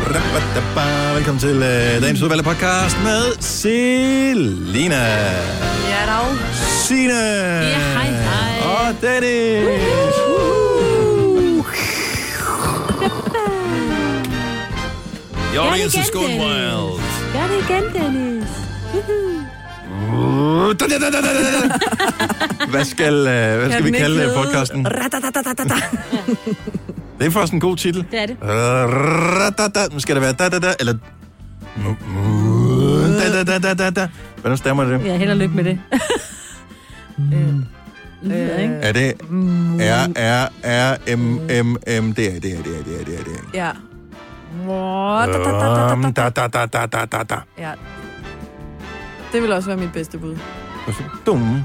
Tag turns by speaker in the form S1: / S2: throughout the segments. S1: Ba-da-ba-da-ba. Velkommen til øh, dagens udvalgte podcast med Selina,
S2: Ja, dog.
S1: Signe
S2: Ja, hej, hej.
S1: og Dennis. You're
S2: Ja, det
S1: in
S2: igen,
S1: Skåne
S2: Dennis.
S1: Wild.
S2: Gør det igen, Dennis.
S1: Uh, da, da, da, da, da, da. Hvad skal, øh, hvad skal vi kalde øh, podcasten? Det er faktisk en god titel.
S2: Det er det.
S1: Ra-da-da. Nu skal det være da-da-da, eller... Da-da-da-da-da. Hvordan stemmer det?
S2: Ja, held og lykke med det.
S1: Mm.
S2: Øh,
S1: Er det
S2: Mm.
S1: R, R, R, M, M, M, det er, det er, det er, det er, det er, det er.
S3: Ja.
S1: Um, da, da, da, da, da, da, da.
S3: ja. Det vil også være mit bedste bud.
S1: Dum.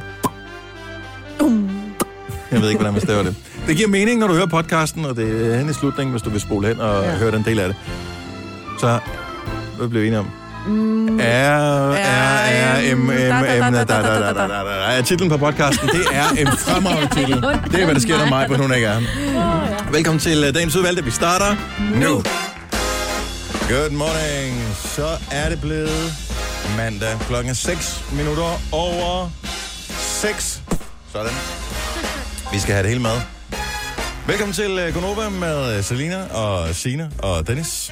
S3: Um.
S1: Jeg ved ikke, hvordan man staver det. Det giver mening, når du hører podcasten, og det er hen i slutningen, hvis du vil spole hen og ja. høre den del af det. Så, hvad blev vi enige om? R, R, R, M, M, M, Mm. da, da, da, da, da, da, da. Er titlen på podcasten, det er en fremragende titel. Det er, hvad der sker, når mig på nogen ikke er. Velkommen til øh, dagens udvalgte. Vi starter nu. Good morning. Så er det blevet mandag klokken 6 minutter over 6. Sådan. Vi skal have det hele med. Velkommen til Gonova med øh, Selina og Sina og Dennis.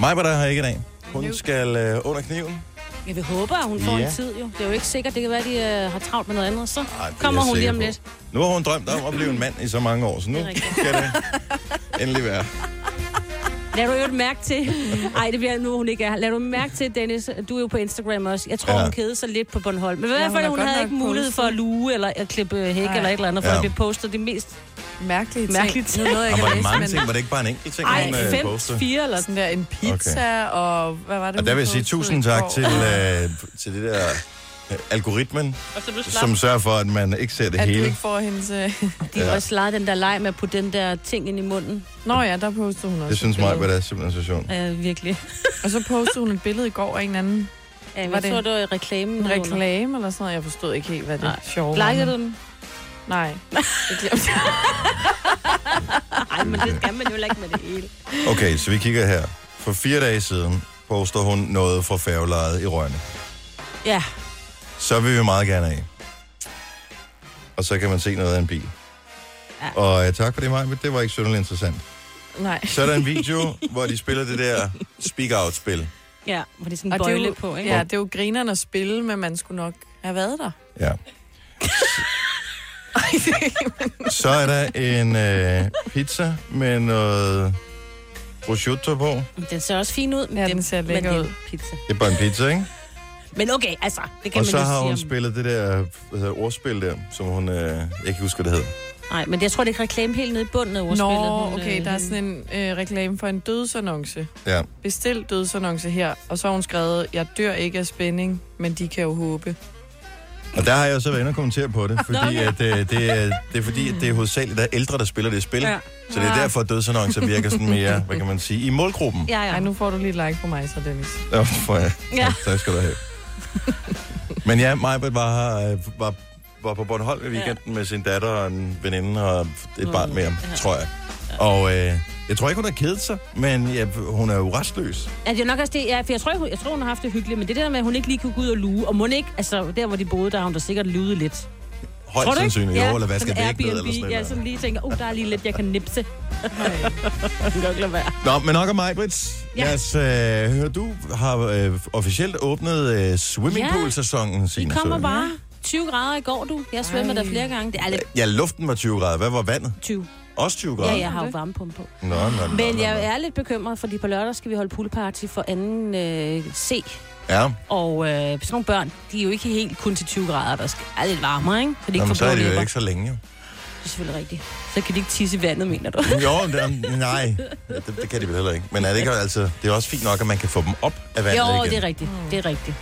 S1: Mig var der her ikke i dag. Hun skal øh, under kniven.
S2: Jeg vil håbe, at hun får
S1: Ja.
S2: en tid, jo. Det er jo ikke sikkert. Det kan være, at de øh, har travlt med noget andet. Så
S1: Ej, det er
S2: kommer
S1: jeg
S2: hun lige
S1: sikker
S2: om
S1: på.
S2: lidt.
S1: Nu har hun drømt om at blive en mand i så mange år, så nu
S2: Det er rigtigt.
S1: skal det endelig være.
S2: Lad du jo et mærke til... Ej, det bliver nu, hun ikke er her. Lad du mærke til, Dennis, du er jo på Instagram også. Jeg tror,
S1: Ja.
S2: ja. hun kedede sig lidt på Bornholm. Men i hvert
S3: hun
S2: fald,
S3: har
S2: hun
S3: godt
S2: havde
S3: nok
S2: ikke mulighed for at luge eller at klippe øh, hæk
S3: Nej.
S2: eller et eller andet, for
S1: Ja.
S2: ja. at blive postet det mest...
S3: Mærkelige ting.
S2: Mærkelige ting.
S3: Nu nåede jeg
S1: Og
S3: ikke
S1: var det
S3: at læse,
S1: mange
S3: men
S1: ting? Var det ikke bare en enkelt ting,
S2: Ej,
S1: hun øh, postede?
S2: 5-4 eller sådan.
S3: sådan der en pizza, okay. og hvad var det?
S1: Og der vil jeg sige tusind tak til, øh, til det der øh, algoritmen,
S2: Og så blev
S1: som sørger for, at man ikke ser det
S3: At du
S1: hele.
S3: ikke får hendes... øh,
S2: De har også leget den der leg med at putte den der ting ind i munden.
S3: Nå ja, der postede hun også.
S1: Det synes
S3: et
S1: mig,
S3: billede.
S1: at det er simpelthen så sjovt.
S2: Uh, virkelig.
S3: Og så postede hun et billede i går af en anden
S2: Ja,
S3: Var
S2: jeg
S3: det
S2: tror, det var reklamen.
S3: en
S2: nedenunder.
S3: reklame eller sådan noget. Jeg forstod ikke helt, hvad det
S2: Nej.
S3: sjove var.
S2: Likede du den?
S3: Nej. Det glemte jeg.
S2: Nej, men det skal man jo heller ikke med det hele.
S1: Okay, så vi kigger her. For fire dage siden poster hun noget fra færgelejet i Rønne.
S2: Ja,
S1: Så vil vi meget gerne af. Og så kan man se noget af en bil.
S2: Ja.
S1: Og øh, tak for det, Maja, men det var ikke synderligt interessant.
S3: Nej.
S1: Så er der en video, hvor de spiller det der speak-out-spil.
S2: ja, hvor det er sådan
S3: Og
S2: en
S3: det er
S2: bøjle
S3: jo-
S2: på, ikke?
S3: Ja, det er jo grineren at spille, men man skulle nok have været der.
S1: Ja. Så er der en øh, pizza med noget prosciutto på.
S2: Den ser også fin ud, men,
S3: Ja,
S2: det-
S3: den ser
S2: men
S3: lækker
S2: det er
S3: ud.
S2: Pizza.
S1: Det er bare en pizza, ikke?
S2: Men okay, altså, det kan
S1: og
S2: man
S1: så
S2: ikke
S1: har
S2: sige
S1: hun
S2: om-
S1: spillet det der hvad hedder, ordspil der, som hun... Øh, jeg kan ikke huske, hvad det hed.
S2: Nej, men jeg tror, det er ikke reklame helt nede i bunden af ordspillet.
S3: Nå,
S2: hun,
S3: okay,
S2: øh,
S3: der er sådan en øh, reklame for en dødsannonce.
S1: Ja.
S3: Bestil dødsannonce her, og så har hun skrevet, jeg dør ikke af spænding, men de kan jo håbe.
S1: Og der har jeg jo så været inde og kommentere på det, fordi
S2: okay.
S1: at, øh, det, er, det er fordi, at det er hovedsageligt, der er ældre, der spiller det spil.
S2: Ja. Ah.
S1: Så det er derfor, at dødsannoncer virker sådan mere, hvad kan man sige, i målgruppen.
S2: Ja, ja.
S3: Ej, nu får du lige et like på mig så, Dennis.
S1: Nå, for, ja.
S2: Ja.
S1: Tak, tak skal du have. Men ja, Majbert var, her, øh, var, var på Bornholm i weekenden ja. med sin datter og en veninde og et
S2: Mm,
S1: barn mere, ja.
S2: ja.
S1: tror jeg. Og øh, jeg tror ikke, hun har kedet sig, men ja, hun er jo restløs.
S2: Er det er nok også det, ja, for Altså, jeg tror, hun, jeg tror, hun har haft det hyggeligt, men det der med, at hun ikke lige kunne gå ud og luge, og må ikke, altså der, hvor de boede, der har hun da sikkert luget lidt.
S1: Højst
S2: Tror du ikke?
S1: sandsynligt, jo, eller hvad skal
S2: sådan
S1: væk ned, eller sådan
S2: Ja, sådan lige tænker, oh, der er lige lidt, jeg kan nipse. Det kan nok lade være.
S1: Nå, men nok om mig, Brits. Ja.
S2: Ja.
S1: Lad os øh, høre, du har øh, officielt åbnet øh, swimmingpool-sæsonen,
S2: I
S1: Signe.
S2: kommer
S1: så-
S2: bare. 20 grader i går, du. Jeg svømmer der flere gange. Det er lidt
S1: Ja, luften var 20 grader. Hvad var vandet?
S2: 20.
S1: Også 20 grader?
S2: Ja, jeg har jo varmepumpe på.
S1: Nå, nå, nå,
S2: Men
S1: nå,
S2: jeg
S1: nå.
S2: er lidt bekymret, fordi på lørdag skal vi holde poolparty for anden øh, C.
S1: Ja,
S2: Og øh, sådan nogle børn, de er jo ikke helt kun til 20 grader, der skal er lidt varmere, ikke? Så de ikke
S1: Jamen, så
S2: får
S1: er
S2: blå
S1: det jo
S2: læber.
S1: ikke så længe, jo.
S2: Det er selvfølgelig rigtigt. Så kan de ikke tisse i vandet, mener du?
S1: Jo, det, er- nej, det, det kan de vel heller ikke. Men er det ikke altså, det er også fint nok, at man kan få dem op af vandet
S2: jo,
S1: igen.
S2: det er rigtigt.
S3: Mm.
S2: Det er rigtigt.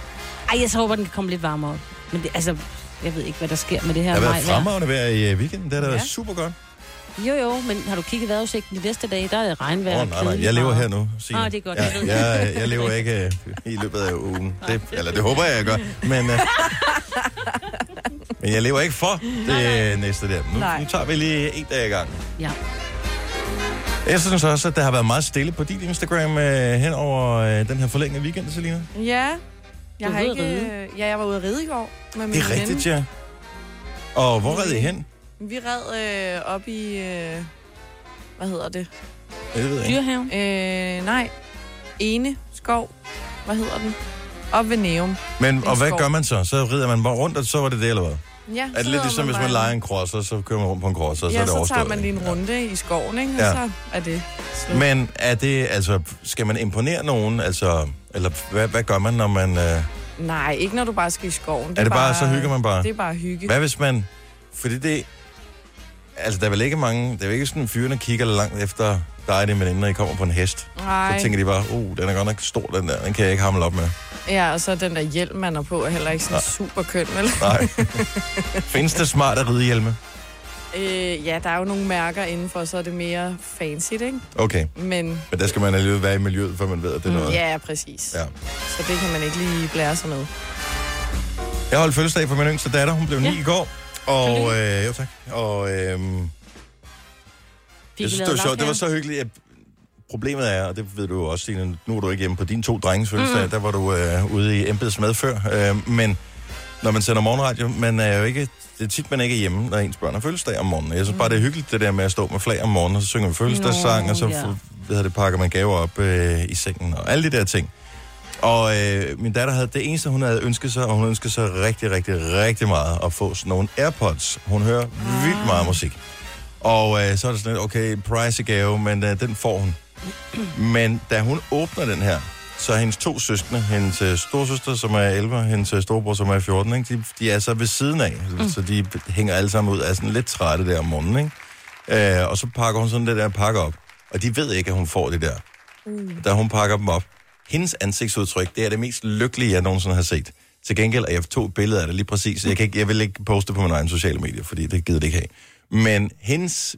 S2: Ej, jeg så håber, den kan komme lidt varmere op. Men det, altså, jeg ved ikke, hvad der sker med det her
S1: Der har været
S2: majvejr.
S1: fremragende vejr i øh, weekenden. Det har da været
S3: Ja.
S1: super godt.
S2: Jo, jo, men har du kigget vejrudsigten de næste dage? Der er det
S1: Åh,
S2: regnvejr.
S1: oh,
S2: og
S1: nej, nej,
S2: kedeligt
S1: jeg lever
S2: og-
S1: her nu, Signe.
S2: Ah, det er godt, jeg ved
S1: Ja, jeg, jeg lever ikke øh, i løbet af ugen. Det, eller det håber jeg, jeg gør. Men, øh, men jeg lever ikke for det øh, næste der. Nu,
S3: Nej.
S1: nu tager vi lige en dag i gang.
S2: Ja.
S1: Jeg synes også, at der har været meget stille på dit Instagram øh, hen over øh, den her forlængede weekend, Selina.
S3: Ja. Jeg
S2: Du
S3: har
S2: var ude
S3: ikke...
S2: at
S3: øh, Ja, jeg var ude at ride i går med min
S1: Det er rigtigt, ja. Og hvor red I hen?
S3: Vi red øh, op i... Øh, hvad hedder det?
S1: Ja, Det ved jeg ikke.
S2: Dyrehaven.
S3: Øh, nej. Ene skov. Hvad hedder den? Op ved Neum.
S1: Men,
S3: En
S1: og hvad
S3: skov.
S1: gør man så? Så rider man bare rundt, og så var det det, eller hvad?
S3: Ja,
S1: Er det lidt ligesom, hvis man leger en crosser, så kører man rundt på en crosser, og
S3: og
S1: så er
S3: ja,
S1: det
S3: så,
S1: overstået?
S3: tager man lige en runde i skoven, ikke? Og
S1: Ja.
S3: så er det slut.
S1: Men er det, altså, skal man imponere nogen, altså, eller hvad, hvad gør man, når man, øh, er
S3: Nej, ikke når du bare skal i skoven. Det
S1: det bare, så hygger man bare?
S3: Det er bare hygge.
S1: Hvad hvis man, fordi det, altså, der er vel ikke mange, der er vel ikke sådan, fyrene kigger langt efter dig, din veninde, når I kommer på en hest.
S3: Nej.
S1: Så tænker de bare, oh, den er godt nok stor, den der, den kan jeg ikke hamle op med.
S3: Ja, og så den der hjelm, man har på, er heller ikke sådan super køn, vel?
S1: Nej. Findes det smarte ridehjelme?
S3: Øh, ja, der er jo nogle mærker indenfor, så er det mere fancy, ikke?
S1: Okay,
S3: Men
S1: men der skal man alligevel være i miljøet, før man ved, at det er noget.
S3: ja, præcis.
S1: Ja.
S3: Så det kan man ikke lige blære sig med.
S1: Jeg holdt fødselsdag for min yngste datter. Hun blev ni
S2: Ja.
S1: i går. Og, øh, jo tak. Og, øh,
S2: Fik
S1: jeg synes,
S2: lavet
S1: det var sjovt. Det var
S2: lapkager.
S1: så hyggeligt. At problemet er, og det ved du jo også, Signe, nu er du ikke hjemme på dine to drenges fødselsdag. Mm. Der var du øh, ude i embeds med før. Øh, men når man sender morgenradio, man er jo ikke... Det er tit, man ikke er hjemme, når ens børn har fødselsdag om morgenen. Jeg synes bare, det er hyggeligt, det der med at stå med flag om morgenen, og så synger vi fødselsdagssang,
S2: Mm. Nå,
S1: og så
S2: ja.
S1: ja. hvad hedder det, pakker man gaver op øh, i sengen, og alle de der ting. Og øh, min datter havde det eneste, hun havde ønsket sig, og hun ønskede sig rigtig, rigtig, rigtig meget at få sådan nogle AirPods. Hun hører ah. vildt meget musik. Og øh, så er det sådan lidt, okay, price i gave, men øh, den får hun. Men da hun åbner den her, så er hendes to søskende, hendes øh, storsøster, som er 11, og hendes øh, storebror, som er 14, ikke? De, de er så ved siden af, mm. så de hænger alle sammen ud og er sådan lidt trætte der om morgenen. Ikke? Øh, og så pakker hun sådan det der pakke op, og de ved ikke, at hun får det der. Mm. Da hun pakker dem op, hendes ansigtsudtryk, det er det mest lykkelige, jeg nogensinde har set. Til gengæld, og jeg tog billeder af det lige præcis, jeg, kan ikke, jeg vil ikke poste på mine egne sociale medier, fordi det gider det ikke have. Men hendes,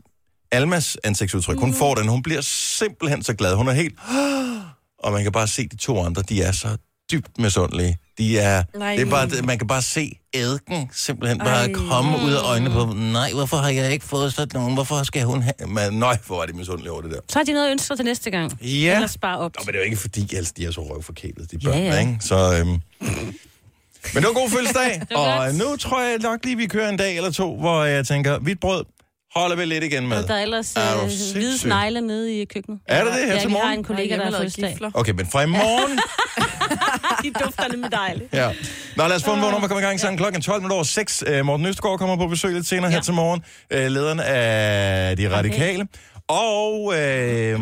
S1: Almas ansigtsudtryk, hun får den, hun bliver simpelthen så glad. Hun er helt... Og man kan bare se de to andre, de er så dybt misundelige. De er,
S3: Nej.
S1: det er bare, det- man kan bare se ædken simpelthen bare
S3: Ej.
S1: komme ud af øjnene på dem. Nej, hvorfor har jeg ikke fået sådan nogen? Hvorfor skal hun have... Man, nøj, hvor er de misundelige over det der.
S2: Så har de noget at ønske sig til næste gang.
S1: Ja.
S2: Eller spare op.
S1: Nå, men det er jo ikke fordi, altså, de er så røvforkælede, de
S2: Ja,
S1: børn, ja,
S2: ja.
S1: ja. ikke? Så, øhm... Men det var en god fødselsdag,
S2: var
S1: og øh,
S2: godt.
S1: nu tror jeg nok lige, vi kører en dag eller to, hvor jeg tænker, hvidt brød holder vi lidt igen med.
S2: Der er ellers
S1: Er du
S2: øh, hvide
S1: sindssyg?
S2: snegle nede i køkkenet.
S1: Er der det her
S2: ja,
S1: til
S2: vi har
S1: morgen?
S2: en kollega,
S3: Nej,
S2: der har
S3: hjemmelavet
S2: fødselsdag.
S3: gifler.
S1: Okay, men fra i morgen...
S2: De dufter nemlig dejligt.
S1: ja. Nå, lad os få en vågen om at komme i gang sammen klokken 12 minutter over 6. Øh, Morten Østergaard kommer på besøg lidt senere ja. her til morgen. Øh, lederen af De Radikale. Og øh, øh,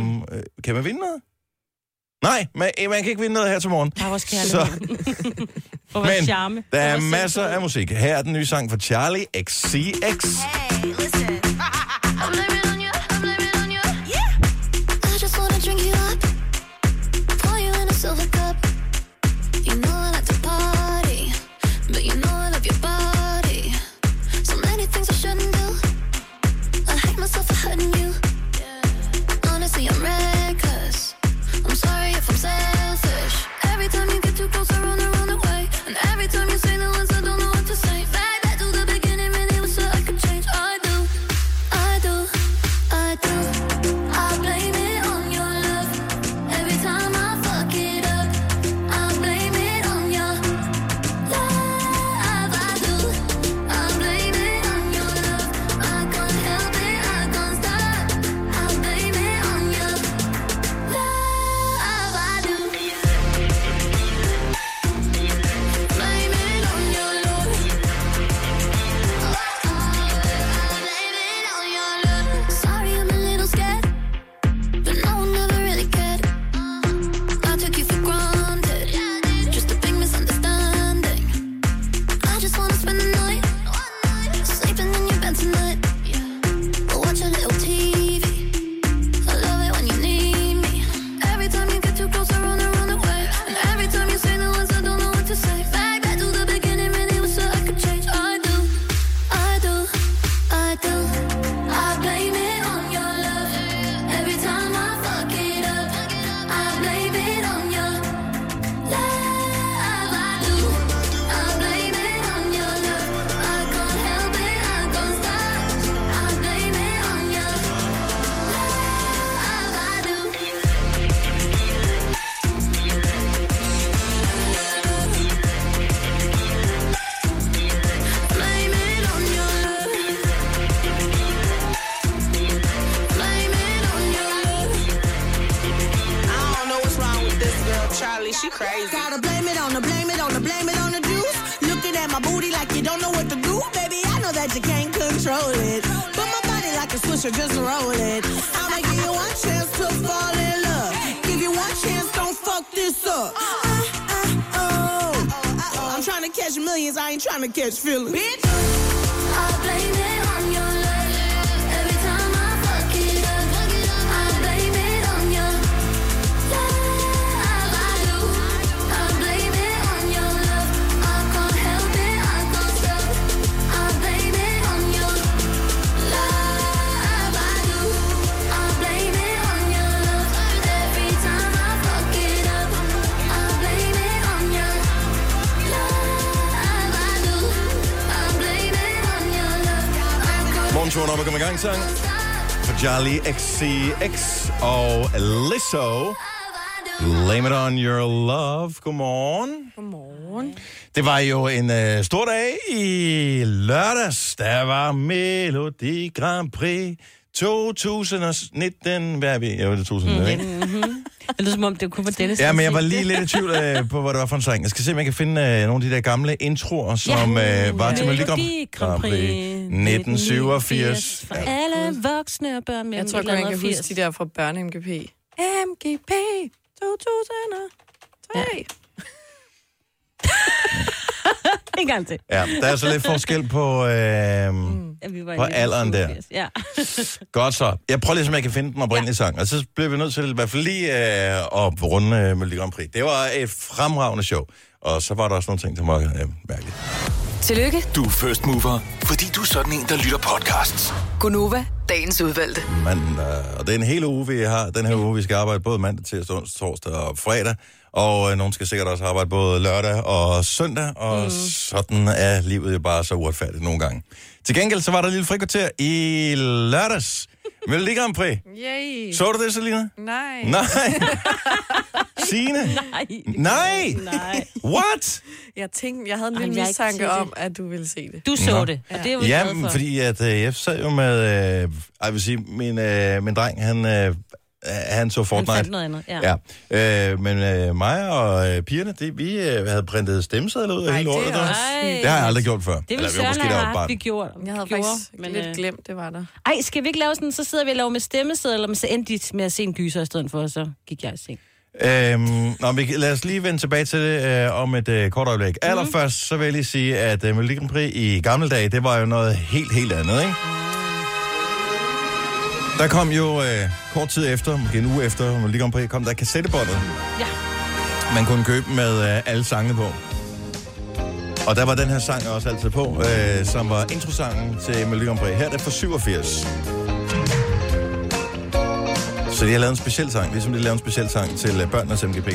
S1: kan man vinde noget? Nej, man, øh, man kan ikke vinde noget her til morgen.
S2: Der er vores
S1: Så-
S2: kærlighed. For
S1: Men
S2: vores charme.
S1: Der er
S2: For vores
S1: masser af
S2: selvtillid.
S1: musik. Her er den nye sang fra Charlie XCX.
S4: Hey, listen. I'm living on you. I'm living on you. Yeah.
S5: I just wanna drink you up, pour you in a silver cup. You know I like to party, but you know I love your body. So many things I shouldn't do. I hate myself for hurting you. Honestly, I'm reckless. I'm sorry if I'm selfish. Every time you get too close, I run and run away. And every time you say the ones I don't know what to say. Back back to the beginning, really wish that I could change. I do, I do.
S6: Charlie, she crazy.
S7: Gotta blame it on the blame it on the blame it on the juice. Looking at my booty like you don't know what to do. Baby, I know that you can't control it. But my body like a swisher, just roll it. I'ma give you one chance to fall in love. Give you one chance, don't fuck this up. Uh, uh, oh. I'm trying to catch millions, I ain't trying to catch feelings. Bitch!
S5: I blame it on your love. Every time I fuck it up, I blame it on your love. I do. I blame it on your love. I can't help it, I can't stop. I blame it on your love. I do. I blame it on your love. Every time I fuck it up, I blame it on your love. I do. I blame it on your love.
S1: Morgenturen op og kom i gang sang for Charlie XCX og Lizzo. Blame it on your love. Godmorgen.
S3: Godmorgen.
S1: Det var jo en øh, stor dag i lørdags. Der var Melodi Grand Prix 2019. Hvad er vi? Ja, det er 2019.
S3: Mm-hmm.
S1: ikke?
S2: Det lyder som om, Mm, det kun var Dennis.
S1: Ja, men jeg var lige lidt i tvivl øh, på, hvad det var for en sang. Jeg skal se, om jeg kan finde øh, nogle af de der gamle introer, som
S2: Ja.
S1: øh, var til Melodi
S2: Melodi Grand Prix
S1: 1987.
S2: For alle voksne og børn mellem
S3: Jeg tror
S2: et
S3: kun,
S2: eller
S3: man kan
S2: andet og
S3: huske de
S2: 80.
S3: der fra børne-MGP. MGP 2003. Ja.
S2: En gang til.
S1: Ja, der er så lidt forskel på... Øh,
S2: Ja, Mm, vi var i
S1: På alderen der.
S2: 1987. Ja.
S1: Godt så. Jeg prøver lige, om jeg kan finde den oprindelige sang. Og så bliver vi nødt til i hvert fald lige øh, at runde øh, Melodi Grand Prix. Det var et fremragende show. Og så var der også nogle ting, som var øh, mærkeligt.
S8: Tillykke,
S9: Du er first mover, fordi du er sådan en, der lytter podcasts.
S8: Gunova, dagens udvalgte.
S1: mandag. Og det er en hel uge, vi har. Den her uge, vi skal arbejde både mandag, tirsdag, onsdag, torsdag og fredag. Og øh, nogen skal sikkert også arbejde både lørdag og søndag. Og mm. sådan er livet jo bare så uretfærdigt nogle gange. Til gengæld så var der et lille frikvarter i lørdags. Melodi Grand Prix.
S3: Yay.
S1: Så du det, Selina?
S3: Nej.
S1: Nej. Signe?
S2: Nej.
S1: Nej.
S2: Nej.
S1: What?
S3: Jeg tænkte, jeg havde en
S2: Ej,
S3: lille
S2: jeg er ikke til det.
S3: mistanke om, at du ville se det.
S2: Du så
S1: Nå.
S2: det, og det er jo ja, glad for.
S1: Jamen, fordi at, øh, jeg sad jo med... Øh, ej, jeg vil sige, min, øh, min dreng, han, øh, han så
S2: Han
S1: Fortnite.
S2: fandt noget andet. Ja.
S1: Ja, øh, men øh, mig og øh, pigerne, det, vi øh, havde printet stemmesedler ud af
S3: Ej,
S1: hele
S3: det er
S1: året.
S3: også
S1: Det, det har jeg aldrig gjort før.
S2: Det ville
S1: var
S2: Søren
S1: da
S2: have
S1: jeg var
S2: haft, vi
S1: barn.
S2: gjorde.
S3: Jeg havde
S2: gjorde,
S3: faktisk
S2: men,
S3: lidt
S2: øh,
S3: glemt, det var der.
S2: Ej, skal vi ikke lave sådan, så sidder vi og laver med stemmesedler, men så endte de med at se en gyser i stedet for, og så gik jeg i seng.
S1: Øhm, nå, vi, lad os lige vende tilbage til det øh, om et øh, kort øjeblik. Mm. Allerførst, så vil jeg lige sige, at øh, Melodi Grand Prix i gamle dage, det var jo noget helt, helt andet, ikke? Der kom jo øh, kort tid efter, måske en uge efter Melodi Grand Prix, kom der kassettebåndet.
S2: Ja.
S1: man kunne købe med øh, alle sangene på. Og der var den her sang også altid på, øh, som var introsangen til Melodi Grand Prix. Her er det fra 87. Så de har lavet en speciel sang, ligesom de lavede en speciel sang til øh, børnenes MGP.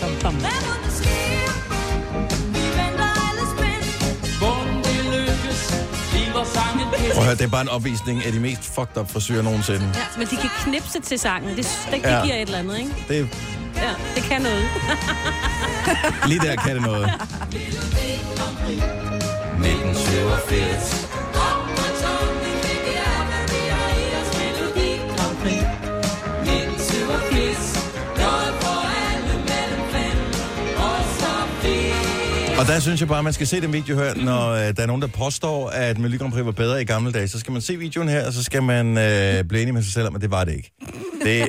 S2: Bom, bom.
S1: Prøv at høre, det er bare en opvisning af de mest fucked up frisyrer nogensinde.
S2: Ja, men de kan knipse til sangen. Det, det, det
S1: Ja.
S2: giver et eller andet, ikke?
S1: Det,
S2: Ja, det kan noget.
S1: lige der kan det noget.
S9: 1987.
S1: Og der synes jeg bare, at man skal se den video her, når øh, der er nogen, der påstår, at Melodi Grand Prix var bedre i gamle dage. Så skal man se videoen her, og så skal man øh, blive enig med sig selv om, at det var det ikke. Det,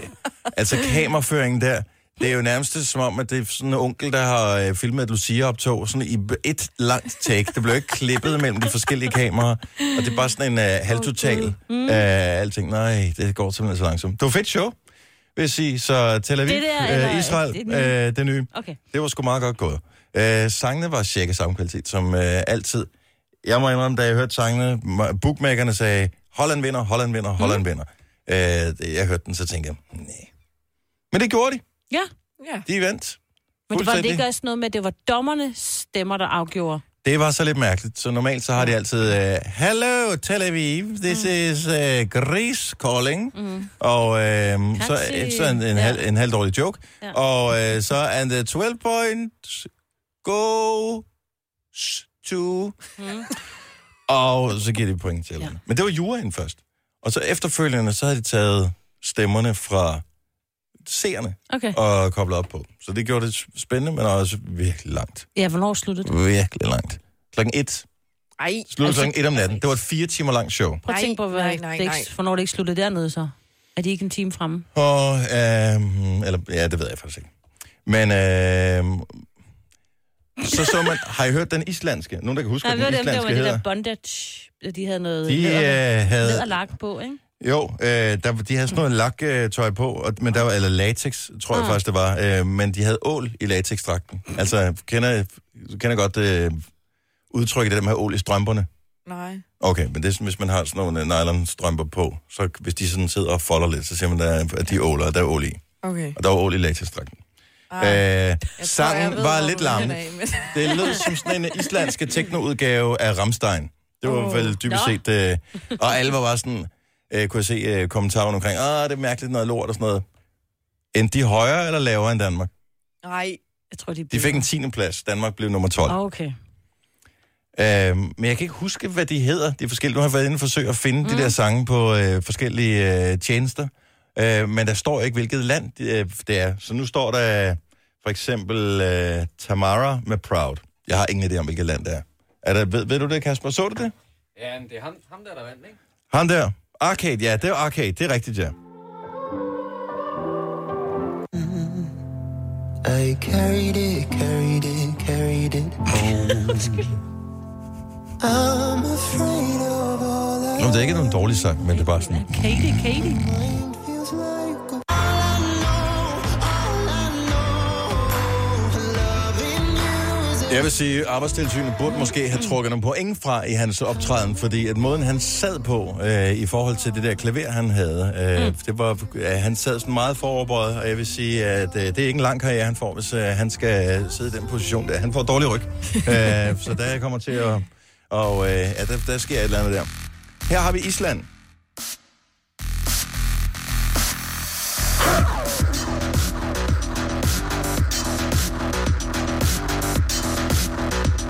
S1: altså kameraføringen der, det er jo nærmest som om, at det er sådan en onkel, der har øh, filmet et Lucia-optog sådan i b- et langt take. Det blev ikke klippet mellem de forskellige kameraer, og det er bare sådan en øh, halvtotal
S2: Mm.
S1: af øh, alting. Nej, det går simpelthen så langsomt. Det var fedt show, vil jeg sige. Så Tel Aviv,
S2: Det der, eller-
S1: øh, Israel,
S2: det nye?
S1: øh, det nye.
S2: Okay.
S1: Det var sgu meget godt gået. Øh, sangene var cirka samme kvalitet som øh, altid. Jeg må indrømme, da jeg hørte sangene, m- bookmakerne sagde, Holland vinder, Holland vinder,
S2: Mhm.
S1: Holland vinder. Øh, det- jeg hørte den, så tænkte jeg, nej. Men det gjorde de.
S2: Ja,
S3: Ja.
S1: De vandt.
S2: men det var det
S1: Fuldstændig.
S2: ikke også noget med, at det var dommernes stemmer, der afgjorde.
S1: Det var så lidt mærkeligt. Så normalt så har de altid, øh, Hello Tel Aviv, this is uh, Greece calling. Mm. Og øh, så,
S2: Taxi.
S1: så en, en,
S2: Ja.
S1: halv, en halv dårlig joke.
S2: Ja.
S1: Og øh, så and the 12 point go to... Mm. Og så giver de point til ja. Men det var juraen først. Og så efterfølgende, så havde de taget stemmerne fra seerne
S2: Okay.
S1: og koblet op på. Så det gjorde det spændende, men også virkelig langt.
S2: Ja, hvornår sluttede det?
S1: Virkelig langt. Klokken et
S2: Ej,
S1: Slutter altså, klokken 1 om natten. Det var et fire timer langt show.
S2: Prøv at tænke på, hvad,
S3: Nej, nej,
S2: det ikke,
S3: nej.
S2: hvornår det ikke sluttede dernede så. Er de ikke en time fremme?
S1: Og, øhm, eller, ja, det ved jeg faktisk ikke. Men, øhm, så så man, har I hørt den islandske? Nogen, der kan huske,
S2: Nej,
S1: hvad
S2: det var
S1: den
S2: dem, der var
S1: islandske
S2: det
S1: hedder?
S2: der bondage, de havde noget
S1: De øh,
S2: ned
S1: havde,
S2: og lak på, ikke?
S1: jo, øh, der, de havde sådan noget laktøj på, og, men der var, eller latex, tror
S3: Ah.
S1: jeg faktisk, det var. Øh, men de havde ål i latexdragten. Altså, kender, du kender godt øh, udtrykket af dem her ål i strømperne?
S3: Nej.
S1: Okay, men det er sådan, hvis man har sådan nogle øh, nylonstrømper på, så hvis de sådan sidder og folder lidt, så ser man, der, er- at de er åler, og der er ål i.
S3: Okay.
S1: Og der var ål i lateksdragten. Øh, sangen
S3: jeg ved,
S1: var
S3: hvor
S1: lidt
S3: du vil
S1: larm.
S3: henad, men-
S1: Det lød som sådan en islandske teknoudgave af Ramstein. Det var oh. vel dybest set... Øh, og alle var bare sådan... Øh, kunne jeg se øh, kommentarerne omkring, ah, det er mærkeligt noget lort og sådan noget. Endte de højere eller lavere end Danmark?
S3: Nej.
S2: Jeg tror, de,
S1: De fik en 10. plads. Danmark blev nummer 12.
S2: Ah, Okay.
S1: Øhm, men jeg kan ikke huske, hvad de hedder, de forskellige. Nu har jeg været inde og forsøge at finde mm. de der sange på øh, forskellige øh, tjenester. Øh, men der står ikke, hvilket land øh, det er. Så nu står der øh, for eksempel øh, Tamara med Proud. Jeg har ingen idé om, hvilket land det er. er der, ved, ved du det, Kasper? Så du det?
S6: Ja, men det er ham, ham der, der vandt, ikke?
S1: Han der. Arcade, ja, det er jo Arcade. Det er rigtigt, ja.
S10: I carried it, carried it, carried it home. I'm afraid of all that
S1: Nå, det er ikke nogen dårlig sang, men det er bare sådan...
S2: Katie, Katie.
S10: mind feels like. All
S1: Jeg vil sige, at arbejdstilsynet burde måske have trukket nogle point fra i hans optræden, fordi at måden, han sad på øh, i forhold til det der klaver, han havde, øh,
S2: Mm.
S1: det var, øh, han sad sådan meget foroverbøjet, og jeg vil sige, at øh, det er ikke en lang karriere, han får, hvis øh, han skal øh, sidde i den position der. Han får dårlig ryg, øh, så der kommer til at... Og øh, ja, der, der sker et eller andet der. Her har vi Island.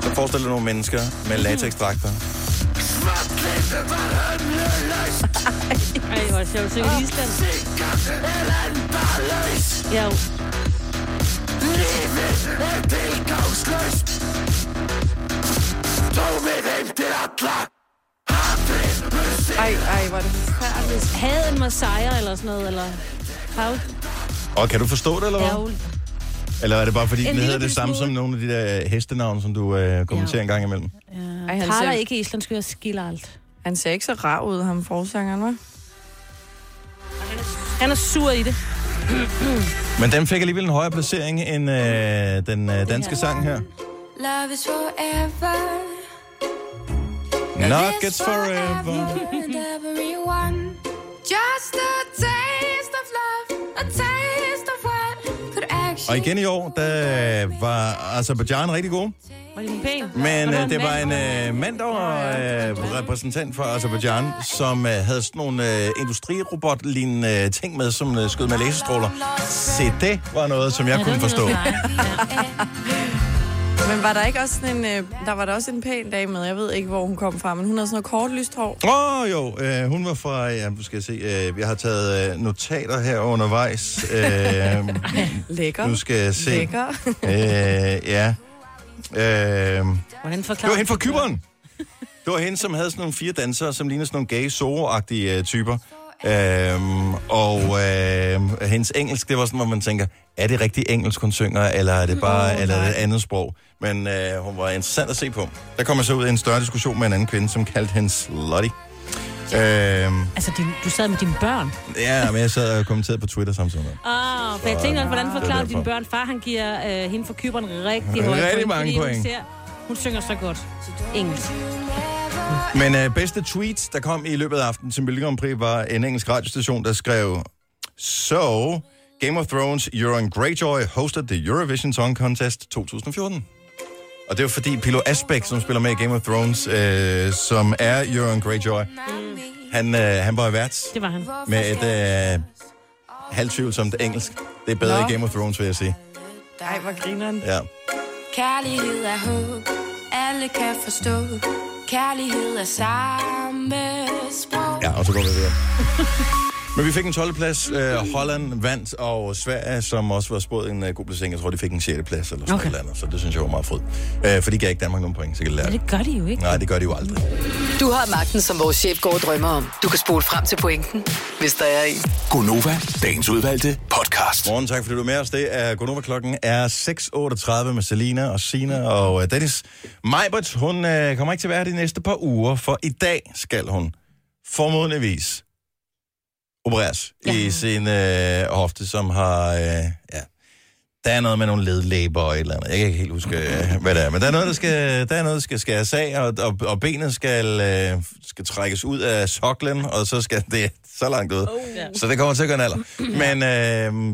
S1: Så forestil dig nogle mennesker med latexdragter.
S2: Ej, hvor er det sjovt. Så i Island. Ja, jo.
S3: Ej, ej, hvor er det forfærdeligt.
S2: havde en Messiah eller sådan noget, eller... Paul,
S1: Og kan du forstå det, eller hvad?
S2: Paul.
S1: Eller er det bare, fordi
S2: Mm. En
S1: den
S2: lille
S1: hedder det
S2: bitte
S1: samme
S2: smule.
S1: som nogle af de der øh, hestenavne, som du øh, kommenterer
S2: Ja.
S1: en gang imellem?
S3: Ej, han,
S2: Karl er
S3: ser,
S2: ikke i Island, skal jeg skille alt.
S3: han ser ikke så rar ud, ham forsangeren, hva'?
S2: Han er sur i det.
S1: Men den fik alligevel en højere placering end øh, den øh, danske sang her.
S4: Love is forever.
S1: Nuggets øh, forever.
S4: and everyone. Just a taste of love, a taste of what could actually.
S1: Og igen i år, der øh, var Azerbaijan rigtig god.
S2: Var det en pæn?
S1: Men
S2: der
S1: øh, det
S2: en
S1: var en
S2: mand?
S1: øh, mand, der var øh, repræsentant for Azerbaijan, som øh, havde sådan nogle øh, industrirobot-lignende øh, ting med, som øh, skød med laserstråler. Se, det var noget, som jeg
S2: Ja, det
S1: kunne
S2: var
S1: forstå.
S2: noget for dig.
S3: Men var der ikke også sådan en, øh, der var der også en pæn dame med, jeg ved ikke, hvor hun kom fra, men hun havde sådan noget kort lyst hår.
S1: Åh, oh, jo. Øh, hun var fra... Ja, nu skal jeg se. Øh, jeg har taget øh, notater her undervejs. Øh,
S3: Lækker.
S1: nu skal jeg se.
S3: Lækker.
S1: Øh, ja. Øh,
S2: Hvordan
S1: det var
S2: forklarer
S1: hende fra Kyberen. Det var hende, som havde sådan nogle fire dansere, som lignede sådan nogle gay soro-agtige øh, typer. Øhm, og øh, hendes engelsk, det var sådan, hvor man tænker, er det rigtig engelsk, hun synger, eller er det bare oh, eller er det et andet sprog? Men øh, hun var interessant at se på. Der kom jeg så ud i en større diskussion med en anden kvinde, som kaldte hende slutty. Øhm,
S2: Altså, din, du sad med dine børn.
S1: ja, men jeg sad og kommenterede på Twitter samtidig med.
S2: Åh, oh, for jeg tænkte, også, hvordan
S1: Det
S2: forklarer
S1: er
S2: du dine
S1: derfor.
S2: børn? Far, han giver øh, hende for køberen rigtig høje
S1: Rigtig
S2: point,
S1: mange
S2: fordi
S1: point.
S2: Hun, ser, hun synger så godt. Engelsk.
S1: Men øh, bedste tweet, der kom i løbet af aftenen til Melodi Grand Prix, var en engelsk radiostation, der skrev, So, Game of Thrones, Euron Greyjoy hosted the Eurovision Song Contest 2014. Og det var fordi Pilo Asbæk, som spiller med i Game of Thrones, øh, som er Euron Greyjoy, han, øh, han var vært
S2: Det var han.
S1: med et øh, halvtvivlsomt engelsk. Det er bedre
S3: Nå.
S1: i Game of Thrones, vil jeg sige.
S3: Ej, hvor grineren.
S1: øh, Ja.
S4: Kærlighed er håb, alle kan forstå. Kærlighed er samme sprog.
S1: Ja, og så går vi videre. Men vi fik en 12. plads. Øh, Holland vandt, og Sverige, som også var spået en øh, god placering, jeg tror, de fik en 6. plads eller sådan
S2: Okay.
S1: okay. noget andet, så det synes jeg var meget fedt. Øh, for de gav ikke Danmark nogen point, så kan det lære.
S2: Men det gør de jo ikke.
S1: Nej, det gør de jo aldrig.
S8: Du har magten, som vores chef går og drømmer om. Du kan spole frem til pointen, hvis der er en.
S1: Gonova, dagens udvalgte podcast. Morgen, tak fordi du er med os. Det er Gonova, klokken er 6.38 med Selina og Sina og uh, Dennis. Majbert, hun uh, kommer ikke til at være her de næste par uger, for i dag skal hun formodentligvis opereres ja. i sin øh, hofte, som har... Øh, ja. Der er noget med nogle ledlæber og et eller andet. Jeg kan ikke helt huske, øh, hvad det er. Men der er noget, der skal, der er noget, der skal skæres af, og, og, og benet skal, øh, skal trækkes ud af soklen, og så skal det så langt ud. Oh,
S2: ja.
S1: Så det kommer til at gøre en alder. Men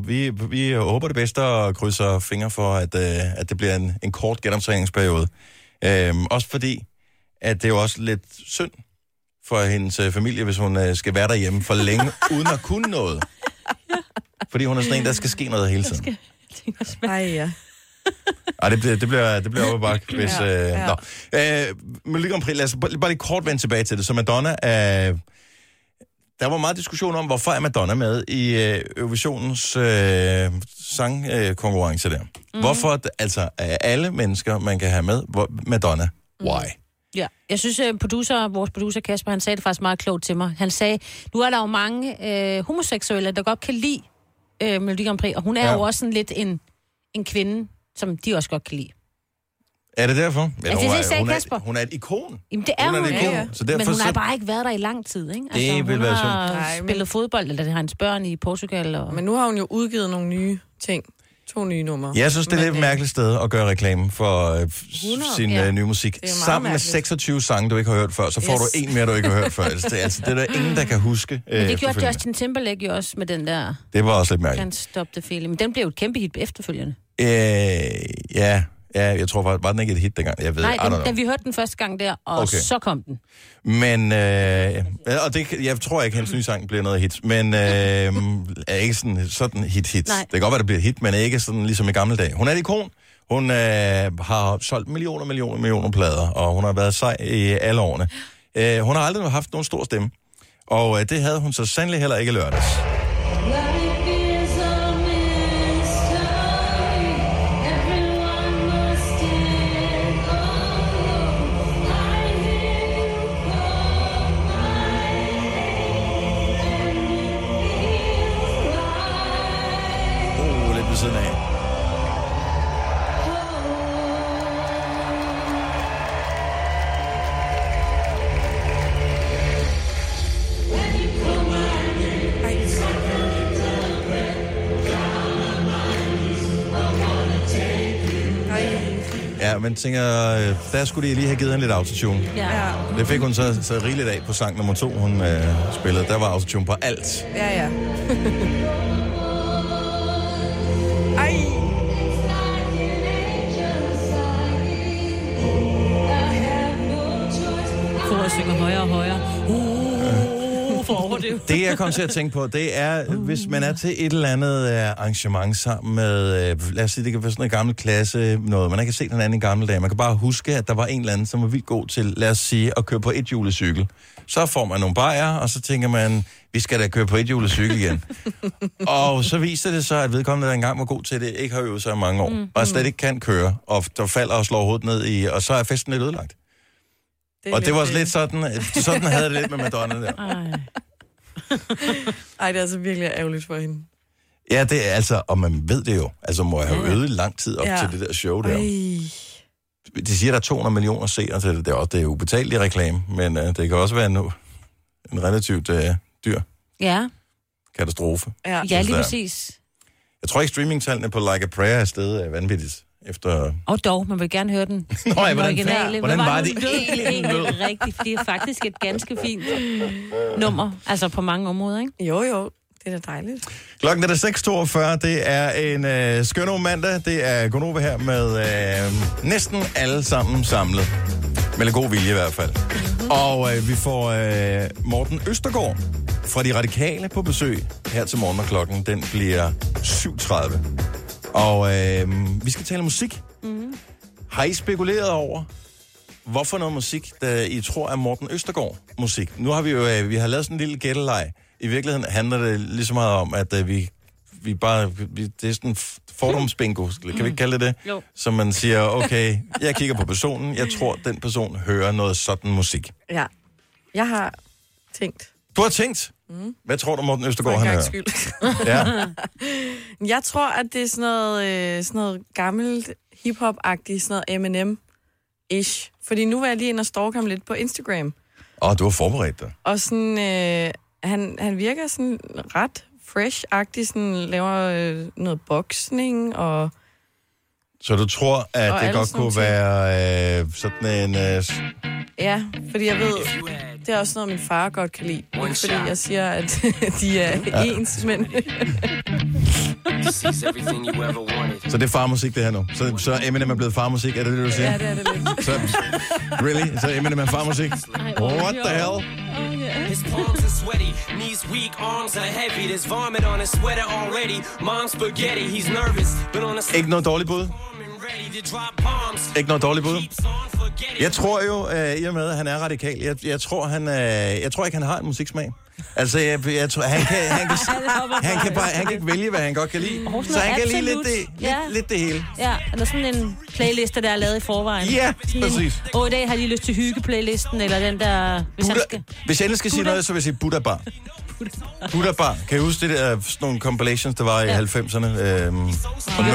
S1: øh, vi, vi håber det bedste og krydser fingre for, at, øh, at det bliver en, en kort genoptræningsperiode. Øh, også fordi, at det er jo også lidt synd for hendes øh, familie, hvis hun øh, skal være derhjemme for længe, uden at kunne noget. Fordi hun er sådan en, der skal ske noget hele tiden.
S3: Ej, ja.
S1: Ej, det bliver, det bliver, det bliver opbak, hvis... Øh,
S3: Ja, ja.
S1: ja. Nå. Øh, Melodi Grand Prix, lad os bare, bare lige kort vende tilbage til det. Så Madonna er... Der var meget diskussion om, hvorfor er Madonna med i øh, Eurovisionens øh, sangkonkurrence øh, konkurrence der. Mm.
S2: Mhm.
S1: Hvorfor, altså, af alle mennesker, man kan have med, hvor, Madonna,
S2: Mhm.
S1: why?
S2: Ja, jeg synes, øh, producer, vores producer Kasper, han sagde det faktisk meget klogt til mig. Han sagde, nu er der jo mange øh, homoseksuelle, der godt kan lide øh, Melodi Grand Prix, og hun er ja.
S1: Ja.
S2: jo også sådan lidt en, en kvinde, som de også godt kan lide.
S1: Er det derfor? Eller,
S2: det
S1: hun,
S2: sagde
S1: er, hun, er,
S2: Kasper.
S1: hun er et ikon.
S2: Jamen, det er
S1: Hun
S2: hun,
S1: er det
S2: hun
S1: gode. Så
S2: Men
S1: derfor
S2: hun
S1: så-
S2: har bare ikke været der i lang tid, ikke? Altså,
S1: Det
S2: hun
S1: vil være
S2: har
S1: synd.
S3: Nej, men-
S2: spillet fodbold, eller det har hendes børn i Portugal. Og...
S3: Men nu har hun jo udgivet nogle nye ting. To nye numre.
S1: Jeg synes, det er
S3: Men,
S1: et lidt
S3: øh,
S1: mærkeligt sted at gøre reklame for øh, f-
S3: 100,
S1: sin
S3: ja.
S1: øh, nye musik.
S3: Det er meget
S1: Sammen
S3: mærkeligt.
S1: med 26 sange, du ikke har hørt før, så får
S3: Yes.
S1: yes. du en mere, du ikke har hørt før. Altså, det, er- altså, det er der ingen, der kan huske. Øh,
S2: Men det gjorde
S1: efterfølgende.
S2: Justin Timberlake jo også med den der
S1: Det var også lidt mærkeligt.
S2: Can't Stop the Feeling. Men den blev jo et kæmpe hit efterfølgende.
S1: Øh, ja, ja, jeg tror faktisk, var den ikke et hit dengang? Jeg ved,
S2: Nej,
S1: I don't
S2: den,
S1: know.
S2: da vi hørte den første gang der, og okay.
S1: Okay.
S2: så kom den.
S1: Men, øh, ja, og det, kan- jeg tror ikke, hendes nye sang bliver noget hit. Men øh, er ikke sådan, sådan hit-hit.
S2: Nej.
S1: Det kan godt være, det bliver et hit, men ikke sådan ligesom i gamle dage. Hun er et ikon. Hun øh, har solgt millioner, millioner, millioner plader, og hun har været sej i alle årene. Øh, hun har aldrig haft nogen stor stemme. Og øh, det havde hun så sandelig heller ikke i lørdags. Uh, lidt ved siden af. Ja, men tænker, øh, der skulle de lige have givet hende lidt autotune.
S2: Ja.
S1: Det fik hun så, så rigeligt af på sang nummer to, hun øh, spillede. Der var autotune på alt.
S3: Ja, ja. Ej.
S2: Koret synger højere og højere. Uh, for over det.
S1: Det, Uh. jeg kom til at tænke på, det er, hvis man er til et eller andet øh, arrangement sammen med, øh, lad os sige, det kan være sådan en gammel klasse, noget, man ikke har set hinanden i gamle dage. Man kan bare huske, at der var en eller anden, som var vildt god til, lad os sige, at køre på et julecykel. Så får man nogle bajer, og så tænker man, vi skal da køre på et julecykel igen. og så viser det så, at vedkommende, der engang var god til det, ikke har øvet sig i mange år, mm. og slet ikke kan køre, og der falder og slår hovedet ned i, og så er festen lidt ødelagt. Det og det var også lidt sådan, sådan havde det lidt med Madonna der.
S3: Ej, det er altså virkelig ærgerligt for hende.
S1: Ja, det er altså, og man ved det jo. Altså, må jeg have øvet lang tid op
S3: Ja.
S1: ja. til det der show der.
S3: Ej.
S1: De siger, der er 200 millioner seere til det. Det er, også, det er jo betalt i reklame, men uh, det kan også være en, en relativt uh, dyr
S2: Ja,
S1: katastrofe.
S3: Ja.
S2: ja
S1: Hvis
S2: lige
S1: der-
S2: præcis.
S1: Jeg tror ikke, streamingtallene på Like a Prayer er stedet uh, vanvittigt. Efter...
S2: Og dog, man vil gerne høre den.
S1: Nå, ja, hvordan,
S2: originale.
S1: hvordan
S2: Hvad
S1: var
S2: nu,
S1: det
S2: den lød?
S1: egentlig, den lød?
S2: Egentlig rigtigt. Det er faktisk et ganske fint nummer, altså på mange områder, ikke?
S3: Jo, jo. Det er da dejligt.
S1: Klokken er der 6.42. Det er en øh, skøn mandag. Det er Gunova her med øh, næsten alle sammen samlet. Med lidt god vilje i hvert fald. Og øh, vi får øh, Morten Østergaard fra De Radikale på besøg her til morgen, og klokken den bliver 7.30. Og øh, vi skal tale musik.
S4: Mm.
S1: Har I spekuleret over, hvorfor noget musik, der I tror er Morten Østergaard musik? Nu har vi jo øh, vi har lavet sådan en lille gætteleg. I virkeligheden handler det lige så meget om, at øh, vi, vi bare... Vi, det er sådan en f- fordomsbingo, kan vi ikke kalde det det?
S2: Jo.
S1: Så man siger, okay, jeg kigger på personen, jeg tror, den person hører noget sådan musik.
S3: Ja. Jeg har tænkt.
S1: Du har tænkt,
S3: Mm.
S1: hvad tror du, Morten
S3: For
S1: Østergaard,
S3: en
S1: han hører?
S3: gangs skyld.
S1: Ja.
S3: Jeg tror, at det er sådan noget, øh, sådan noget gammelt hip-hop-agtigt, sådan noget M&M-ish. Fordi nu var jeg lige inde og stalke ham lidt på Instagram.
S1: Åh, du har forberedt dig.
S3: Og sådan, øh, han, han virker sådan ret fresh-agtig, sådan laver øh, noget boksning og...
S1: Så du tror, at
S3: Og
S1: det
S3: alle
S1: godt
S3: sådan nogle
S1: kunne
S3: ting.
S1: være øh, sådan en... Øh, s-
S3: Ja, fordi jeg ved, det er også noget, min far godt kan lide. Ikke fordi jeg siger, at de er
S1: Ja.
S3: ja. ens, men...
S1: så det er farmusik, det her nu. Så, så Eminem er blevet farmusik, er det det, du siger?
S3: ja, det er det lidt.
S1: Så, really? Så Eminem er farmusik? What the hell?
S2: Oh,
S11: His palms are sweaty, knees weak, arms are heavy. There's vomit on his sweater already. Mom's spaghetti, he's nervous, but on a
S1: Ikke noget dårligt bud. Ikke noget dårligt bud. Jeg tror jo, øh, i og med, at han er radikal, jeg, jeg, tror, han, øh, jeg tror ikke, han har en musiksmag. Altså, jeg, jeg tror, han kan, han kan, han kan, bare, han kan ikke vælge, hvad han godt kan lide. Så han kan lide lidt det,
S2: ja.
S1: lidt det hele.
S2: Ja, eller sådan en playliste, der er lavet i forvejen.
S1: Ja,
S2: Sådan
S1: præcis.
S2: En, Åh, i dag har jeg lige lyst til hygge-playlisten, eller den der... Hvis han skal...
S1: Hvis jeg endelig skal sige noget, så vil jeg sige Buddha Bar. Buddha Bar. Kan I huske det der, øh, sådan nogle compilations, der var i 90'erne øhm, og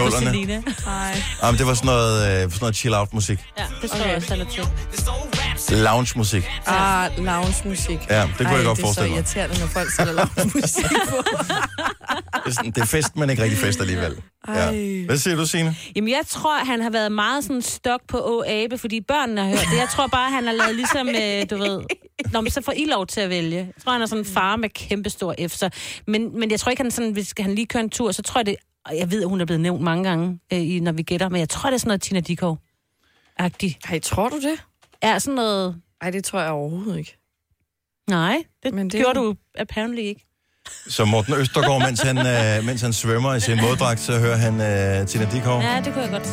S1: 0'erne?
S3: Nej.
S1: Jamen, det var sådan noget, øh, sådan noget chill-out-musik.
S2: Ja, det tror okay. jeg også, han er til.
S1: Lounge-musik.
S3: Ah, lounge-musik.
S1: Ja, det kunne jeg godt forestille mig.
S3: det er så irriterende, når folk sætter lounge-musik på.
S1: Det er, sådan, det er fest, men ikke rigtig fest alligevel. Ja. Hvad siger du, Signe?
S2: Jamen, jeg tror, han har været meget sådan stok på Å Abe, fordi børnene har hørt det. Jeg tror bare, han har lavet ligesom, øh, du ved... Nå, men så får I lov til at vælge. Jeg tror, han er sådan en far med kæmpe stor F. Så. Men, men jeg tror ikke, han sådan, hvis han lige kører en tur, så tror jeg det... Og jeg ved, at hun er blevet nævnt mange gange, øh, i- når vi gætter, men jeg tror, det er sådan noget Tina Dikov-agtigt.
S3: Ej, tror du det?
S2: Ja, sådan noget...
S3: Ej, det tror jeg overhovedet ikke.
S2: Nej, det,
S3: Men det-
S2: det gjorde du apparently ikke.
S1: Så Morten Østergaard, mens han, øh, mens han svømmer i sin moddragt, så hører han øh, Tina Dikov.
S2: Ja, det kunne jeg godt.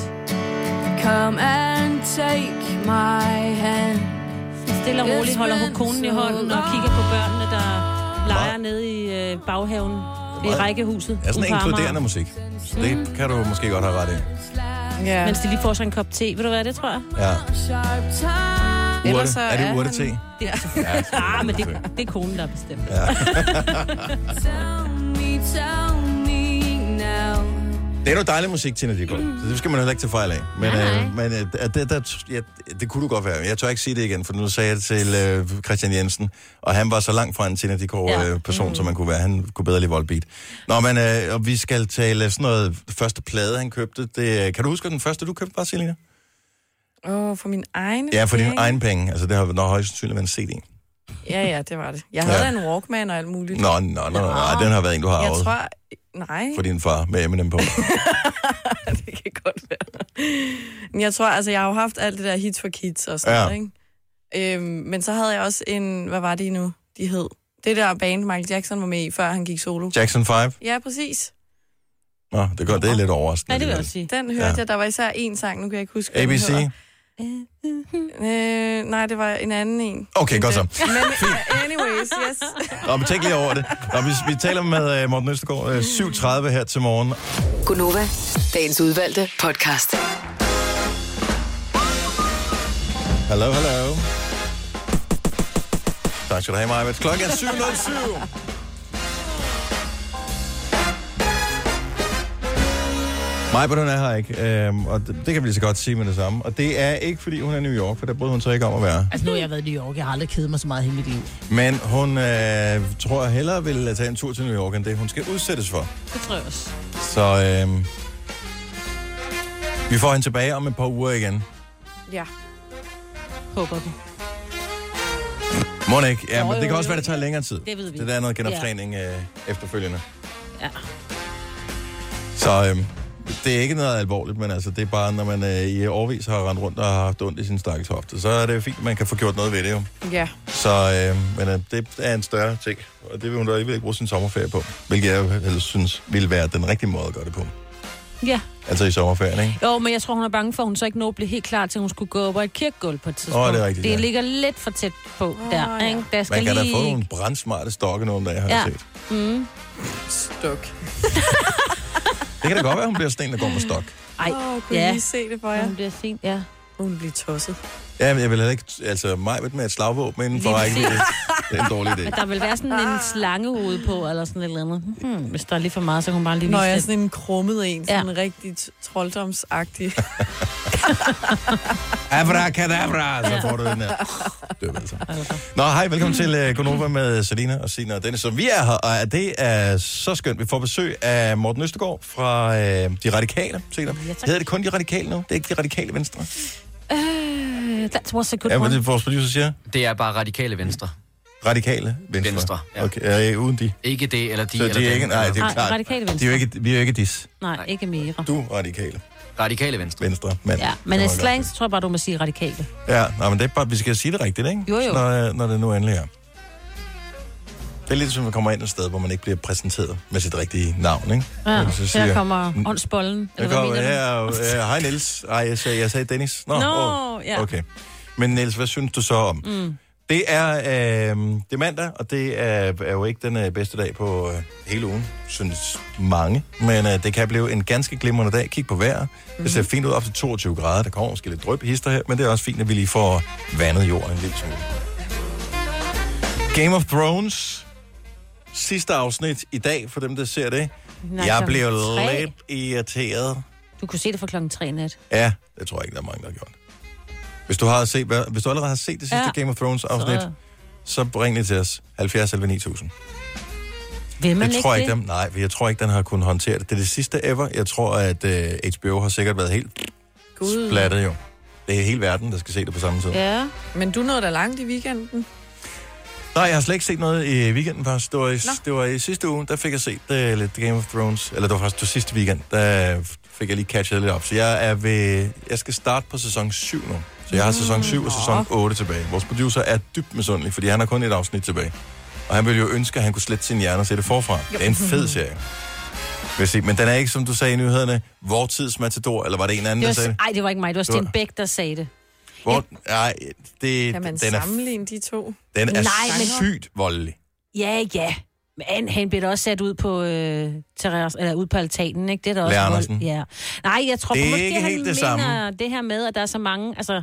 S4: Come and take my hand.
S2: Stille og roligt holder hun konen i hånden og kigger på børnene, der leger
S1: Meget-
S2: nede i øh, baghaven i
S1: meget-
S2: rækkehuset.
S1: Ja, sådan
S2: ude på Amager.
S1: inkluderende musik. Så
S2: Mm.
S1: det kan du måske godt have ret i.
S3: Ja.
S2: Mens de lige får sig en kop te. Ved du hvad, det tror jeg?
S1: Ja.
S2: Ellers
S1: Urte.
S2: så
S1: Er
S2: er
S1: det urte-te?
S2: Det er
S1: Ja.
S2: selvfølgelig. Ah, men det, det er konen, der bestemmer.
S1: Ja. Det er noget dejlig musik, Tina Dikov.
S2: Mm.
S1: Så det skal man heller ikke tage fejl af. Men, øh, men øh, at det, der, ja, det kunne du godt være. Jeg tør ikke sige det igen, for nu sagde jeg det til øh, Christian Jensen, og han var så langt fra en Tina Dikov-person, øh, person,
S2: Mm.
S1: som man kunne være. Han kunne bedre lide Volbeat. Nå, men øh, og vi skal tale sådan noget første plade, han købte. Det, øh, kan du huske, hvad den første, du købte, var, Selina?
S3: Åh, oh, for min egen
S1: Ja, for dine
S3: penge.
S1: egne penge. Altså, det har nok højst sandsynligt været en CD.
S3: Ja, ja, det var det. Jeg
S1: Ja.
S3: havde ja. en Walkman og alt muligt.
S1: Nå, nå, nå, nå, nej, den har været en, du har
S3: Jeg
S1: arvet
S3: tror... Nej,
S1: for din far med Eminem på.
S3: det kan godt være. Men jeg tror, altså, jeg har jo haft alt det der hits for kids og sådan
S1: Ja.
S3: ja. noget, ikke? Øhm, men så havde jeg også en... Hvad var det nu, de hed? Det der band, Michael Jackson var med i, før han gik solo.
S1: Jackson 5?
S3: Ja, præcis.
S1: Nå, det, går, det er lidt overraskende. alligevel.
S2: sige.
S3: Den hørte
S1: Ja.
S3: ja. jeg. Der var især en sang, nu kan jeg ikke huske, hvad den
S1: ABC?
S3: hedder. Øh, nej, det var en anden en.
S1: Okay, godt så.
S3: Men anyways, yes.
S1: Nå, men tænk lige over det. Nå, vi, vi taler med uh, Morten Østergaard uh, 7.30 her til morgen.
S8: Gunova, dagens udvalgte podcast.
S1: Hallo, hallo. Tak skal du have, Maja. Klokken er 7.07. Maja, hun er her ikke, øhm, og det, det kan vi lige så godt sige med det samme. Og det er ikke, fordi hun er i New York, for der brød hun så ikke om at være.
S12: Altså, nu har jeg været i New York. Jeg har aldrig kedet mig så meget i hele mit liv.
S1: Men hun øh, tror jeg hellere vil tage en tur til New York, end det hun skal udsættes for.
S2: Det tror jeg også.
S1: Så øh, vi får hende tilbage om et par uger igen.
S3: Ja.
S2: Håber vi.
S1: Må det ikke? Ja,
S2: Jo,
S1: men det
S2: jo,
S1: kan også
S2: jo.
S1: være, det tager længere tid.
S2: Det ved vi.
S1: Det der er noget
S2: Ja.
S1: genoptræning øh, efterfølgende.
S2: Ja.
S1: Så øhm, det er ikke noget alvorligt, men altså, det er bare, når man øh, i årvis har rendt rundt og har haft ondt i sin stakkels hofte, så er det fint, at man kan få gjort noget ved det jo.
S3: Ja.
S1: Så, øh, men øh, det er en større ting, og det vil hun da alligevel ikke bruge sin sommerferie på, hvilket jeg ellers synes ville være den rigtige måde at gøre det på.
S2: Ja.
S1: Altså i sommerferien, ikke?
S2: Jo, men jeg tror, hun er bange for, at hun så ikke nå at blive helt klar til, at hun skulle gå over et kirkegulv på et tidspunkt.
S1: det er rigtigt,
S2: Det
S1: ja.
S2: ligger lidt for tæt på oh, der, ja. ikke? Der
S1: Man
S2: skal
S1: kan da
S2: lige...
S1: få nogle brandsmarte stokke nogle dage, har ja.
S2: ja.
S1: jeg set.
S2: Mm.
S3: Stok.
S1: Det kan da godt være, hun bliver sådan en, der går med stok.
S2: Ej,
S3: Åh, kunne
S2: ja.
S3: I lige se det for jer?
S2: Hun bliver sent, ja.
S3: Hun bliver tosset.
S1: Ja, men jeg vil heller ikke, altså mig med et slagvåben inden for
S2: Lige
S1: rækkevidde.
S2: præcis.
S1: Det er en dårlig idé.
S2: Men der vil være sådan en slangehoved på, eller sådan et eller andet. Hmm, hvis der er lige for meget, så kan hun bare lige
S3: Nå,
S2: vise
S3: jeg er
S2: det.
S3: sådan en krummet en, sådan en rigtig t- trolddomsagtig.
S1: Abracadabra, så får er du den her. Nå, hej, velkommen til uh, Gonova med Selina og Sina og Dennis. Så vi er her, og det er så skønt. Vi får besøg af Morten Østergaard fra uh, De Radikale senere. Ja, Hedder det kun De Radikale nu? Det er ikke De Radikale Venstre?
S2: Øh, that was a good
S1: Ja,
S2: one.
S1: hvad det vores producer siger?
S6: Det er bare radikale venstre.
S1: Radikale Venstre?
S6: Venstre,
S1: ja. Okay, øh, uden de.
S6: Ikke det, eller de,
S1: så
S6: eller
S1: de er
S6: dem,
S1: ikke, nej, det er
S6: eller-
S1: jo
S2: Nej,
S1: klart.
S2: Radikale Venstre.
S1: De er jo ikke, vi er jo ikke dis.
S2: Nej, ikke mere.
S1: Du radikale.
S6: Radikale venstre.
S1: Venstre, mand.
S2: Ja, men
S1: Det var
S2: i
S1: godt.
S2: slang, så tror jeg bare, du må sige radikale.
S1: Ja, nej, men det er bare, vi skal sige det rigtigt, ikke?
S2: Jo, jo.
S1: Når, øh, når det nu endelig er. Det er lidt som, at man kommer ind et sted, hvor man ikke bliver præsenteret med sit rigtige navn, ikke?
S2: Ja,
S1: Men så siger, "Mm,
S2: her kommer åndsbollen.
S1: Jeg
S2: Eller hvad
S1: kommer
S2: mener
S1: her,
S2: du?
S1: og, øh, hej Niels. Ej, jeg sagde, jeg sagde Dennis. Nå,
S2: Nå,
S1: åh,
S2: ja.
S1: okay. Men Niels, hvad synes du så om?
S2: Mm.
S1: Det er, øh, det er mandag, og det er, er jo ikke den øh, bedste dag på øh, hele ugen, synes mange. Men øh, det kan blive en ganske glimrende dag. Kig på vejret. Det ser fint ud op til 22 grader. Der kommer måske lidt drøb hister her, men det er også fint, at vi lige får vandet jorden en lille smule. Game of Thrones. Sidste afsnit i dag, for dem, der ser det.
S2: Nej,
S1: jeg
S2: klokken
S1: blev
S2: tre.
S1: lidt irriteret.
S2: Du kunne se det fra klokken 3 i nat.
S1: Ja, det tror jeg ikke, der er mange, der har gjort. Hvis du, har set, hvad- hvis du allerede har set det sidste
S2: Ja.
S1: ja. Game of Thrones afsnit, så, så ring det til os. 70 11 9000.
S2: Vil man
S1: jeg
S2: ikke
S1: tror
S2: det?
S1: ikke, dem, nej, for jeg tror ikke, den har kunnet håndtere det. Det er det sidste ever. Jeg tror, at uh, HBO har sikkert været helt
S3: Gud.
S1: blattet jo. Det er hele verden, der skal se det på samme tid. Ja.
S2: Mm. Ja.
S3: Men du nåede da langt i weekenden.
S1: Nej, jeg har slet ikke set noget i weekenden faktisk. Det var i, det var i sidste uge, der fik jeg set uh, lidt Game of Thrones. Eller det var faktisk det sidste weekend, der fik jeg lige catchet lidt op. Så jeg er ved, jeg skal starte på sæson 7 nu. Så jeg har sæson
S2: Mm,
S1: 7 og sæson 8 tilbage. Vores producer er dybt misundelig, fordi han har kun et afsnit tilbage. Og han ville jo ønske, at han kunne slette sin hjerne og se det forfra. Det er en fed serie. Vil jeg sige. Men den er ikke, som du sagde i nyhederne, vor tids matador, eller var det en anden,
S2: Det
S1: der
S2: var,
S1: sagde det?
S2: ej, det var ikke mig. Det var
S1: Det var-
S2: Sten Bæk, der sagde det.
S1: Hvor, nej, det,
S3: Kan man
S1: den, er,
S3: sammenligne de to?
S1: den er
S2: Nej, men-
S1: sygt voldelig.
S2: Ja, ja. Men han- han blev da også sat ud på, øh, terras, eller ud på altanen, ikke? Det er da også
S1: Lea
S2: vold.
S1: Andersen.
S2: Ja. Nej, jeg tror
S1: Det er
S2: måske,
S1: ikke
S2: han
S1: helt det
S2: mener
S1: samme.
S2: det her med, at der er så mange, altså,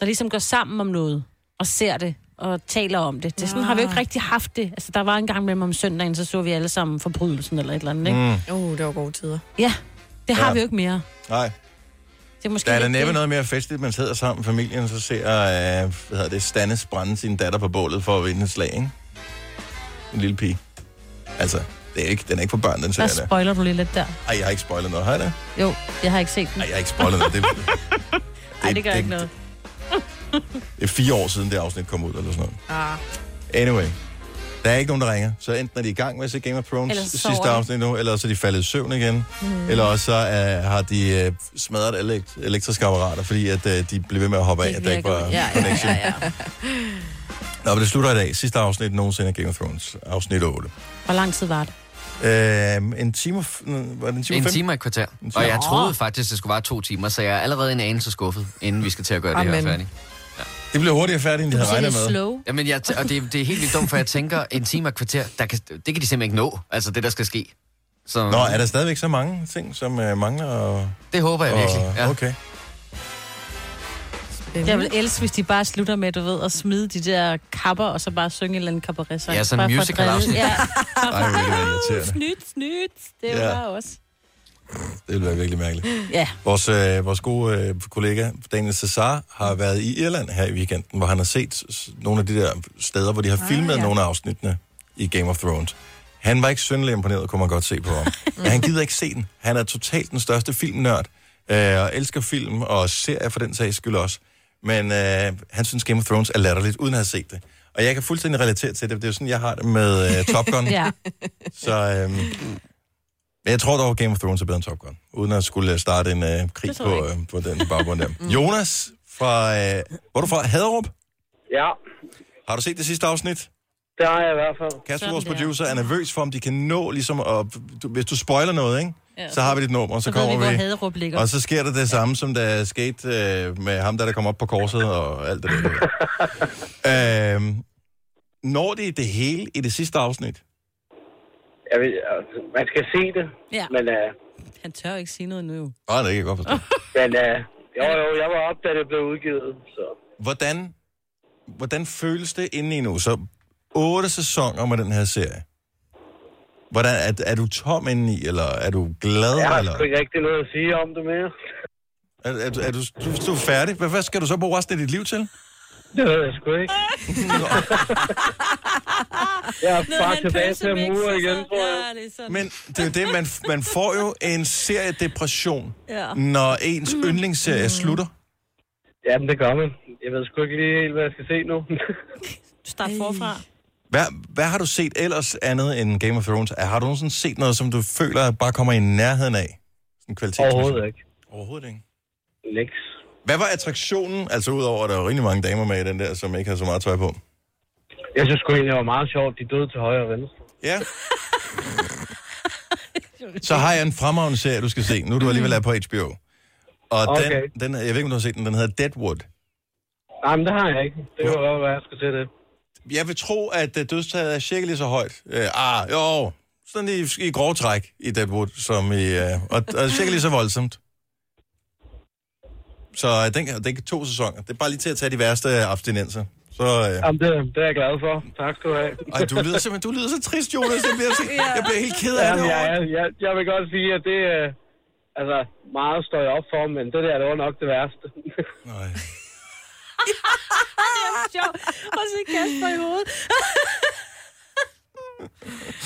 S2: der ligesom går sammen om noget, og ser det, og taler om det. Det er sådan har vi jo
S3: Ah.
S2: ikke rigtig haft det. Altså, der var en gang mellem om søndagen, så så vi alle sammen forbrydelsen eller et eller andet, ikke? Mm.
S3: Mm. Uh, det var gode tider.
S2: Ja, det har
S1: Ja.
S2: ja. vi jo ikke mere.
S1: Nej.
S2: Det er måske
S1: Der er da
S2: lidt
S1: næppe
S2: det.
S1: noget mere festligt, man sidder sammen med familien, og så ser, øh, hvad hedder det, Stannis brænde sin datter på bålet for at vinde et slag, ikke? En lille pige. Altså, det er ikke, den er ikke for børn, den
S2: Der
S1: serie der.
S2: spoiler du lige lidt der.
S1: Ej, jeg har ikke spoilet noget, har jeg det?
S2: Jo, jeg har ikke set den.
S1: Ej, jeg har ikke spoilet noget. Det,
S2: Ej, det gør
S1: det-
S2: ikke noget.
S1: det er fire år siden, det afsnit kom ud, eller sådan noget.
S3: Ah.
S1: Anyway. Der er ikke nogen, der ringer. Så enten er de i gang med at se Game of Thrones
S2: Eller så sover
S1: sidste
S2: de.
S1: afsnit nu, eller så er de faldet i søvn igen, mm.
S2: Mm.
S1: eller også så øh, har de øh, smadret alle elekt- elektriske apparater, fordi at, øh, de blev ved med at hoppe af, at der ikke var
S2: ja, ja,
S1: connection.
S2: ja, ja.
S1: Nå, men det slutter i dag. Sidste afsnit nogensinde af Game of Thrones. Afsnit 8.
S2: Hvor lang tid var det?
S1: Øh, en time og... f- øh, Var det en time
S6: En
S1: og fem?
S6: time og et kvarter.
S1: En time.
S6: Og jeg
S1: Nå.
S6: troede faktisk, det skulle være to timer, så jeg er allerede en anelse skuffet, inden vi skal til at gøre det
S1: Amen.
S6: her færdigt.
S1: Det blev hurtigere færdigt, end de havde regnet med.
S2: slow.
S6: Jamen, jeg, t- og det, er- det er helt vildt dumt, for jeg tænker, en time og et kvarter, der kan, det kan de simpelthen ikke nå, altså det, der skal ske. Så,
S1: Nå, er der stadigvæk så mange ting, som øh, mangler? Og,
S6: Det håber jeg virkelig,
S1: Og,
S6: ja.
S1: Okay.
S2: Jeg vil elske, hvis de bare slutter med, du ved, at smide de der kapper, og så bare synge en eller anden cabaret
S6: Ja, sådan en musical-afsnit.
S2: Ja.
S1: Ej, det ville være irriterende.
S2: Snydt, snydt. Det
S1: Ja.
S2: var ja. også.
S1: Det ville være virkelig mærkeligt.
S2: Ja.
S1: Vores, øh, vores gode øh, kollega Daniel Cesar har været i Irland her i weekenden, hvor han har set s- nogle af de der steder, hvor de har filmet ah, ja. nogle af afsnittene i Game of Thrones. Han var ikke synderlig imponeret, kunne man godt se på ham. Men han gider ikke se den. Han er totalt den største filmnørd, øh, og elsker film og serier for den sags skyld også. Men øh, han synes, Game of Thrones er latterligt, uden at have set det. Og Og jeg kan fuldstændig relatere til det. Det er jo sådan, jeg har det med øh, Top Gun.
S2: ja.
S1: Så øhm, men jeg tror dog, Game of Thrones er bedre end Top Gun. Uden at skulle starte en øh, krig
S13: Det tror jeg
S1: på, øh, på den baggrund der. Jonas, fra, øh, hvor er du fra? Haderup?
S13: Ja.
S1: Har du set det sidste afsnit?
S13: Det har jeg i hvert fald.
S1: Kasper,
S13: Sådan
S1: vores
S13: der.
S1: producer, er nervøs for, om de kan nå, ligesom, at, du, hvis du spoiler noget, ikke?
S2: Ja.
S1: Ja. så har vi dit nummer, og så,
S2: Så
S1: så
S2: ved vi,
S1: kommer vi,
S2: hvor Haderup ligger.
S1: og så sker der det samme, som der skete øh, med ham, der, der kom op på korset og alt det der. øhm, når det det hele i det sidste afsnit?
S13: Jeg ved, altså, man skal se det,
S2: Ja.
S13: men... Øh,
S2: Han tør ikke sige noget nu.
S1: Nej, det kan jeg godt forstå.
S13: men øh, jo, jo, jeg var op, da det blev udgivet, så...
S1: Hvordan, hvordan føles det inde i nu? Så otte sæsoner med den her serie. Hvordan, er, er du tom indeni, eller er du glad?
S13: Jeg har
S1: eller?
S13: sgu ikke rigtig noget at sige om det mere.
S1: Er, er, du- er du, du, du er færdig? Hvad, hvad skal du så bruge resten af dit liv til?
S13: Det ved jeg sgu ikke. jeg er
S1: Noget
S13: bare
S1: med en
S13: tilbage til
S1: pølsemix
S13: mure
S1: og
S13: igen, tror jeg.
S1: Men det er jo det, man, man får jo en serie depression,
S13: Ja.
S1: ja. Mm. når ens yndlingsserie slutter.
S13: Jamen, det gør man. Jeg ved sgu ikke lige helt, hvad jeg skal se nu.
S2: Start forfra.
S1: Hvad, hvad har du set ellers andet end Game of Thrones? Er- Har du nogensinde set noget, som du føler bare kommer i nærheden af? Sådan kvalitetsmæssigt?
S13: Overhovedet ikke.
S1: Overhovedet ikke.
S13: Nix.
S1: Hvad var attraktionen, altså udover at der var rigtig mange damer med i den der, som ikke har så meget tøj på?
S13: Jeg synes sgu egentlig, det var meget sjovt. De døde til højre og venstre.
S1: Ja. Så har jeg en fremragende serie, du skal se. Nu er du alligevel er på HBO. Og okay.
S13: Okay.
S1: den, den, jeg ved ikke, om du har set den, den hedder Deadwood.
S13: Nej, men det har jeg ikke. Det kunne godt være, jeg skulle se det.
S1: Jeg vil tro, at øh, dødstallet er cirka lige så højt. Øh, ah, jo, sådan i, i grove træk i Deadwood, som i, øh, og, og cirka lige så voldsomt. Så øh, den, den kan to sæsoner. Det er bare lige til at tage de værste abstinenser. Så, øh,
S13: Jamen, det, det er jeg glad for. Tak skal du have.
S1: Ej, du lyder simpelthen du lyder så trist, Jonas. Jeg bliver, så, jeg bliver helt ked af det.
S13: Jamen, jeg,
S1: over-
S13: jeg, jeg, jeg vil godt sige, at det... øh, Altså, meget står jeg op for, men det der, det var nok det værste.
S2: det er sjovt. Og så Kasper i hovedet.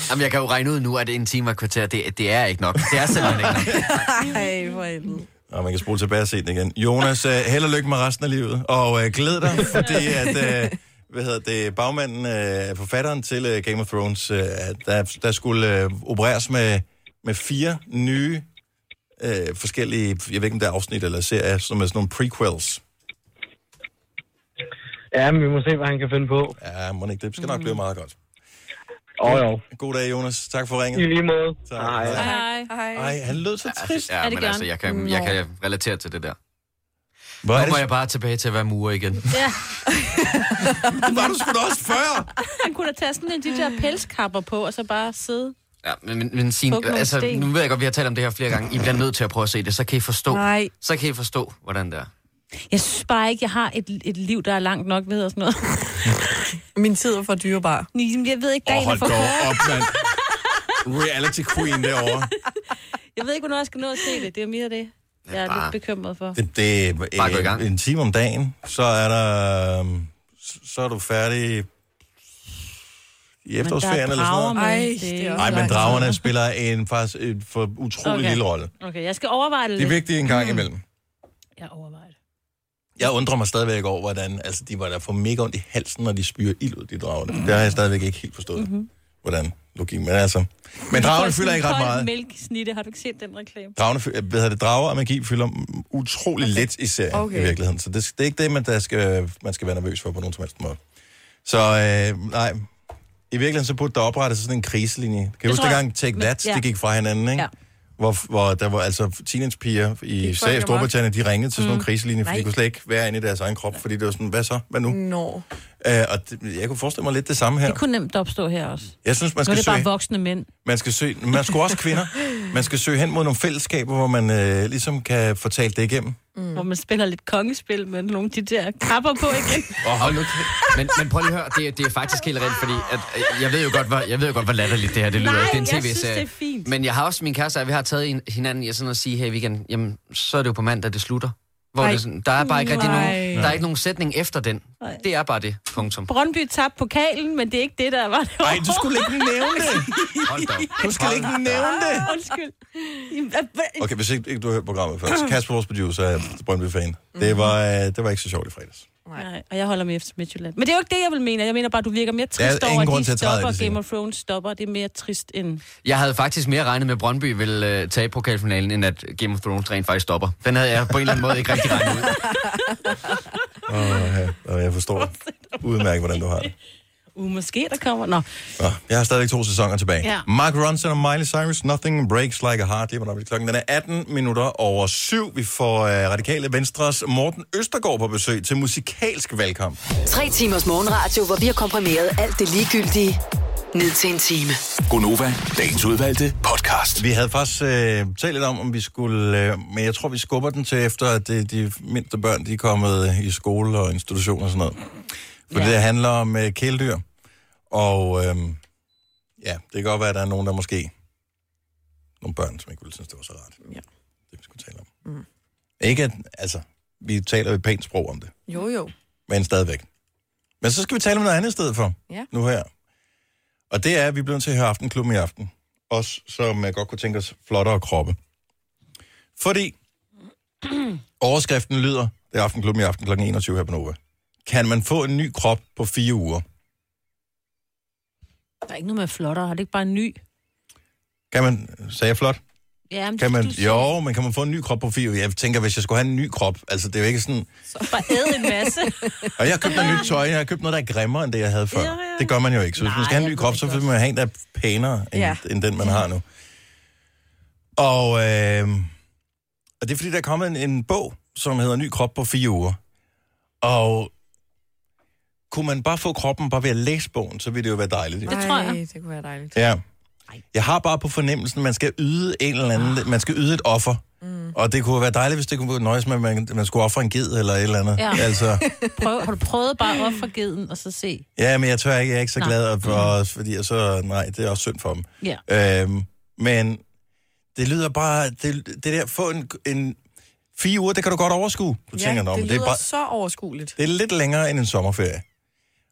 S14: Jamen, jeg kan jo regne ud nu, at en time og kvarter, det, det er ikke nok. Det er simpelthen ikke nok.
S15: Ej, for helvede.
S1: Og man kan spole tilbage og se den igen. Jonas, øh, held og lykke med resten af livet. Og øh, glæd dig, fordi at, øh, hvad hedder det, bagmanden, øh, forfatteren til øh, Game of Thrones, øh, der, der skulle øh, opereres med, med fire nye øh, forskellige, jeg ved ikke om der er afsnit eller serier, som er sådan nogle prequels.
S13: Ja, men vi må se, hvad han kan finde på. Mm.
S1: Ja, må ikke, det skal nok blive meget godt.
S13: Åh, jo.
S1: God dag, Jonas. Tak for ringet.
S13: I lige måde.
S1: Tak.
S13: Hej.
S2: Hej. Hej.
S1: Ej, han lød så trist.
S14: Ja, men altså, jeg kan, jeg kan relatere til det der.
S1: Hvor
S14: nu må jeg bare tilbage til at være murer igen.
S2: Ja.
S1: det var du sgu da også før.
S2: Han kunne da tage sådan en de der pelskapper på, og så bare sidde.
S14: Ja, men, men, men Signe,
S2: Fuck nogle
S14: altså,
S2: sten.
S14: nu ved jeg godt, vi har talt om det her flere gange. I bliver nødt til at prøve at se det, så kan I forstå.
S2: Nej.
S14: Så kan I forstå, hvordan det er.
S2: Jeg synes bare ikke, jeg har et, et liv, der er langt nok ved og sådan noget.
S15: Min tid er for dyrebar.
S2: Jamen, Jeg ved ikke,
S1: Åh,
S2: dagen er
S1: hold
S2: for
S1: dog
S2: kort.
S1: op, mand. Reality queen derovre.
S2: Jeg ved ikke, hvornår jeg skal nå at se det. Det er mere det, jeg er
S1: bare-
S2: lidt bekymret for.
S1: Det, det er øh,
S14: Bare gå i gang.
S1: en, en time om dagen, så er der øhm, s- så er du færdig i efterårsferien eller sådan noget.
S2: Ej,
S15: det
S1: Nej, men dragerne spiller en faktisk en for utrolig okay. lille rolle.
S2: Okay, jeg skal overveje det
S1: Det er
S2: lidt.
S1: vigtigt en gang imellem.
S2: Jeg overvejer det.
S1: Jeg undrer mig stadigvæk over, hvordan altså, de var der for mega ondt i halsen, når de spyrer ild ud, de drager. Det har jeg stadigvæk ikke helt forstået,
S2: Mhm.
S1: hvordan logikken Men altså, men
S2: Du får
S1: dragerne
S2: sådan
S1: fylder
S2: en
S1: ikke ret
S2: kold
S1: meget.
S2: mælkesnitte. Har du ikke set den reklame?
S1: Dragerne, fy- hvad hedder det, drager og magi fylder mm, utrolig okay. lidt i serien okay.
S2: Okay.
S1: i virkeligheden. Så det, det er ikke det, man, der skal, man skal være nervøs for på nogen som helst måde. Så øh, nej, i virkeligheden så burde der oprettes sådan en kriselinje. Kan
S13: Det
S1: du huske
S13: tror jeg.
S1: dengang Take
S13: Men-
S1: That,
S13: ja.
S1: de gik fra hinanden, ikke?
S13: Ja.
S1: Hvor, hvor der var altså teenagepiger i
S15: Gik
S1: sag-
S15: folk
S1: Storbritannien, de ringede til sådan
S15: Mm.
S1: nogle kriselinjer, fordi
S15: Nej.
S1: de kunne slet ikke være inde i deres egen krop, fordi det var sådan, hvad så? Hvad nu?
S15: Nå.
S1: Øh, og det, jeg kunne forestille mig lidt det samme her.
S2: Det kunne nemt opstå her også.
S1: Jeg synes, man
S2: nu er
S1: skal
S2: det bare
S1: søge...
S2: voksne mænd.
S1: Man skal søge, man skal også kvinder. Man skal søge hen mod nogle fællesskaber, hvor man øh, ligesom kan fortælle det igennem.
S2: Mm. Hvor man spiller lidt kongespil med nogle af de der krabber på igen.
S14: Og hold nu kæ- men, men prøv lige at høre, det, det er faktisk helt rent, fordi at, øh, jeg ved jo godt, hvor, jeg ved jo godt, hvor latterligt det her det lyder.
S2: Nej,
S14: det er en
S2: jeg
S14: tv-serie.
S2: synes, det er fint.
S14: Men jeg har også min kæreste, og vi har taget en- hinanden i sådan at sige her i weekenden, jamen, så er det jo på mandag, det slutter. Hvor
S2: Ej.
S14: det er sådan, der er bare ikke rigtig
S2: Nej.
S14: nogen, der er ikke nogen sætning efter den.
S6: Det er bare det. Punktum.
S2: Brøndby tabte pokalen, men det er ikke det, der var det
S6: Ej, du skulle ikke nævne
S1: det.
S6: Hold da op.
S1: Du skal ikke nævne det.
S2: Undskyld.
S1: Okay, hvis ikke, ikke du har hørt programmet først. Kasper, vores producer, er Brøndby-fan. Det var, øh, det var ikke så sjovt i fredags.
S2: Nej, og jeg holder med FC Midtjylland. Men det er jo ikke det, jeg vil mene. Jeg mener bare, du virker mere
S1: Der er
S2: trist
S1: ingen
S2: over,
S1: grund
S2: at
S1: til
S2: de
S1: at træde i det
S2: stopper.
S1: senere.
S2: Game of Thrones stopper. Det er mere trist end...
S6: Jeg havde faktisk mere regnet med, at Brøndby ville øh, tage pokalfinalen, end at Game of Thrones rent faktisk stopper. Den havde jeg på en eller anden måde ikke rigtig regnet ud.
S1: Åh, ja. Og jeg forstår udmærket, hvordan du har det.
S2: Uh, måske der kommer... Nå.
S1: Nå, jeg har stadigvæk to sæsoner tilbage.
S2: Ja.
S1: Mark Ronson og Miley Cyrus, Nothing Breaks Like a Heart. Lige på klokken. Den er 18 minutter over syv. Vi får øh, Radikale Venstres Morten Østergaard på besøg til musikalsk valgkamp.
S8: Tre timers morgenradio, hvor vi har komprimeret alt det ligegyldige ned til en time.
S1: Gonova, dagens udvalgte podcast. Vi havde faktisk øh, talt lidt om, om vi skulle... Øh, men jeg tror, vi skubber den til efter, at de, de mindste børn de er kommet øh, i skole og institutioner og sådan noget. For ja. det handler om øh, kæledyr. Og øh, ja, det kan godt være, at der er nogen, der måske... Nogle børn, som ikke ville synes, det var så rart. Ja. Det vi skulle tale om.
S3: Mm.
S1: Ikke at... Altså, vi taler jo et pænt sprog om det,
S3: Jo, jo.
S1: men stadigvæk. Men så skal vi tale om noget andet i stedet for
S3: Ja.
S1: nu her. Og det er, at vi bliver nødt til at høre Aftenklubben i aften. Os, som øh, godt kunne tænke os flottere kroppe. Fordi overskriften lyder, det er Aftenklubben i aften kl. 21 her på Nova. Kan man få en ny krop på fire uger?
S2: Der er ikke noget med flottere. Har det ikke bare en ny?
S1: Kan man, sagde jeg flot?
S2: Ja, men
S1: Kan man,
S2: du,
S1: jo, men kan man få en ny krop på fire uger? Jeg tænker, hvis jeg skulle have en ny krop, altså det er jo ikke sådan...
S2: du bare æde en masse.
S1: Og jeg har købt noget nyt tøj, jeg har købt noget, der er grimmere, end det, jeg havde før. Ja, ja. Det gør man jo ikke. Så hvis man skal have en ny krop, så vil man have en, der er pænere, end, ja.
S15: Ja.
S1: end den, man har nu. Og, øh, og det er, fordi der er kommet en, en bog, som hedder Ny krop på fire uger. Og kunne man bare få kroppen bare ved at læse bogen, så ville det jo være dejligt.
S3: Det tror jeg. det kunne være dejligt.
S1: Ja. Jeg har bare på fornemmelsen, at man skal yde en eller anden, man skal yde et offer. Ah. Mm. Og det kunne være dejligt, hvis det kunne nøjes med, at man, man skulle ofre en ged eller et eller andet.
S2: Ja.
S1: Altså,
S2: Prøv, har du prøvet bare at ofre geden og så se?
S1: Ja, men jeg tør ikke. Jeg er ikke så
S2: Nej.
S1: glad,
S3: Mm.
S1: og, og, fordi jeg så... Nej, det er også synd for dem.
S2: Ja.
S1: Øhm, men det lyder bare... Det, det der, få en, en... Fire uger, det kan du godt overskue. Du
S3: ja,
S1: tænker,
S3: det,
S1: "Nå, men
S3: lyder
S1: det er bare...
S3: så overskueligt.
S1: Det er lidt længere end en sommerferie.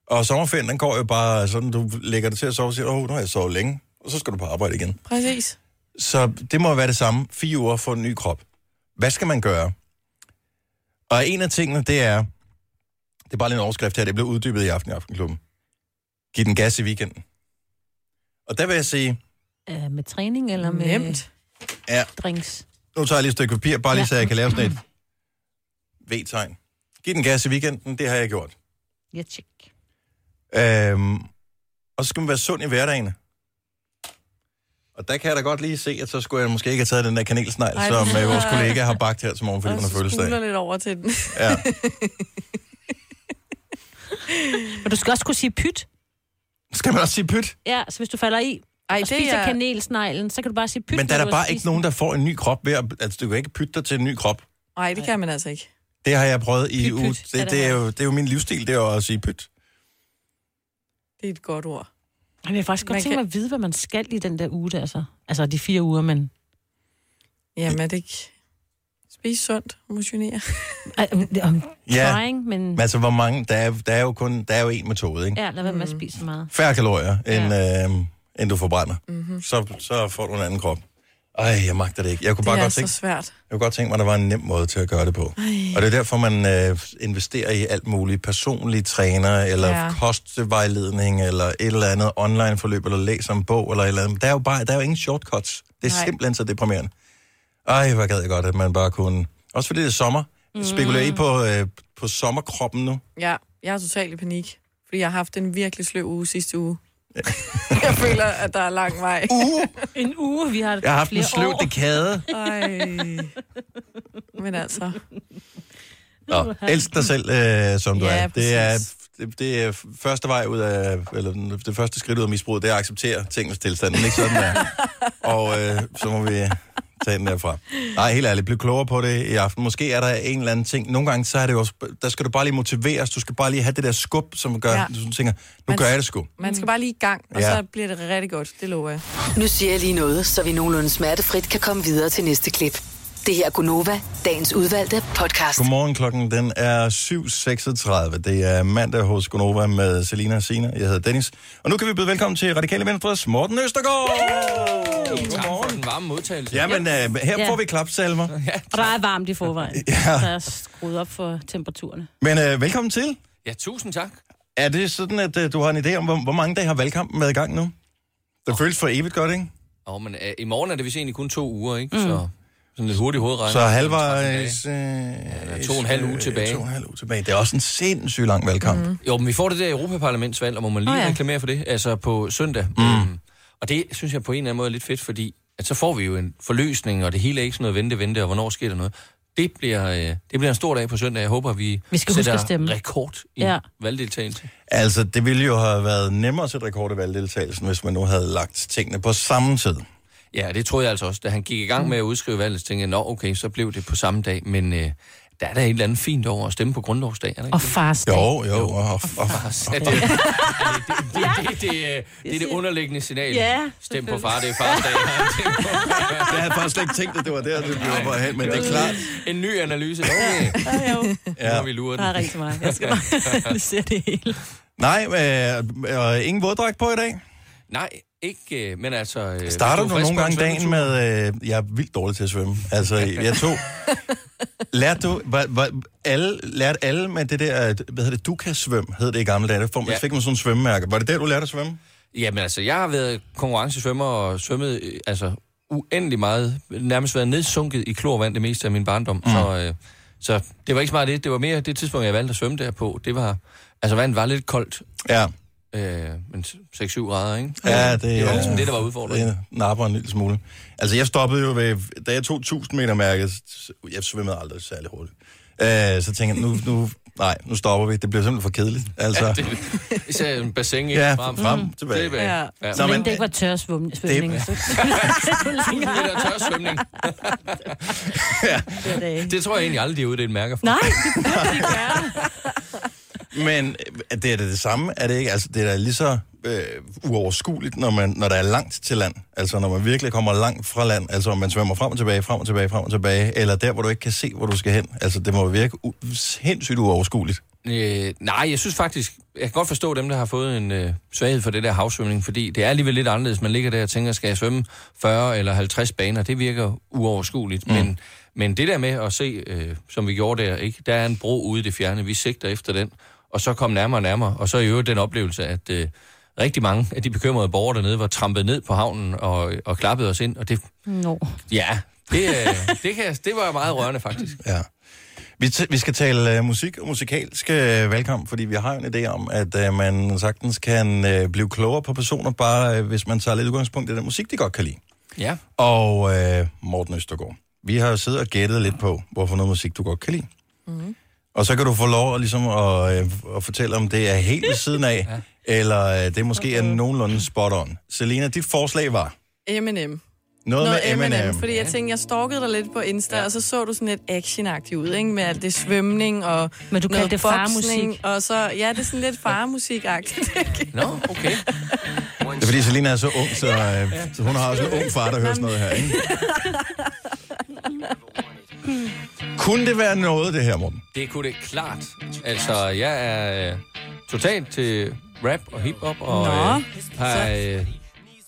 S1: Og sommerferien, den går jo bare sådan, du lægger dig til at sove og siger, åh, nu har jeg sovet længe, og så skal du på arbejde igen.
S3: Præcis.
S1: Så det må være det samme. Fire uger for en ny krop. Hvad skal man gøre? Og en af tingene, det er... Det er bare lige en overskrift her, det blev uddybet i aften i Aftenklubben. Giv den gas i weekenden. Og der vil jeg sige,
S2: Øh, med træning eller med... Nemt.
S1: ja,
S2: Drinks.
S1: nu tager jeg lige et stykke papir, bare lige så jeg kan lave sådan et V-tegn. Giv den gas i weekenden, det har jeg gjort.
S2: Ja, tjek.
S1: Øhm, og så skal man være sund i hverdagen. Og der kan jeg da godt lige se, at så skulle jeg måske ikke have taget den der kanelsnegl,
S3: Ej,
S1: som
S3: det
S1: øh, vores
S3: lyder-
S1: kollega har bagt her til morgen, fordi hun har fødselsdag.
S3: skuler lidt over til den.
S1: Ja.
S2: Men du skal også kunne sige pyt.
S1: Skal man også sige pyt?
S2: Ja, så hvis du falder i Ej, og
S3: det
S2: spiser
S3: er-
S2: er... kanelsneglen, så kan du bare sige pyt.
S1: Men der
S2: når
S1: er
S2: du
S1: der
S2: har
S1: bare
S2: spist
S1: ikke nogen, der får en ny krop ved at... Altså, du kan ikke pytte dig til en ny krop.
S3: Nej, det kan man altså ikke.
S1: Det har jeg prøvet i uge.
S3: skal
S1: Det,
S3: det
S1: det, er
S3: være.
S1: jo, det er jo min livsstil, det er jo at sige pyt.
S3: Det er et godt ord.
S2: den. Ej, men Jeg vil faktisk godt
S3: Man
S2: tænke
S3: kan-
S2: mig at vide, hvad man skal i den der uge der, så. Altså de fire uger, men...
S3: Jamen, er det ikke... Spise sundt, motionere.
S2: Ej, om, om
S1: Ja.
S2: trying, men...
S1: Men altså, hvor mange... Der er, der er jo kun... Der er jo én metode, ikke?
S2: Ja, lad være med at spise så meget.
S1: Færre kalorier, end, øh, end du forbrænder. Mm-hmm. Så, så får du en anden krop. Ej, jeg magter det ikke. Jeg kunne bare
S3: det er
S1: godt
S3: så
S1: tænke...
S3: svært.
S1: Jeg kunne godt tænke mig, at der var en nem måde til at gøre det på.
S3: Ej.
S1: Og det er derfor, man øh, investerer i alt muligt. Personlige træner, eller ja.
S3: Ja.
S1: kostvejledning, eller et eller andet online-forløb, eller læser en bog, eller et eller andet. Der er jo, bare, der er jo ingen shortcuts. Det er Nej.
S3: Nej.
S1: simpelthen så deprimerende. Ej, hvor gad jeg godt, at man bare kunne... Også fordi det er sommer. Mm. Spekulerer I på, øh, på sommerkroppen nu?
S3: Ja, jeg er totalt i panik, fordi jeg har haft en virkelig sløv uge sidste uge. jeg føler, at der er lang vej.
S1: Uge?
S2: En uge, vi har
S1: Jeg har haft
S2: flere
S1: en sløv
S2: år.
S1: dekade.
S3: Ej. Men altså,
S1: Nå, elsk dig selv, øh, som du
S3: Ja,
S1: er. Det er, det, det er første vej ud af, eller den- det første skridt ud af misbruget, det er at acceptere tingens tilstand, men ikke sådan der. Og øh, så må vi tage den derfra. Nej, helt ærligt, bliv klogere på det i aften. Måske er der en eller anden ting. Nogle gange, så er det jo også, der skal du bare lige motiveres, du skal bare lige have det der skub, som gør, ja.
S3: Ja.
S1: du tænker, nu gør jeg det sgu.
S3: man skal bare lige i gang, og
S1: Ja.
S3: så bliver det rigtig godt, det lover jeg.
S8: Nu siger jeg lige noget, så vi nogenlunde smertefrit kan komme videre til næste klip. Det her er Gunova, dagens udvalgte podcast.
S1: Godmorgen, klokken den er 7.36. Det er mandag hos Gonova med Selina Sina. Jeg hedder Dennis. Og nu kan vi byde velkommen til Radikale Venstres Morten Østergaard.
S6: Tak for den varme modtagelse.
S1: Jamen, øh, her
S2: Ja.
S1: får vi klapsalver.
S2: Og der er varmt i forvejen.
S1: Ja.
S2: Ja. Så jeg er skruet op for temperaturerne.
S1: Men øh, velkommen til.
S6: Ja, tusind tak.
S1: Er det sådan, at øh, du har en idé om, hvor, hvor mange dage har valgkampen været i gang nu? Det føles for evigt godt, ikke?
S6: Åh, men øh, i morgen er det vist egentlig kun to uger, ikke? Mm. Så sådan lidt hurtigt hovedregning.
S1: Så halvvejs... Øh,
S6: er to og en halv uge
S1: øh,
S6: tilbage.
S1: To og en halv uge tilbage. Det er også en sindssygt lang valgkamp. Mm.
S6: Jo, men vi får det der Europaparlamentsvalg, og må man lige
S1: Åh,
S6: oh,
S1: ja.
S6: ja. reklamere for det, altså på søndag. Mm. Og det synes jeg på en eller anden måde er lidt fedt, fordi at så får vi jo en forløsning, og det hele er ikke sådan noget vente, vente, og hvornår sker der noget. Det bliver, øh, det bliver en stor dag på søndag. Jeg håber, at vi,
S2: Vi skal huske
S6: sætter
S2: at stemme.
S6: rekord i ja.
S2: Ja.
S6: valgdeltagelse.
S1: Altså, det ville jo have været nemmere at sætte rekord i valgdeltagelsen, hvis man nu havde lagt tingene på samme tid.
S6: Ja, det troede jeg altså også. Da han gik i
S2: Mm.
S6: gang med at udskrive valget, så tænkte jeg, nå okay, så blev det på samme dag, men øh, der er da et eller andet fint over at stemme på grundlovsdag, er der ikke?
S2: Og fars
S1: Jo, jo. jo. Og, og, og,
S6: Ja, det, det, det, det, det, det, det er det underliggende signal.
S2: Ja,
S6: Stem på far, det er fars dag.
S1: jeg havde faktisk slet ikke tænkt, at det var der, det blev på hen, men det er klart.
S6: En ny analyse. Okay.
S2: Ja, jo.
S1: Ja.
S6: Ja. Nu har vi luret
S2: Der er
S6: den.
S2: rigtig meget. Jeg skal bare se det hele.
S1: Nej, øh, og ingen våddragt på i dag.
S6: Nej, ikke, øh, men altså... øh,
S1: Starter
S6: hvis
S1: du
S6: er frisk
S1: nogle
S6: på en
S1: gange dagen
S6: svømmetur-
S1: med, øh, jeg er vildt dårlig til at svømme. Altså, jeg tog... Lærte du, var, var, alle, lærte alle med det der, øh, hvad hedder det, du kan svømme, hed det i gamle dage. Der får man,
S6: Ja.
S1: fik man sådan en svømmemærke. Var det der, du lærte at svømme?
S6: Jamen altså, jeg har været konkurrencesvømmer og svømmet øh, altså, uendelig meget. Nærmest været nedsunket i klorvand det meste af min barndom. Mm. Så, øh, så det var ikke så meget det. Det var mere det tidspunkt, jeg valgte at svømme der på. Det var... Altså, vandet var lidt koldt.
S1: Ja.
S6: Øh, men 6-7 grader, ikke?
S1: Ja, det,
S6: det
S1: er-
S6: var
S1: altså-
S6: ligesom det, der var udfordringen.
S1: Det napper en lille smule. Altså, jeg stoppede jo ved... Da jeg tog 1000 meter mærket, s- jeg svømmede aldrig særlig hurtigt. Øh, så tænkte jeg, nu, nu, nej, nu stopper vi. Det bliver simpelthen for kedeligt. Altså,
S6: Ja, det, især en bassin, ikke?
S1: Ja,
S6: frem,
S1: frem, tilbage.
S6: tilbage.
S1: Ja.
S2: Så
S1: Nå,
S2: men
S1: men-
S2: det ikke var tør svømning.
S1: Det-
S6: Det er tør svømning. Det tror jeg egentlig aldrig, de er ude, det er en mærker for.
S2: Nej,
S1: Men er det er da det samme, er det ikke? Altså, det er da lige så øh, uoverskueligt, når, man, når der er langt til land. Altså, når man virkelig kommer langt fra land. Altså, om man svømmer frem og tilbage, frem og tilbage, frem og tilbage. Eller der, hvor du ikke kan se, hvor du skal hen. Altså, det må virke u- sindssygt uoverskueligt.
S6: Øh, nej, jeg synes faktisk, jeg kan godt forstå dem, der har fået en øh, svaghed for det der havsvømning, fordi det er alligevel lidt anderledes. Man ligger der og tænker, skal jeg svømme 40 eller 50 baner? Det virker uoverskueligt. Mm. Men, men det der med at se, øh, som vi gjorde der, ikke? der er en bro ude i det fjerne, vi sigter efter den, og så kom nærmere og nærmere, og så i øvrigt den oplevelse, at øh, rigtig mange af de bekymrede borgere dernede var trampet ned på havnen og, og klappede os ind, og det,
S2: Nå.
S6: ja, det, øh, det, kan, det var meget rørende faktisk.
S1: Ja. Vi, t- vi skal tale øh, musik og musikalsk øh, valgkamp, fordi vi har jo en idé om, at øh, man sagtens kan øh, blive klogere på personer, bare øh, hvis man tager lidt udgangspunkt i den musik, de godt kan lide.
S6: Ja.
S1: Og øh, Morten Østergaard, vi har jo siddet og gættet lidt på, hvorfor noget musik, du godt kan lide.
S15: Mhm.
S1: Og så kan du få lov at, ligesom, at, øh, at fortælle, om det er helt ved siden af, ja. eller øh, det måske okay. er nogenlunde spot on. Selena, dit forslag var
S3: M&M.
S1: noget, noget med M&M.
S3: Fordi jeg tænkte, jeg stalkede dig lidt på Insta, ja. og så så du sådan lidt actionagtig ud, ikke? Med alt det svømning og
S2: Men du
S3: noget
S2: kaldte det farmusik.
S3: boksning, Og så, ja, det er sådan lidt farmusikagtigt.
S6: Nå, okay.
S1: Det er fordi, Selena er så ung, så, øh, så hun har også en ung far, der hører sådan noget her, ikke? Kunne det være noget, det her, Morten?
S6: Det kunne det klart. Altså, jeg er øh, totalt til rap og hiphop, og
S1: Nå,
S6: øh, har øh,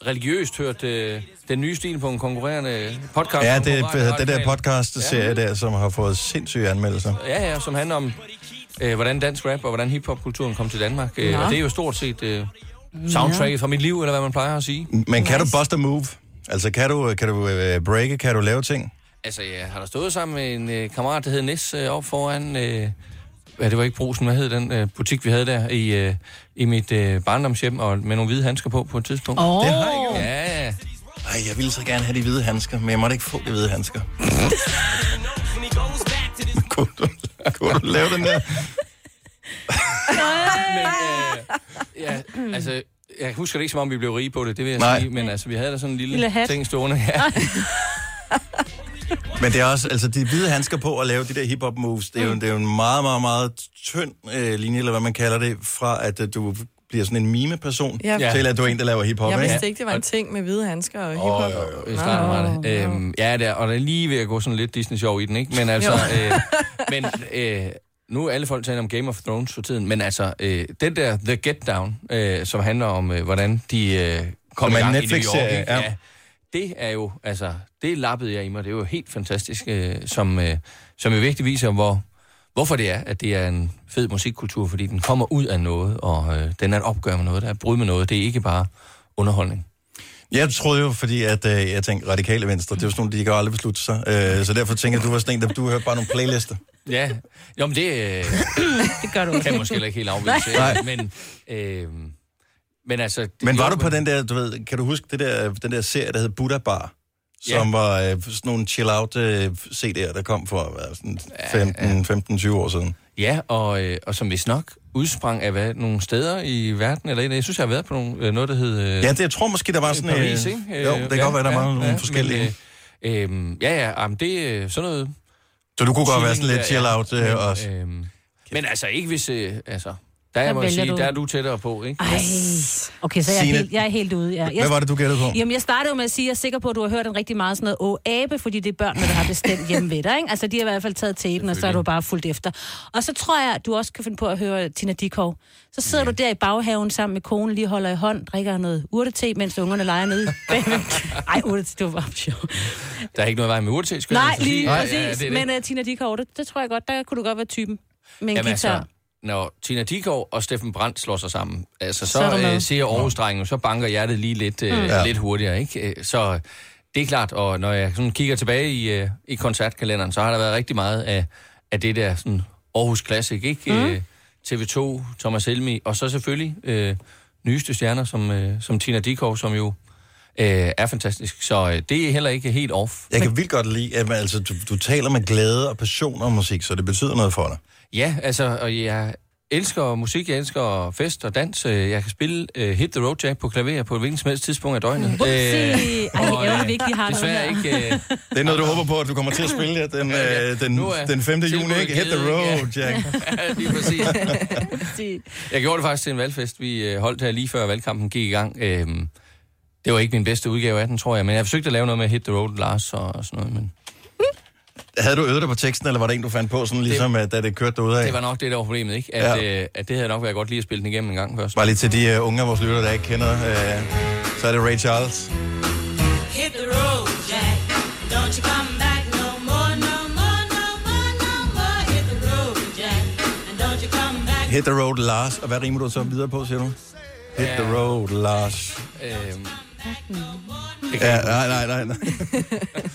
S6: religiøst hørt øh, den nye stil på en konkurrerende podcast.
S1: Ja, det,
S6: Konkurrerende
S1: det der
S6: radikal.
S1: podcast-serie der, som har fået sindssyge anmeldelser.
S6: Ja, ja, som handler om, øh, hvordan dansk rap og hvordan hiphop-kulturen kom til Danmark. Øh,
S1: Nå.
S6: og det er jo stort set øh, soundtracket fra mit liv, eller hvad man plejer at sige.
S1: Men kan du bust a move? Altså, kan du, kan du øh, breake? Kan du lave ting?
S6: Altså, jeg har da stået sammen med en øh, kammerat, der hed Nis, øh, op foran... Øh, ja, det var ikke Brusen, hvad hed den øh, butik, vi havde der i, øh, i mit øh, barndomshjem, og med nogle hvide handsker på på et tidspunkt.
S1: Åh.
S6: Det har jeg gjort. Ja, ja.
S1: Ej, jeg ville så gerne have de hvide handsker, men jeg måtte ikke få de hvide handsker. kunne, du, kunne du lave den der?
S6: Men, øh, ja, altså, jeg husker det ikke, som om vi blev rige på det, det vil jeg
S1: Nej.
S6: Nej. sige, men altså, vi havde da sådan en lille,
S2: Lille hat.
S6: ting stående. Ja.
S1: Men det er også, altså de hvide handsker på at lave de der hip-hop
S3: Mm.
S1: moves, det er, jo, det er jo en meget, meget, meget tynd øh, linje, eller hvad man kalder det, fra at øh, du bliver sådan en mime-person,
S3: Ja.
S1: ja. til at du er en, der laver hiphop,
S3: Jeg
S1: ikke?
S3: vidste ikke, det var en ting med hvide handsker og
S6: Åh,
S3: hiphop.
S6: jo, jo, i starten var det. Øhm, ja, det er, og der er lige ved at gå sådan lidt Disney sjov i den, ikke? Men altså,
S3: Jo.
S6: øh, men, øh, nu er alle folk taler om Game of Thrones for tiden, men altså, øh, den der The Get Down, øh, som handler om, øh, hvordan de øh, kom i
S1: Som er en
S6: gang i New York,
S1: Netflix-serie,
S6: ikke?
S1: ja.
S6: ja. Det er jo, altså, det lappede jeg i mig. Det er jo helt fantastisk, øh, som, øh, som jo virkelig viser, hvor, hvorfor det er, at det er en fed musikkultur, fordi den kommer ud af noget, og øh, den er et opgør med noget, der er et brud med noget. Det er ikke bare underholdning.
S1: Jeg troede jo, fordi at, øh, jeg tænkte, radikale venstre, det er jo sådan nogle, de kan jo aldrig beslutte sig. Øh, så derfor tænker jeg, at du var sådan en, der du hørte bare nogle playlister.
S6: Ja, jo, men det, øh, det
S2: gør du
S6: kan jeg måske heller ikke helt afvise.
S1: Nej.
S6: Men, øh, men altså... det-
S1: Men var
S6: jo,
S1: du på den der, du ved, kan du huske det der, den der serie, der hed Buddha Bar?
S6: Ja.
S1: Som var øh, sådan nogle chill-out øh, CD'er, der kom for hvad, sådan 15-20 år siden.
S6: Ja, og, øh, og som vist nok udsprang af hvad, nogle steder i verden, eller et- jeg synes, jeg har været på nogle, øh, noget, der hed... Øh,
S1: Ja, det, jeg tror måske, der var sådan... øh,
S6: Paris, ikke?
S1: Jo, det kan godt være, der var nogle forskellige.
S6: Men, øh, øh, ja, ja, jamen, det er sådan noget...
S1: Så du kunne godt være sådan
S6: tuning
S1: lidt
S6: der, ja.
S1: chill-out øh,
S6: Men,
S1: også.
S6: øh, Men altså ikke hvis... Øh, altså, der,
S2: Der
S6: jeg må jeg
S2: vælger
S6: sige,
S2: du.
S6: der er du tættere på, ikke?
S2: Ej, okay, så jeg er,
S6: Signe,
S2: helt, jeg er helt ude. Ja. Jeg,
S6: hvad var det, du gættede på?
S2: Jamen, jeg startede jo med at sige, at jeg er sikker på, at du har hørt en rigtig meget sådan noget åh-abe, fordi det er børnene, der har bestemt hjemme ved dig. Ikke? Altså, de har i hvert fald taget tapen, og så er du bare fuldt efter. Og så tror jeg, at du også kan finde på at høre Tina Dikov. Så sidder ja. du der i baghaven sammen med konen, lige holder i hånd, drikker noget urtete, mens ungerne leger nede. bagved. Ej, urtete, det var bare sjovt.
S6: Der er ikke noget vej med urtil, skal jeg
S2: Nej,
S6: altså sige.
S2: lige
S6: Ja, ja,
S2: præcis.
S6: det er det.
S2: Men uh, Tina Dikov, det, det, tror jeg godt, der kunne du godt være typen. Med en
S6: altså,
S2: guitar.
S6: når Tina Dikov og Steffen Brandt slår sig sammen, altså, så,
S2: Så er du
S6: så
S2: med.
S6: øh, ser aarhus jo, så banker hjertet lige lidt, øh,
S2: Mm.
S6: mm.
S2: Ja.
S6: lidt hurtigere. Ikke? Øh, Så det er klart, og når jeg sådan kigger tilbage i, øh, i koncertkalenderen, så har der været rigtig meget af, af det der sådan Aarhus Classic, ikke? Mm. Øh, TV2, Thomas Helmi, og så selvfølgelig øh, nyeste stjerner som, øh, som Tina Dikov, som jo øh, er fantastisk. Så øh, det er heller ikke helt off.
S1: Jeg kan vildt godt lide, at man, altså, du, du taler med glæde og passion om musik, så det betyder noget for dig.
S6: Ja, altså, og jeg elsker musik, jeg elsker fest og dans. Øh, Jeg kan spille uh, Hit the Road Jack på klaver på et hvilket som helst tidspunkt af døgnet. Uh,
S2: Ej, ærgerligt, vi ikke lige har noget
S6: desværre
S2: her.
S6: ikke... øh,
S1: Det er noget, du håber på, at du kommer til at spille ja, den, øh, den,
S6: er
S1: den 5. juni,
S6: tilbuddet
S1: ikke? Hit
S6: givet,
S1: the road,
S6: ja.
S1: Jack.
S6: Ja, lige præcis. Jeg gjorde det faktisk til en valgfest, vi øh, holdt her lige før valgkampen gik i gang. Øhm, Det var ikke min bedste udgave af den, tror jeg, men jeg forsøgte at lave noget med Hit the Road Lars og og sådan noget, men
S1: Havde du øvet dig på teksten, eller var det en, du fandt på, sådan ligesom, det, da det kørte ud af?
S6: det var nok det, der var problemet, ikke? At, ja. at det havde nok været godt lige at spille den igennem en gang først.
S1: Bare lige til de uh, unge af vores lyttere, der ikke kender, uh, så er det Ray Charles.
S15: Hit the road, Jack. Don't you come back no more, no more, no more, no more. Hit the road, Jack. And don't you come back.
S1: Hit the road, Lars. Og hvad rimer du så videre på, siger du? Hit the road, Lars.
S6: Øhm,
S1: Ja, nej, nej, nej. nej.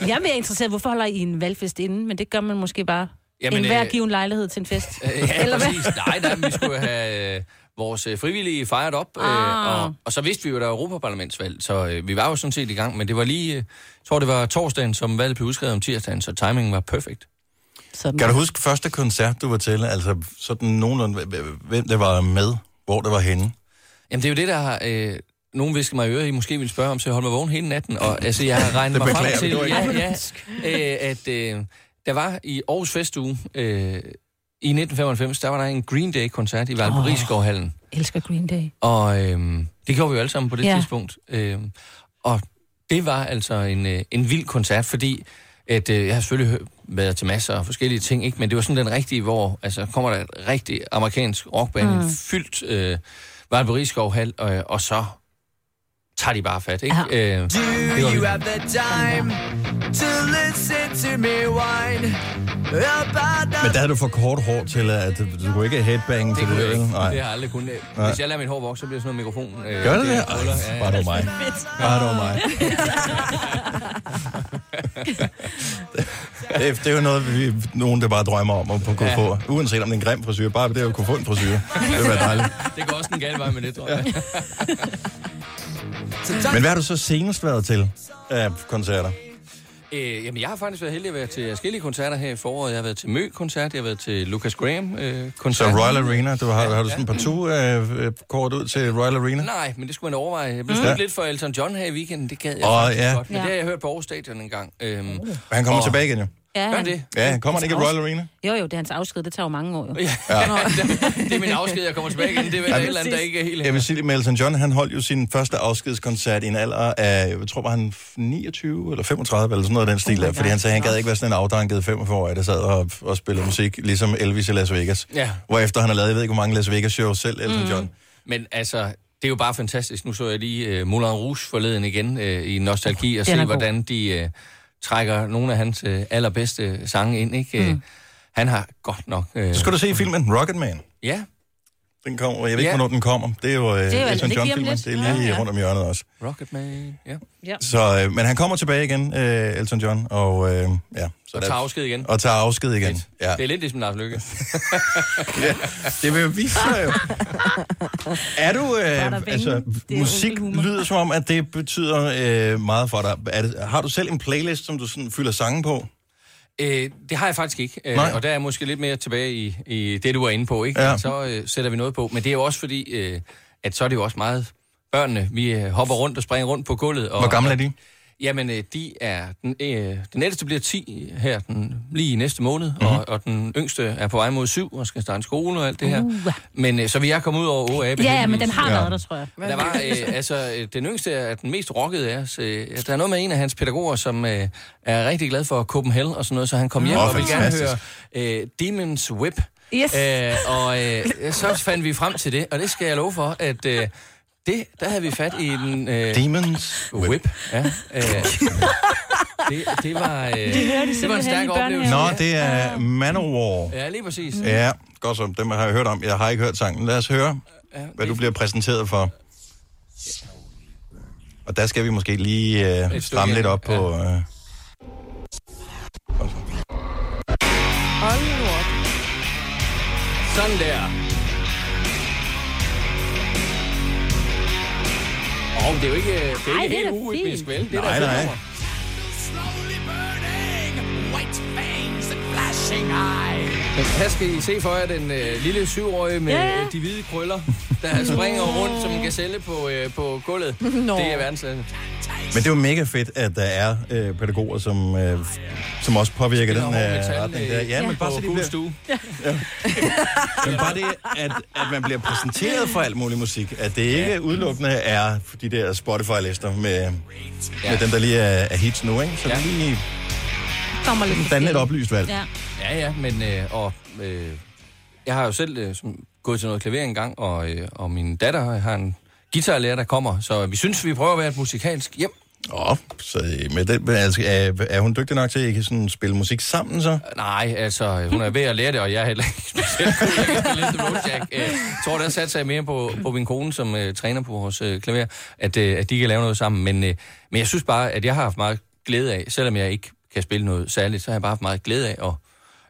S2: Jeg er mere interesseret, hvorfor holder I en valgfest inden, men det gør man måske bare
S6: Jamen,
S2: Jamen, en hver
S6: øh,
S2: give en lejlighed til en fest.
S6: Ja, Eller præcis. Nej, nej, men vi skulle have øh, vores øh, frivillige fejret op. Øh,
S2: Ah.
S6: og, og så vidste vi jo, der var Europaparlamentsvalg, så øh, vi var jo sådan set i gang. Men det var lige, øh, jeg tror det var torsdagen, som valget blev udskrevet om tirsdagen, så timingen var perfekt.
S2: Sådan.
S1: Kan du huske første koncert, du var til? Altså sådan nogenlunde, h- h- hvem det var med, hvor det var henne?
S6: Jamen det er jo det, der har... Øh, nogen visker mig i øret, I måske vil spørge om, så jeg holder mig vågen hele natten. Og altså, jeg har regnet
S1: Det
S6: mig frem
S1: beklager vi,
S6: til,
S1: det var ikke
S6: ja, ja, øh, at øh, der var i Aarhus Festuge øh, i 1995, der var der en Green Day-koncert i Valparisgårdhallen.
S2: elsker Green Day.
S6: Og øhm, det gjorde vi jo alle sammen på det
S2: Ja.
S6: ja. tidspunkt. Øhm, og det var altså en, øh, en vild koncert, fordi at, øh, jeg har selvfølgelig hø- været til masser af forskellige ting, ikke? men det var sådan den rigtige, hvor altså, kommer der et rigtig amerikansk rockband,
S2: Mm.
S6: mm. fyldt øh, Valparaiso Hall, øh, og så tager de bare fat. Ikke? Ja. Øh, det var
S16: You
S6: vildt.
S16: have the time to listen to me whine about
S1: Men der havde du for kort hår til, at du kunne ikke headbange til
S6: det kunne
S1: det.
S6: jeg ikke.
S1: vel?
S6: Nej. Det har jeg aldrig kunnet.
S1: Nej.
S6: Hvis jeg lader min hår vokse, så bliver det sådan noget mikrofon. Øh,
S1: Gør det
S6: der
S1: det?
S6: ruller.
S1: Ej,
S6: Ja, ja.
S1: bare det var mig. Bare det var mig. Det, det er jo noget, vi, nogen der bare drømmer om at kunne
S6: Ja.
S1: få. Uanset om det er en grim frisyr, bare det at kunne få en frisyr. Det ville være dejligt.
S6: det går også en gal vej med det, tror jeg.
S1: Men hvad har du så senest været til af koncerter?
S6: Øh, jamen, jeg har faktisk været heldig at være til forskellige koncerter her i foråret. Jeg har været til Mø-koncert, jeg har været til Lucas øh,
S1: Så
S6: Graham-koncert.
S1: Royal Arena, du har, har du sådan en par tur øh, øh, kort ud til Royal Arena?
S6: Nej, men det skulle man overveje. Jeg blev
S1: Mm.
S6: snydt
S1: Ja.
S6: lidt for Elton John her i weekenden, det gad jeg
S1: Åh,
S6: faktisk
S1: ja.
S6: godt. Men
S1: Ja.
S6: det har jeg hørt på Aarhus Stadion en gang. Øhm,
S1: Han kommer
S6: og-
S1: tilbage igen jo.
S2: Ja,
S6: Gør det?
S1: Ja, kommer han ikke af Royal Arena?
S2: Jo, jo, det er hans afsked. Det tager jo mange år, jo.
S1: Ja.
S6: det er min afsked, jeg kommer tilbage igen. Det er vel et eller andet, der ikke er helt...
S1: Jeg vil sige, at Elton John, han holdt jo sin første afskedskoncert i en alder af, jeg tror, var han 29 eller 35, eller sådan noget af den
S6: Oh
S1: stil der, fordi han sagde, han gad ikke være sådan en afdanket 45-årig, der sad og, og spillede musik, ligesom Elvis i Las Vegas.
S6: Ja.
S1: Hvorefter han har lavet, jeg ved ikke, hvor mange Las Vegas-shows selv, Elton
S6: Mm.
S1: John.
S6: Men altså, det er jo bare fantastisk. Nu så jeg lige uh, Moulin Rouge forleden igen uh, i Nostalgi, og
S1: Den er
S6: se,
S1: god.
S6: hvordan de uh, trækker nogle af hans uh, allerbedste sange ind. Ikke? Mm. Uh, han har godt nok... Uh,
S1: Så skal du se filmen Rocket Man.
S6: Ja.
S1: Den kommer, jeg ved ikke,
S6: Ja.
S1: hvornår den kommer. Det er jo, øh,
S6: Det er jo
S1: Elton
S6: lige om
S1: John-filmen,
S6: lidt.
S1: det er lige
S6: Ja, ja.
S1: rundt om hjørnet også.
S6: Rocketman, ja.
S2: ja.
S1: Så, øh, men han kommer tilbage igen, øh, Elton John, og øh, ja. Så
S6: Og tager afsked igen.
S1: Og tager afsked igen, ja.
S6: Det er lidt ligesom Lars Lykke.
S1: ja, det vil jo vise sig jo. Er du, øh,
S6: Bada bing.
S1: altså,
S6: Det er
S1: musik
S6: onkel humor.
S1: lyder som om, at det betyder øh, meget for dig. Er det, har du selv en playlist, som du sådan fylder sange på?
S6: Øh, det har jeg faktisk ikke, øh,
S1: Nej.
S6: og der er jeg måske lidt mere tilbage i, i det, du var inde på, ikke?
S1: Ja.
S6: Ja. Så øh, sætter vi noget på, men det er jo også fordi, øh, at så er det jo også meget børnene, vi øh, hopper rundt og springer rundt på gulvet. Og,
S1: Hvor gamle er de?
S6: Jamen, øh, de er, den, øh, den ældste bliver 10 her den, lige i næste måned,
S1: Mhm.
S6: mm-hmm. og, og den yngste er på vej mod 7 og skal starte skole og alt det her.
S2: Uh.
S6: Men øh, så vi er kommet ud over OAB.
S2: Ja, ja, men
S6: heldigvis.
S2: den har været der, tror jeg.
S6: Der var, øh, altså, øh, den yngste er den mest rockede af os. Øh, der er noget med en af hans pædagoger, som øh, er rigtig glad for Copenhagen og sådan noget, så han kom hjem
S1: Åh,
S6: og ville gerne høre
S1: fantastisk.
S6: øh, Demons Whip.
S2: Yes.
S6: Øh, og øh, så fandt vi frem til det, og det skal jeg love for, at øh, det, der havde vi fat i den... Øh,
S1: Demons
S6: Whip. Ja, øh, det, det var, øh,
S1: Det
S6: det,
S1: hørte I
S6: var en
S1: simpelthen
S6: stærk
S1: i
S6: oplevelse.
S1: Nå, det er Manowar.
S6: Ja, lige præcis.
S1: Ja, godt så. Dem har jeg hørt om. Jeg har ikke hørt sangen. Lad os høre,
S6: Ja,
S1: hvad du bliver præsenteret for. Og der skal vi måske lige øh,
S6: stykke
S1: stramme lidt
S6: ind,
S1: op på... Øh,
S3: Hold nu op.
S6: Sådan der. Åh, oh, det er jo ikke, det er ikke
S15: Ej, det er
S6: helt
S15: da
S6: urytmisk,
S15: fint.
S6: vel? Det er
S15: Nej,
S6: da
S15: nej.
S6: fedt
S15: White fangs and flashing eyes.
S6: Men her skal I se for jer den øh, lille syvårige med
S15: Ja.
S6: ja. de hvide krøller, der springer rundt som en gazelle på, øh, på gulvet.
S15: Nå.
S6: Det er verdenslandet.
S1: Men det er jo mega fedt, at der er øh, pædagover, som, øh, som også påvirker den øh, retning der. Ja, men bare så de bliver,
S6: stue.
S1: men bare det, at, at man bliver præsenteret for alt mulig musik, at det ikke udelukkende er de der Spotify-lister med,
S6: Ja.
S1: med dem, der lige er, er hits nu, ikke? Så
S6: Ja.
S1: lige
S2: Kommer lidt
S1: danne et
S2: forskelligt.
S1: oplyst valg.
S2: Ja.
S6: Ja, ja, men øh, og, øh, jeg har jo selv øh, som, gået til noget klaver engang, og, øh, og min datter har en guitarlærer, der kommer, så vi synes, vi prøver at være et musikalsk hjem.
S1: Åh, så øh, med den, altså, er, er hun dygtig nok til, at I kan sådan spille musik sammen så?
S6: Nej, altså, hun er ved at lære det, og jeg er heller ikke specielt god. Jeg kan spille lidt Rojak. Øh, Jeg tror, der satte sig mere på, på min kone, som uh, træner på vores uh, klaver, at, uh, at de kan lave noget sammen. Men, uh, men jeg synes bare, at jeg har haft meget glæde af, selvom jeg ikke kan spille noget særligt, så har jeg bare haft meget glæde af. Og,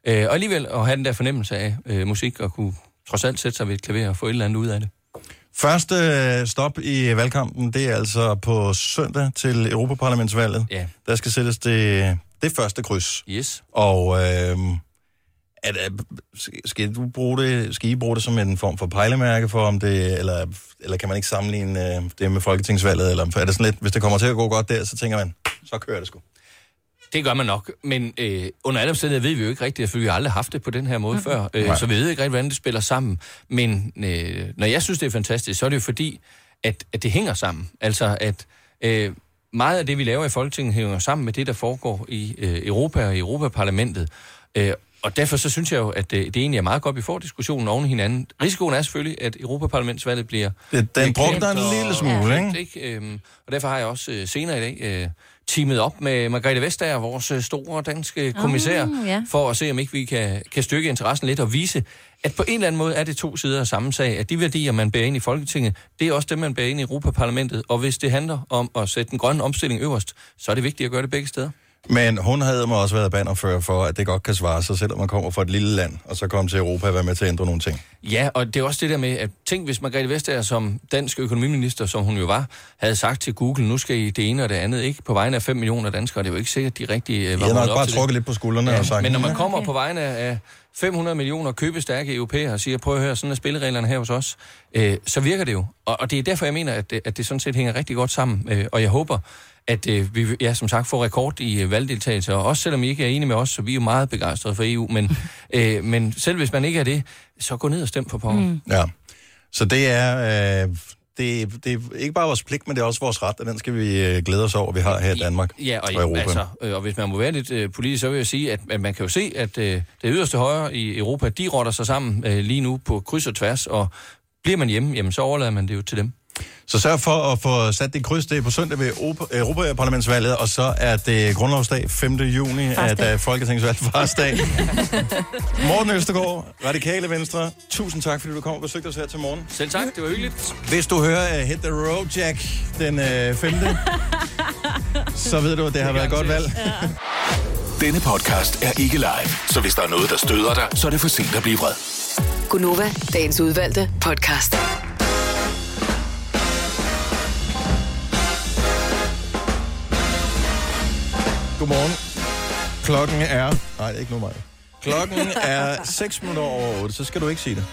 S6: uh, og alligevel at have den der fornemmelse af uh, musik, og kunne trods alt sætte sig ved et klaver og få et eller andet ud af det.
S1: Første øh, stop i valgkampen, det er altså på søndag til Europaparlamentsvalget.
S6: Ja.
S1: Der skal sættes det, det første kryds.
S6: Yes.
S1: Og øh, at, at, skal, du bruge det, skal I bruge det som en form for pejlemærke for, om det, eller, eller kan man ikke sammenligne øh, det med folketingsvalget? Eller, for er det sådan lidt, hvis det kommer til at gå godt der, så tænker man, så kører det sgu.
S6: Det gør man nok, men øh, under alle omstændigheder ved vi jo ikke rigtigt, for vi har aldrig haft det på den her måde mm. før, øh,
S1: Nej.
S6: så vi ved ikke rigtig, hvordan det spiller sammen. Men øh, når jeg synes, det er fantastisk, så er det jo fordi, at, at det hænger sammen. Altså, at øh, meget af det, vi laver i Folketinget, hænger sammen med det, der foregår i øh, Europa og i Europaparlamentet. Øh, og derfor så synes jeg jo, at øh, det egentlig er meget godt, at vi får diskussionen oven i hinanden. Risikoen er selvfølgelig, at Europaparlamentsvalget bliver...
S1: Det, den brugte en
S6: og-
S1: lille smule,
S6: Ja.
S1: ikke?
S6: Ikke? Øhm, og derfor har jeg også øh, senere i dag øh, teamet op med Margrethe Vestager, vores øh, store danske kommissær,
S2: Ah, ja.
S6: for at se, om ikke vi kan, kan stykke interessen lidt og vise, at på en eller anden måde er det to sider af samme sag, at de værdier, man bærer ind i Folketinget, det er også dem, man bærer ind i Europaparlamentet, og hvis det handler om at sætte den grønne omstilling øverst, så er det vigtigt at gøre det begge steder.
S1: Men hun havde mig også været bannerfører for, at det godt kan svare sig, selvom man kommer fra et lille land, og så kommer til Europa og være med til at ændre nogle ting.
S6: Ja, og det er også det der med, at tænk hvis Margrethe Vestager som dansk økonomiminister, som hun jo var, havde sagt til Google, nu skal I det ene og det andet, ikke? På vegne af 5 millioner danskere, det er jo ikke sikkert, de rigtig øh,
S1: Jeg
S6: var
S1: havde
S6: vågnet
S1: nok
S6: op
S1: bare
S6: til det.
S1: trukket lidt på skuldrene og sagt...
S6: Men når man kommer på vegne af 500 millioner købestærke europæere og siger, prøv at høre, sådan er spillereglerne her hos os, øh, så virker det jo. Og, og det er derfor, jeg mener, at det, at det sådan set hænger rigtig godt sammen. Øh, og jeg håber, at øh, vi ja, som sagt får rekord i øh, valgdeltagelse, og også selvom I ikke er enige med os, så vi er jo meget begejstrede for EU, men, øh, men selv hvis man ikke er det, så gå ned og stem på Power. Mm.
S1: Ja. Så det er, øh, det, det er ikke bare vores pligt, men det er også vores ret, og den skal vi øh, glæde os over, vi har her i Danmark
S6: Ja, og,
S1: og Europa.
S6: altså, øh, og hvis man må være lidt øh, politisk, så vil jeg sige, at, at man kan jo se, at øh, det yderste højre i Europa, de rotter sig sammen øh, lige nu på kryds og tværs, og bliver man hjemme, jamen så overlader man det jo til dem.
S1: Så sørg for at få sat dit kryds. Det er på søndag ved Europa- Europaparlamentsvalget, og så er det grundlovsdag 5. juni, at
S14: Farsdag.
S1: øh, Folketingsvalg farsdag. Morten Østergaard, Radikale Venstre, tusind tak, fordi du kom og besøgte os her til morgen.
S6: Selv tak, det var hyggeligt.
S1: Hvis du hører uh, Hit the Road Jack den øh, 5., så ved du, at det har været et godt valg.
S9: Denne podcast er ikke live, så hvis der er noget, der støder dig, så er det for sent at blive vred.
S8: Gunova, dagens udvalgte podcast.
S1: Godmorgen. Klokken er... Nej, det er ikke nu mig. Klokken er 6 minutter over 8, så skal du ikke sige det.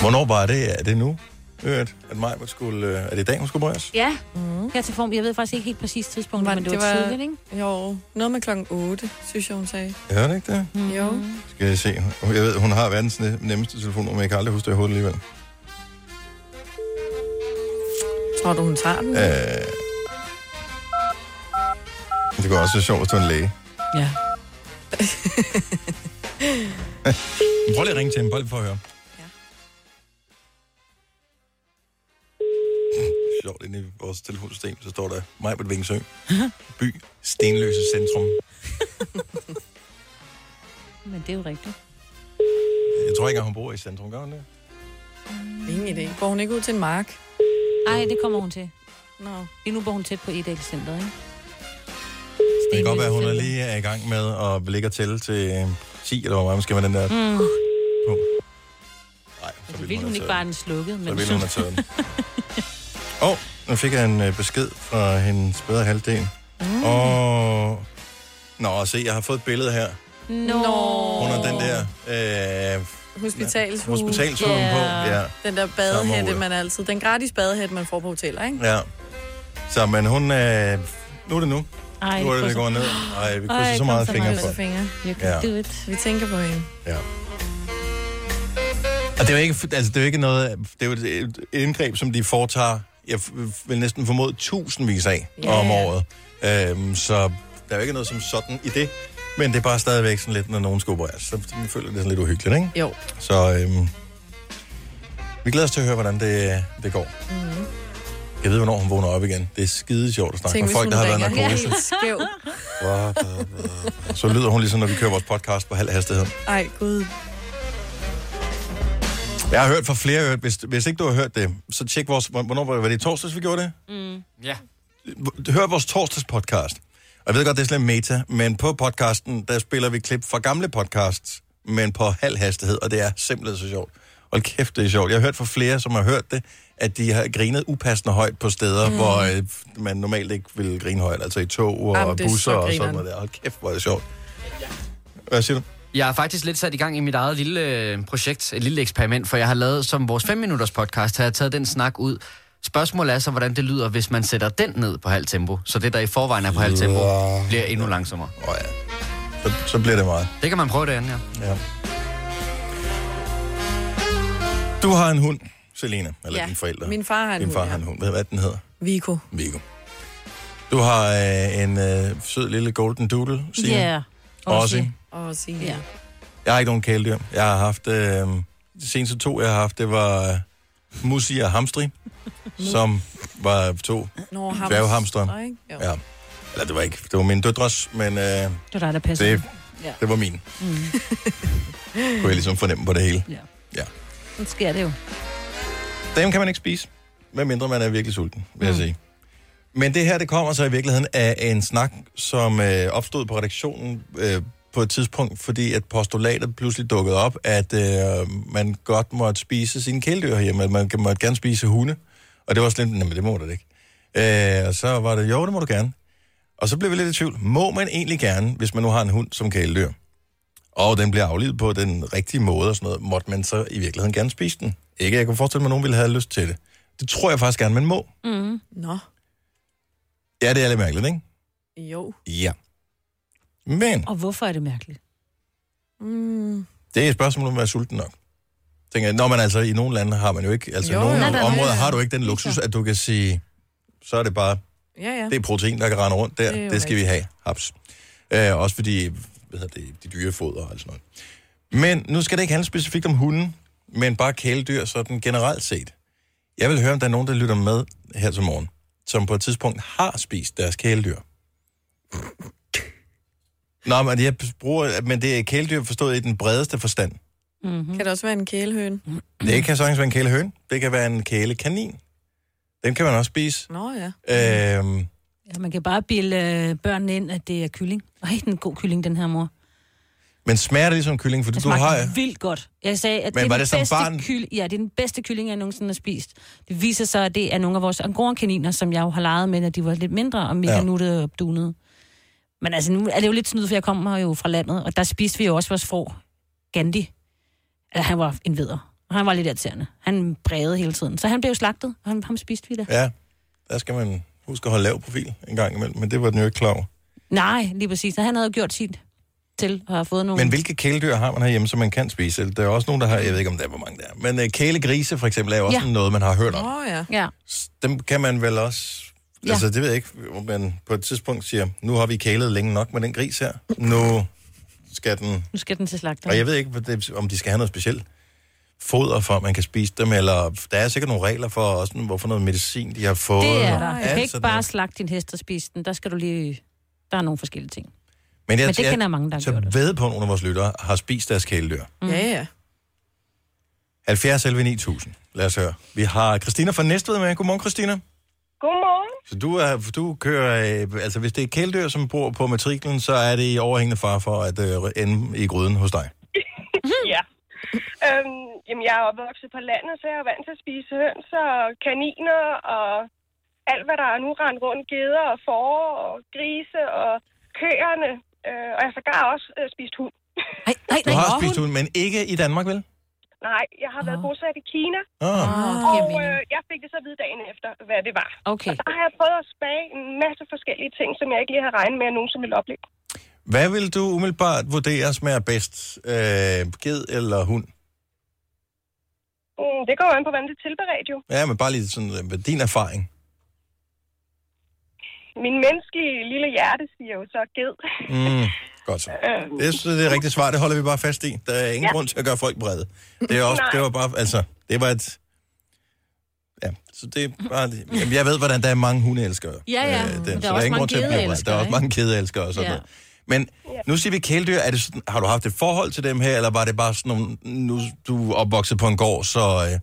S1: Hvornår var det? Er det nu? Hørt, at mig skulle... øh, Er det i dag, hun skulle brøjes?
S2: Ja,
S3: Mhm.
S2: mm. her til form. Jeg ved faktisk ikke helt præcis tidspunkt, men det var, tidligt, ikke?
S3: ikke? Jo, noget med klokken 8, synes jeg, hun sagde.
S1: Hørte det ikke det?
S2: Mhm.
S3: Mm. Jo.
S1: Skal jeg se. Jeg ved, hun har verdens ne- nemmeste telefonnummer, men jeg kan aldrig huske det i hovedet alligevel.
S3: Tror du, hun tager den?
S1: Øh... Det kunne også være sjovt, hvis du var en læge.
S3: Ja.
S1: Prøv lige at ringe til hende, bare lige for at høre. Ja. Sjovt, inde i vores telefonsystem, så står der Majbert Vingsø, by Stenløse Centrum.
S2: Men det er jo rigtigt.
S1: Jeg tror ikke, at hun bor i centrum, gør hun det?
S3: Ingen idé. Går hun ikke ud til en mark?
S2: Ej, det kommer hun til.
S3: Nå.
S2: Lige nu bor hun tæt på Edal Center, ikke?
S1: Det kan godt være, at hun er lige er i gang med at ligge og tælle til øh, 10, eller hvor meget man skal med den der.
S2: Mm.
S1: Nej, så
S2: Så
S1: ville
S2: ville
S1: hun
S2: hun ikke
S1: have
S2: bare have den slukket,
S1: Så
S2: men...
S1: ville hun have taget den. Og nu fik jeg en øh, besked fra hendes bedre halvdel. Mm. Og... Nå, se, jeg har fået et billede her.
S3: Nå. Nå.
S1: Under den der øh,
S3: Hospitalshue.
S1: Hospitalshue på, ja.
S3: Den
S1: Sommerhue.
S3: der badehætte, man altid... Den gratis badehætte, man får på hoteller, ikke?
S1: Ja. Så, men hun... Øh, nu er det nu.
S3: Ej,
S1: nu er det, det
S3: krydser-
S1: går ned. Ej, vi krydser så meget fingre for.
S3: fingre. You
S1: can Ja. do
S3: it. Vi tænker på hende.
S1: Ja. Og det er jo ikke, altså, det er jo ikke noget... Det er jo et, et indgreb, som de foretager, jeg f- vil næsten formode, tusindvis af
S14: Ja,
S1: om
S14: ja.
S1: året. Øhm, så der er jo ikke noget som sådan i det. Men det er bare stadigvæk sådan lidt, når nogen skal opereres. Så føler det sådan lidt uhyggeligt, ikke?
S3: Jo.
S1: Så øhm, vi glæder os til at høre, hvordan det, det går.
S3: Mm.
S1: Jeg ved, hvornår hun vågner op igen. Det er skide sjovt at snakke
S3: Tænk,
S1: med
S3: hvis
S1: folk,
S3: hun
S1: der har været
S3: ringer
S1: narkose.
S3: helt skæv.
S1: Blah, blah, blah. Så lyder hun ligesom, når vi kører vores podcast på halv hastighed.
S3: Ej, gud.
S1: Jeg har hørt fra flere, hørt, hvis, hvis ikke du har hørt det, så tjek vores... Hvornår var det? Var det i torsdags, vi gjorde det?
S2: Mm.
S6: Ja.
S1: Hør vores torsdags podcast. Og jeg ved godt, det er slet meta, men på podcasten, der spiller vi klip fra gamle podcasts, men på halv hastighed, og det er simpelthen så sjovt. Hold kæft, det er sjovt. Jeg har hørt fra flere, som har hørt det, at de har grinet upassende højt på steder, mm.
S14: Mm.
S1: hvor øh, man normalt ikke ville grine højt, altså i tog og
S14: Jamen, det er
S1: busser
S14: så
S1: og sådan
S14: grineren.
S1: noget der. Hold kæft, hvor er det sjovt. Hvad siger du?
S14: Jeg er faktisk lidt sat i gang i mit eget lille øh, projekt, et lille eksperiment, for jeg har lavet som vores 5 minutters podcast, har jeg taget den snak ud. Spørgsmålet er så, hvordan det lyder, hvis man sætter den ned på halv tempo, så det, der i forvejen er på halv tempo,
S1: Ja.
S14: bliver endnu langsommere.
S1: Oh, ja. Så, så bliver det meget.
S14: Det kan man prøve derinde, ja.
S1: Ja. Du har en hund, Selena, eller ja.
S3: Ja,
S1: dine forældre.
S3: min far har en
S1: din
S3: hund,
S1: far
S3: ja.
S1: har en hund. Ved du, hvad den hedder?
S3: Vico.
S1: Vigo. Du har øh, en øh, sød lille golden doodle, Signe.
S2: Ja.
S1: Også.
S3: Og sige. Ja.
S1: Jeg har ikke nogen kæledyr. Jeg har haft... Øh, de seneste to, jeg har haft, det var øh, Musi og Hamstri, som var to
S3: Nå, ham.
S1: dværghamstre.
S3: Nå, ikke? Jo.
S1: Ja. Eller det var ikke... Det var min døtres, men øh, det,
S2: Det var dig, der passede.
S1: det,
S2: Ja.
S1: det var min.
S2: Mm.
S1: Kunne jeg ligesom fornemme på det hele.
S2: Ja.
S1: Ja.
S2: Sådan sker det jo.
S1: Dem kan man ikke spise, medmindre man er virkelig sulten, vil jeg sige. Men det her, det kommer så i virkeligheden af en snak, som øh, opstod på redaktionen øh, på et tidspunkt, fordi at postulatet pludselig dukkede op, at øh, man godt måtte spise sine kæledyr herhjemme, at man kan- måtte gerne spise hunde. Og det var sådan lidt, "Nå, men det må du da ikke. Øh, og så var det, jo, det må du gerne. Og så blev vi lidt i tvivl. Må man egentlig gerne, hvis man nu har en hund som kæledyr, og den bliver aflivet på den rigtige måde og sådan noget, måtte man så i virkeligheden gerne spise den? Ikke, jeg kunne forestille mig, at nogen ville have lyst til det. Det tror jeg faktisk gerne, man må.
S2: Mm-hmm.
S3: Mm. Nå,
S1: Ja, det er lidt mærkeligt, ikke?
S3: jo.
S1: Ja. Men
S2: Og hvorfor er det mærkeligt?
S3: Mm.
S1: det er et spørgsmål om at være sulten nok. Tænker jeg, når man altså i nogle lande har man jo ikke, altså i
S3: Jo,
S1: nogle
S3: jo. Nej, nej, nej,
S1: områder
S3: nej.
S1: har du ikke den luksus, at du kan sige, så er det bare
S3: Ja, ja.
S1: Det er protein, der kan rende rundt der.
S3: Det er jo
S1: Det, det skal vi
S3: rigtigt.
S1: have. Haps. Øh, også fordi, hvad hedder det, de dyre foder og alt sådan noget. Men nu skal det ikke handle specifikt om hunden, men bare kæledyr sådan generelt set. Jeg vil høre, om der er nogen, der lytter med her til morgen, som på et tidspunkt har spist deres kæledyr. Nå, men jeg bruger, men det er kæledyr forstået i den bredeste forstand.
S3: Mm-hmm. Kan det også være en kælehøne?
S1: Det kan sagtens være en kælehøn. Det kan være en kælekanin. Den kan man også spise.
S3: Nå ja.
S1: Øhm,
S2: Ja, man kan bare bilde øh, børnene ind, at det er kylling. Ej, den er en god kylling, den her mor.
S1: men smager det ligesom kylling? Fordi
S2: Det
S1: du har...
S2: smagte vildt godt. Jeg sagde, at
S1: Men
S2: det er
S1: var
S2: den
S1: det som
S2: bedste
S1: barn?
S2: Kyl... Ja, det er den bedste kylling, jeg nogensinde har spist. Det viser sig, at det er nogle af vores angorankaniner, som jeg jo har leget med, når de var lidt mindre og mega
S1: Ja.
S2: ja. nuttede og dunede. Men altså, nu er det jo lidt snyd, for jeg kommer jo fra landet, og der spiste vi jo også vores frå, Gandhi. Eller han var en veder. Og han var lidt irriterende. Han brede hele tiden. Så han blev jo slagtet, og ham, ham spiste vi da. Ja.
S1: Ja, der skal man huske at holde lav profil en gang imellem, men det var den jo ikke klar over.
S2: Nej, lige præcis. Så han havde jo gjort sit til at have fået nogle...
S1: Men hvilke kæledyr har man herhjemme, som man kan spise? Der er også nogen, der har, jeg ved ikke om der er, hvor mange der er, men øh, kælegrise for eksempel er jo også
S2: Ja.
S1: ja. noget, man har hørt om.
S3: Åh oh, ja.
S2: Ja.
S1: Dem kan man vel også...
S2: Ja.
S1: Ja. Altså, det ved jeg ikke, om man på et tidspunkt siger, nu har vi kælet længe nok med den gris her, nu skal den...
S2: Nu skal den til slagteren.
S1: Og jeg ved ikke, hvad det- om de skal have noget specielt foder for, at man kan spise dem, eller der er sikkert nogle regler for, også, hvorfor noget medicin de har fået.
S2: Det er
S1: og
S2: der. Du
S1: alt
S2: kan ikke
S1: sådan
S2: bare
S1: noget.
S2: slagte din hest og spise den. Der skal du lige... Der er nogle forskellige ting.
S1: Men, jeg,
S2: Men det kender jeg mange, der har
S1: så
S2: gjort
S1: ved på, at nogle af vores lyttere har spist deres kæledyr.
S3: Mm. Ja, ja.
S1: 70 11 9000. Lad os høre. Vi har Christina fra Næstved med. Godmorgen, Christina.
S17: Godmorgen.
S1: Så du, er, du kører... Øh, altså, hvis det er kæledyr, som bor på matriklen, så er det i overhængende far for at øh, ende i gryden hos dig.
S17: ja. Øhm, jamen, jeg er opvokset på landet, så jeg er vant til at spise høns og kaniner og alt, hvad der er nu rendt rundt. Geder og får og grise og køerne. Øh, og jeg har sågar også øh, spist hund.
S2: Nej,
S1: du har spist hund, men ikke i Danmark, vel?
S17: Nej, jeg har været bosat i Kina.
S1: Ah.
S17: Og øh, jeg fik det så at vide dagen efter, hvad det var.
S2: Okay.
S17: Og der har jeg prøvet at smage en masse forskellige ting, som jeg ikke lige havde regnet med, at nogen som ville opleve.
S1: Hvad vil du umiddelbart vurdere smager bedst? Øh, ged eller hund?
S17: Mm, det går jo an på, hvordan det er tilberedt jo.
S1: Ja, men bare lige sådan, øh, med din erfaring.
S17: Min menneskelige lille hjerte siger jo så ged.
S1: Mm, godt så.
S17: Øhm,
S1: Det, synes jeg, det er rigtigt svar, det holder vi bare fast i. Der er ingen ja. grund til at gøre folk brede. Det, er også,
S17: Nej.
S1: det var bare, altså, det var et... Ja, så det er bare... Jamen, jeg ved, hvordan der er mange hundeelskere. øh,
S2: Ja, ja. Men der er
S1: så
S2: også mange
S1: blive vred.
S2: kedeelskere,
S1: Der er også
S2: ikke?
S1: mange kædeelskere og sådan
S2: Ja.
S1: ja. noget. Men nu siger vi kæledyr. Er det sådan, har du haft et forhold til dem her, eller var det bare sådan nogle... Nu du er opvokset på en gård, så øh,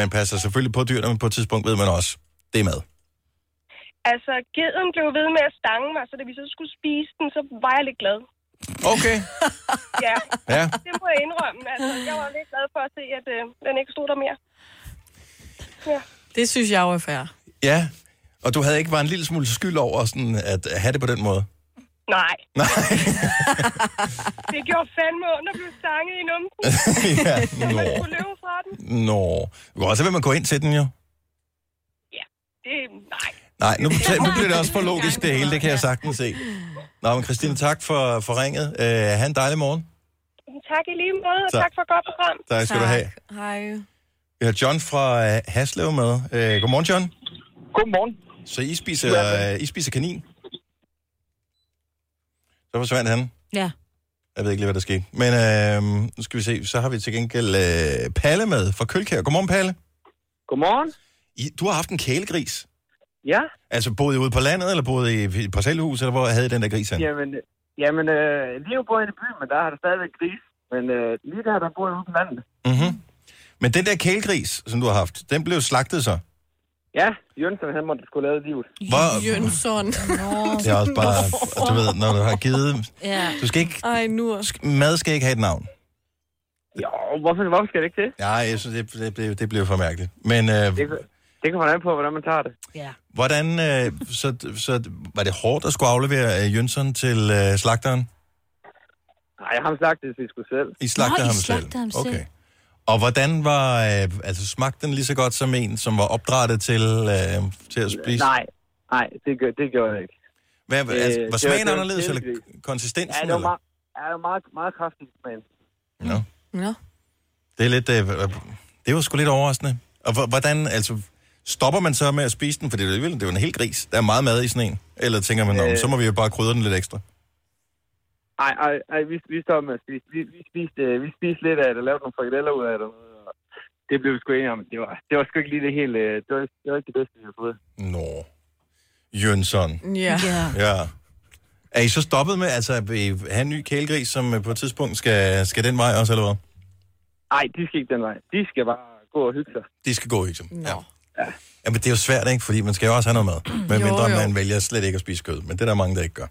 S1: man passer selvfølgelig på dyrene, men på et tidspunkt ved man også, det er mad.
S17: Altså, geden blev ved med at stange mig, så da vi så skulle spise den, så var jeg lidt glad.
S1: Okay.
S17: Ja,
S1: Ja.
S17: det må jeg indrømme. Altså, jeg var lidt glad for at se, at øh, den ikke stod der mere.
S3: Det synes jeg jo er fair.
S1: Ja, og du havde ikke bare en lille smule skyld over sådan at have det på den måde?
S17: Nej,
S1: Nej.
S17: det gjorde fandme ondt at blive stanget i numsen.
S1: ja,
S17: Man
S1: nå.
S17: skulle løbe fra den.
S1: Nå. Det kunne også være, man går ind til den jo.
S17: Det, nej.
S1: Nej, nu, nu bliver det også for logisk det hele, det kan jeg sagtens se. Nå, men Christine, tak for, for ringet. Uh, ha' en dejlig morgen.
S17: Tak i lige måde, og
S1: Tak.
S17: tak, for et godt program.
S1: Tak skal du have.
S17: Hej.
S1: Vi har John fra uh, Haslev med. Uh, godmorgen, John.
S13: Godmorgen.
S1: Så I spiser, uh, I spiser kanin? Så forsvandt han.
S2: Ja.
S1: Jeg ved ikke lige, hvad der skete. Men uh, nu skal vi se, så har vi til gengæld uh, Palle med fra Kølkær. Godmorgen, Palle.
S13: Godmorgen.
S1: I, du har haft en kælegris.
S13: Ja.
S1: Altså, boede I ude på landet, eller boede I i et parcelhus, eller hvor havde I den der gris hen?
S13: Jamen, øh, jamen øh, lige på i byen, men der har der stadigvæk gris. Men øh, lige der, der bor jeg ude på landet.
S1: Mm-hmm. Men den der kælegris, som du har haft, den blev slagtet så.
S13: Ja, Jønsson, han måtte skulle lave livet.
S1: Hvor-
S3: Jønsson.
S1: Det er også bare, og du ved, når du har givet...
S2: Ja.
S1: Du skal ikke,
S3: Ej, nu.
S1: mad skal ikke have et navn.
S13: Jo, hvorfor, hvorfor skal det ikke det?
S1: Ja, jeg synes, det, det, det, det blev for mærkeligt. Men øh,
S13: Det, det kommer an på, hvordan man tager det.
S2: Ja.
S1: hvordan... Øh, så, så var det hårdt at skulle aflevere øh, Jønsson til øh, slagteren?
S13: Nej, ham slagtede vi sgu selv.
S1: I slagtede
S13: Nå, I
S1: ham selv?
S13: slagtede ham selv.
S1: Okay. Og hvordan var, øh, altså smagte den lige så godt som en, som var opdrettet til, øh, til at spise?
S13: Nej, nej, det, gør, det gjorde jeg ikke. Øh,
S1: Hvad, altså, var
S13: det
S1: smagen
S13: det
S1: anderledes, eller
S13: kedeligt.
S1: konsistensen,
S13: Ja, det var
S1: eller?
S13: meget, ja, det var meget, meget kraftig smag.
S1: Nå.
S3: Nå.
S1: Det er lidt, øh, øh, det var sgu lidt overraskende. Og hvor- hvordan, altså, stopper man så med at spise den? For det er jo alligevel- det er jo en hel gris. Der er meget mad i sådan en. Eller tænker man, øh...
S13: Øh.
S1: så må vi jo bare krydre den lidt ekstra.
S13: Ej, ej, ej vi, vi stoppede med at spise. Vi, vi, spiste, øh, vi spiste lidt af det, lavede nogle frikadeller ud af det. og Det blev vi sgu enige om. Det var, det var sgu ikke lige det hele... øh, Det var, det var ikke det bedste, vi har fået.
S1: Nå. Jønsson.
S3: Ja. ja.
S1: Ja. Er I så stoppet med, altså, at I have en ny kælegris, som øh, på et tidspunkt skal, skal den vej også, eller hvad?
S13: Nej, de skal ikke den vej. De skal bare gå og hygge sig.
S1: De skal gå i dem. Ja. ja. men det er jo svært, ikke? Fordi man skal jo også have noget mad. Men
S13: Jo,
S1: mindre
S13: jo.
S1: man vælger slet ikke at spise kød. Men det er der mange, der ikke gør.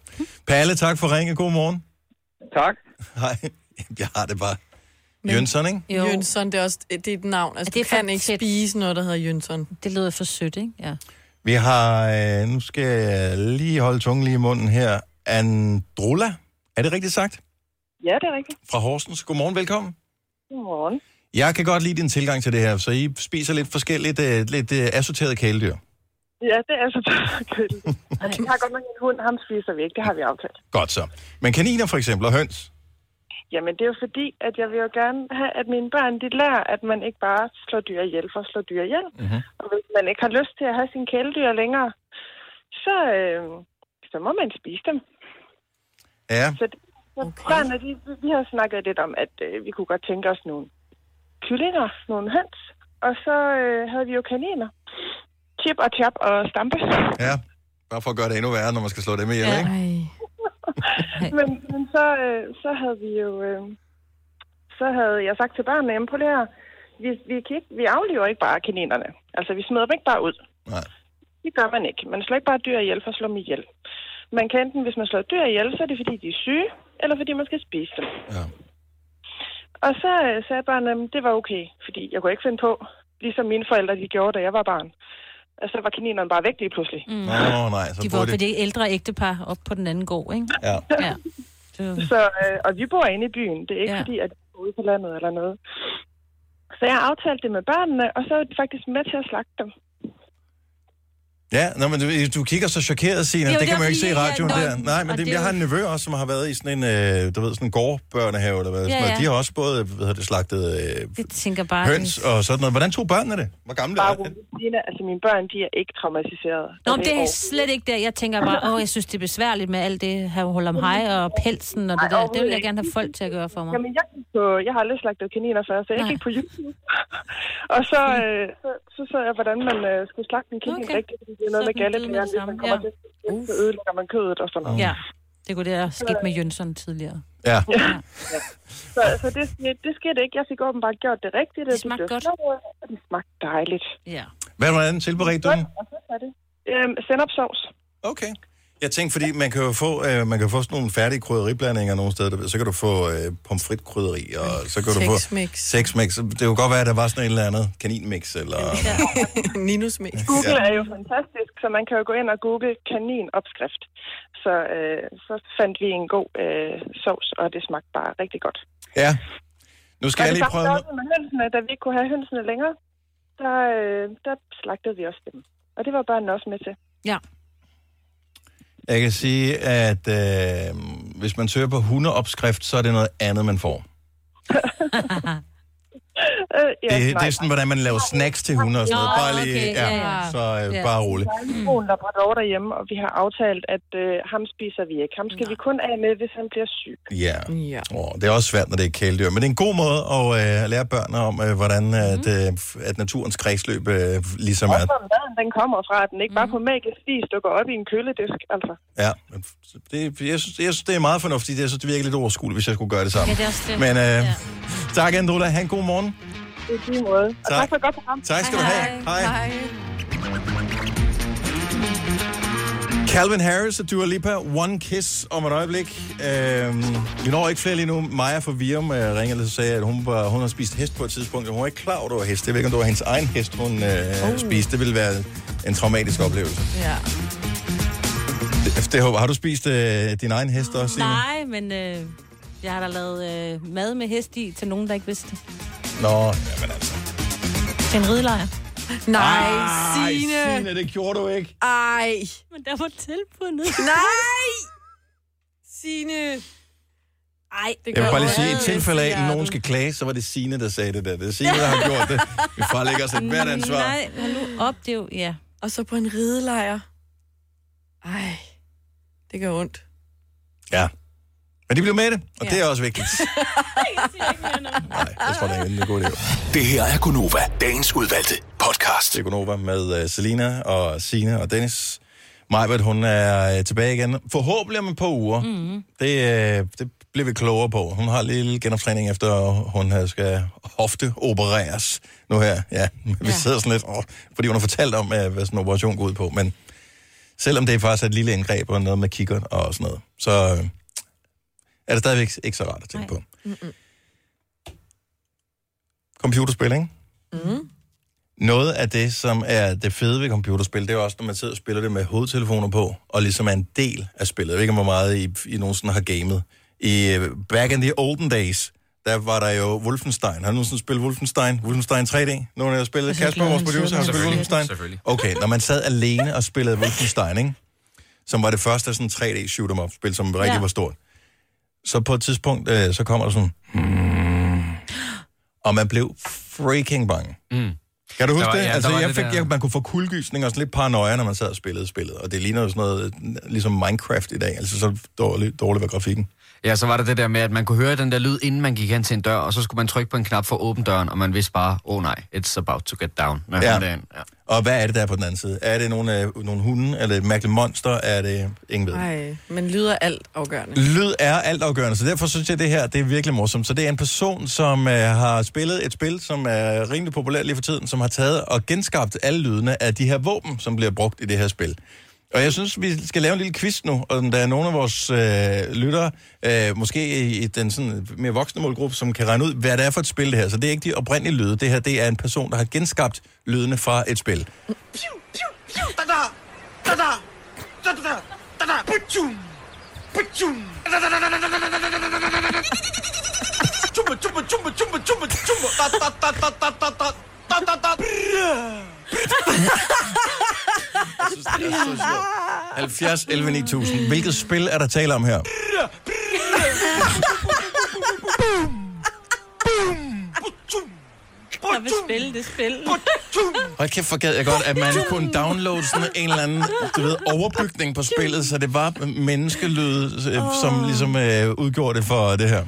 S1: Palle, tak for ringe. God morgen.
S13: Tak.
S1: Hej. Jeg har det bare. Jønsson, ikke?
S3: Jo. Jønsson, det er også det er et navn. Altså,
S2: Ja, det er
S3: du
S2: for
S3: kan ikke spise noget, der hedder Jønsson.
S2: Det lyder for sødt, ikke? Ja.
S1: Vi har, øh, nu skal jeg lige holde tungen lige i munden her. Androla, er det rigtigt sagt?
S18: Ja, det er rigtigt.
S1: Fra Horsens. Godmorgen, velkommen.
S18: Godmorgen.
S1: Jeg kan godt lide din tilgang til det her, så I spiser lidt forskelligt, øh, lidt øh, assorteret kæledyr.
S18: Ja, det er så tørkøligt. Altså, vi har godt nok en hund, ham spiser vi ikke, det har vi aftalt.
S1: Godt så. Men kaniner for eksempel og høns,
S18: Jamen, det er jo fordi, at jeg vil jo gerne have, at mine børn, de lærer, at man ikke bare slår dyr ihjel for at slå dyr ihjel.
S1: Mhm.
S18: Og hvis man ikke har lyst til at have sine kæledyr længere, så, øh, så må man spise dem.
S1: Ja.
S18: Så, det- så okay. børnene, de, vi- vi har snakket lidt om, at øh, vi kunne godt tænke os nogle kyllinger, nogle høns, og så øh, havde vi jo kaniner. Chip og chap og stampe.
S1: ja. Bare for at gøre det endnu værre, når man skal slå dem ihjel, ja. ikke?
S18: men, men så, øh, så havde vi jo... Øh, så havde jeg sagt til børnene, jamen på det her, vi, vi, kan ikke, vi aflever ikke bare kaninerne. Altså, vi smider dem ikke bare ud.
S1: Nej.
S18: Det gør man ikke. Man slår ikke bare dyr ihjel for at slå dem ihjel. Man kan enten, hvis man slår dyr ihjel, så er det fordi, de er syge, eller fordi man skal spise dem.
S1: Ja.
S18: Og så øh, sagde børnene, at det var okay, fordi jeg kunne ikke finde på, ligesom mine forældre, de gjorde, da jeg var barn. Og så var kaninerne bare væk lige pludselig.
S2: Mm.
S1: Nå, nej, så
S2: De
S1: burde
S2: var
S1: det-
S2: på det ældre ægtepar op på den anden gård, ikke?
S1: Ja.
S2: ja.
S18: Så, øh, og vi bor inde i byen. Det er ikke ja. fordi, at vi bor ude på landet eller noget. Så jeg aftalte det med børnene, og så er de faktisk med til at slagte dem.
S1: Ja, nå, men du, du kigger så chokeret, Signe.
S18: Jo,
S1: Det, det
S18: det
S1: kan
S18: var
S1: man jo ikke se i
S18: fordi,
S1: radioen
S18: jeg-
S1: der.
S18: Nå,
S1: Nej, men
S18: og
S1: det,
S18: det er
S1: jeg har en
S18: jo-
S1: nevø også, som har været i sådan en, øh, du ved, sådan en gårdbørnehave, eller hvad.
S2: Ja,
S1: Ja, ja.
S2: ja.
S1: De har også både, hvad hedder det, slagtet øh,
S2: Det tænker bare...
S1: høns og sådan noget. Hvordan tog børnene det? Hvor gamle
S18: Bare
S1: er
S18: roligt, Tina. Altså, mine børn, de er ikke traumatiserede.
S2: Nå, men det er slet ikke der. Jeg tænker bare, åh, jeg synes, det er besværligt med alt det her hul om hej og pelsen og det der. Det vil jeg gerne have folk til at gøre for mig.
S18: Jamen, jeg, gik på, jeg har aldrig slagtet kaniner før, så jeg gik på YouTube. og så, øh, så, så så jeg, hvordan man øh, skulle slagte en kanin
S2: Okay.
S18: okay. rigtigt, fordi det er noget
S2: Så
S18: med
S2: den døde med det
S18: gallepæren, hvis man kommer
S2: samme,
S18: til at så ødelægger man kødet og sådan noget.
S2: Ja, det kunne det have sket med Jønsson tidligere.
S1: Ja.
S18: Så, så det, det skete ikke. Jeg fik åbenbart gjort det rigtigt. Det smagte godt. Og det smagte dejligt.
S2: Ja.
S1: Hvad, hvordan tilberedte du den?
S18: Og så er det. Øhm, sennepsovs.
S1: Okay. Jeg tænkte, fordi man kan jo få, øh, man kan få sådan nogle færdige krydderiblandinger nogle steder. du ved. Så kan du få øh, pomfritkrydderi, og så kan du få...
S3: Tex-Mex.
S1: Tex-Mex. Det kunne godt være, at der var sådan et eller andet kaninmix, eller...
S3: Ninus mest.
S18: Google er jo fantastisk, så man kan jo gå ind og google kaninopskrift. Så, øh, så fandt vi en god øh, sovs, og det smagte bare rigtig godt.
S1: Ja. Nu skal
S18: og
S1: jeg
S18: det
S1: lige
S18: samme
S1: prøve...
S18: gjorde vi med hønsene, da vi ikke kunne have hønsene længere, der, øh, der slagtede vi også dem. Og det var børnene også med til.
S2: Ja.
S1: Jeg kan sige, at øh, hvis man søger på hundeopskrift, så er det noget andet, man får.
S18: Øh, ja,
S1: det, det
S18: nej.
S1: er sådan, hvordan man laver snacks til hunde og sådan noget.
S18: Nå,
S1: Bare lige,
S18: okay, ja, ja.
S1: Så øh, bare roligt.
S18: Der er en brun labrador derhjemme, og vi har aftalt, at øh, ham spiser vi ikke. Ham skal vi kun af med, hvis han bliver syg.
S1: Ja.
S3: ja.
S1: Oh, det er også svært, når det er kæledyr. Men det er en god måde at, øh, at lære børnene om, øh, hvordan at, øh, at naturens kredsløb øh, ligesom er.
S18: Mhm. Også hvor maden den kommer fra, at den ikke
S1: Mm.
S18: bare på magisk vis dukker op i en køledisk. Altså.
S1: Ja. men Det, jeg, synes, jeg synes, det er meget fornuftigt. Jeg synes, det virker lidt overskueligt, hvis jeg skulle gøre det sammen.
S18: Ja, det er også det.
S1: Men øh,
S18: Ja.
S1: tak, Androla. Ha' en god morgen.
S18: Det er din måde. Og
S1: Tak.
S18: tak, for et godt program.
S1: Tak skal du have. Hej. Hej. Calvin Harris og Dua Lipa, One Kiss om et øjeblik. Øhm, vi når ikke flere lige nu. Maja fra Virum øh, ringede og sagde, at hun, var, hun har spist hest på et tidspunkt, og hun var ikke klar over, at det var hest. Jeg ved ikke, om det var hendes egen hest, hun øh,
S3: Oh.
S1: spiste. Det ville være en traumatisk oplevelse.
S3: Ja.
S1: Det, det, håber- har du spist øh, din egen hest også, Signe?
S2: Nej, men øh, jeg har da lavet øh, mad med hest i til nogen, der ikke vidste det.
S1: Nå, jamen altså.
S2: Til en ridelejr.
S3: Nej,
S1: Ej,
S3: Signe.
S1: Signe, det gjorde du ikke.
S3: Ej.
S2: Men der var tilbundet.
S3: Nej! Signe.
S2: Ej, det
S1: Jeg vil bare lige sige, i
S3: ondt
S1: tilfælde af, at
S3: hjertet.
S1: nogen skal klage, så var det Signe, der sagde det der. Det er Signe, der har gjort det. Vi frelægger os et hvert ansvar.
S2: Nej, hold nu op, det er jo... Ja.
S3: Og så på en ridelejr. Ej, det gør ondt.
S1: Ja. Men de blev med det, og det er også vigtigt. Jeg tror, det er en god idé. Det her er Gunova, dagens udvalgte podcast. Det er Gunova med uh, Selina og Sine og Dennis. Majbert, hun er øh, tilbage igen. Forhåbentlig om et par uger. Mm. Det, øh, det bliver vi klogere på. Hun har en lille genoptræning, efter hun øh, skal hofteopereres nu her. Ja, vi ja. sidder sådan lidt, åh, fordi hun har fortalt om, øh, hvad sådan en operation går ud på. Men selvom det faktisk er et lille indgreb og noget med kikkert og sådan noget, så øh, er det stadigvæk ikke så rart at tænke Nej. på.
S15: Mm-mm.
S1: Computerspil, ikke?
S15: Mm.
S1: Noget af det, som er det fede ved computerspil, det er jo også, når man sidder og spiller det med hovedtelefoner på, og ligesom er en del af spillet. Jeg ved ikke, hvor meget I, I nogensinde har gamet. I øh, back in the olden days, der var der jo Wolfenstein. Har du nogensinde spillet Wolfenstein? Wolfenstein 3D? Nogen af jer spillet? Kasper, vores producer, har spillet Wolfenstein? Okay, når man sad alene og spillede Wolfenstein, ikke? som var det første sådan 3D shoot 'em up-spil, som rigtig
S2: Ja.
S1: ja. var stort. Så på et tidspunkt, øh, så kommer der sådan... hmm. Og man blev freaking bange.
S14: Mm.
S1: Kan du
S14: Der
S1: huske
S14: var-
S1: det?
S14: ja, der
S1: altså,
S14: var
S1: jeg
S14: det
S1: fik,
S14: der-
S1: jeg, man kunne få kuldegysning og sådan lidt paranoia, når man sad og spillede spillet. Og det ligner jo sådan noget, øh, ligesom Minecraft i dag. Altså, så dårligt, dårligt var grafikken.
S14: Ja, så var der det der med, at man kunne høre den der lyd, inden man gik hen til en dør, og så skulle man trykke på en knap for at åbne døren, og man vidste bare, åh oh, nej, it's about to get down. Når
S1: Ja.
S14: ja. Derind. ja.
S1: Og hvad er det, der er på den anden side? Er det nogle, øh, nogle hunde? Er det et mærkeligt monster? Er det... Ingen ved. det.
S3: Ej, men lyder alt afgørende.
S1: Lyd er altafgørende, så derfor synes jeg, at det her det er virkelig morsomt. Så det er en person, som øh, har spillet et spil, som er rimelig populært lige for tiden, som har taget og genskabt alle lydene af de her våben, som bliver brugt i det her spil. Og jeg synes, vi skal lave en lille quiz nu, og om der er nogle af vores øh, lyttere, øh, måske i i den sådan mere voksne målgruppe, som kan regne ud, hvad det er for et spil det her. Så det er ikke de oprindelige lyde. Det her det er en person, der har genskabt lydene fra et spil.
S15: Pew, pew, pew. Da-da. Da-da. Da-da-da. Da-da. Putjum. Putjum. Tjumba, tjumba, tjumba, tjumba, tjumba, tjumba. Da, da, da, da, da, da, da. Da, da, da.
S1: Det er så sjovt. 70 11 9000. Hvilket spil er der tale om her?
S2: Jeg vil spille det er spil.
S1: Hold kæft, for gad jeg godt, at man kunne downloade sådan en eller anden du ved, overbygning på spillet, så det var menneskelyd, øh, som ligesom øh, udgjorde det for det her.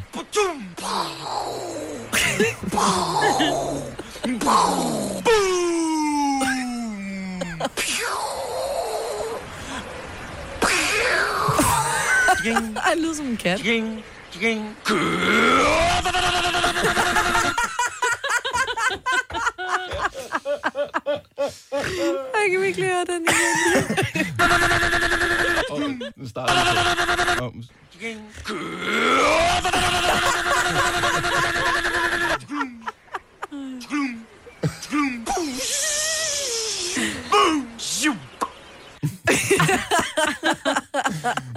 S3: Ej, det lyder som en kat. Jeg kan virkelig høre den igen.
S1: Den starter Om.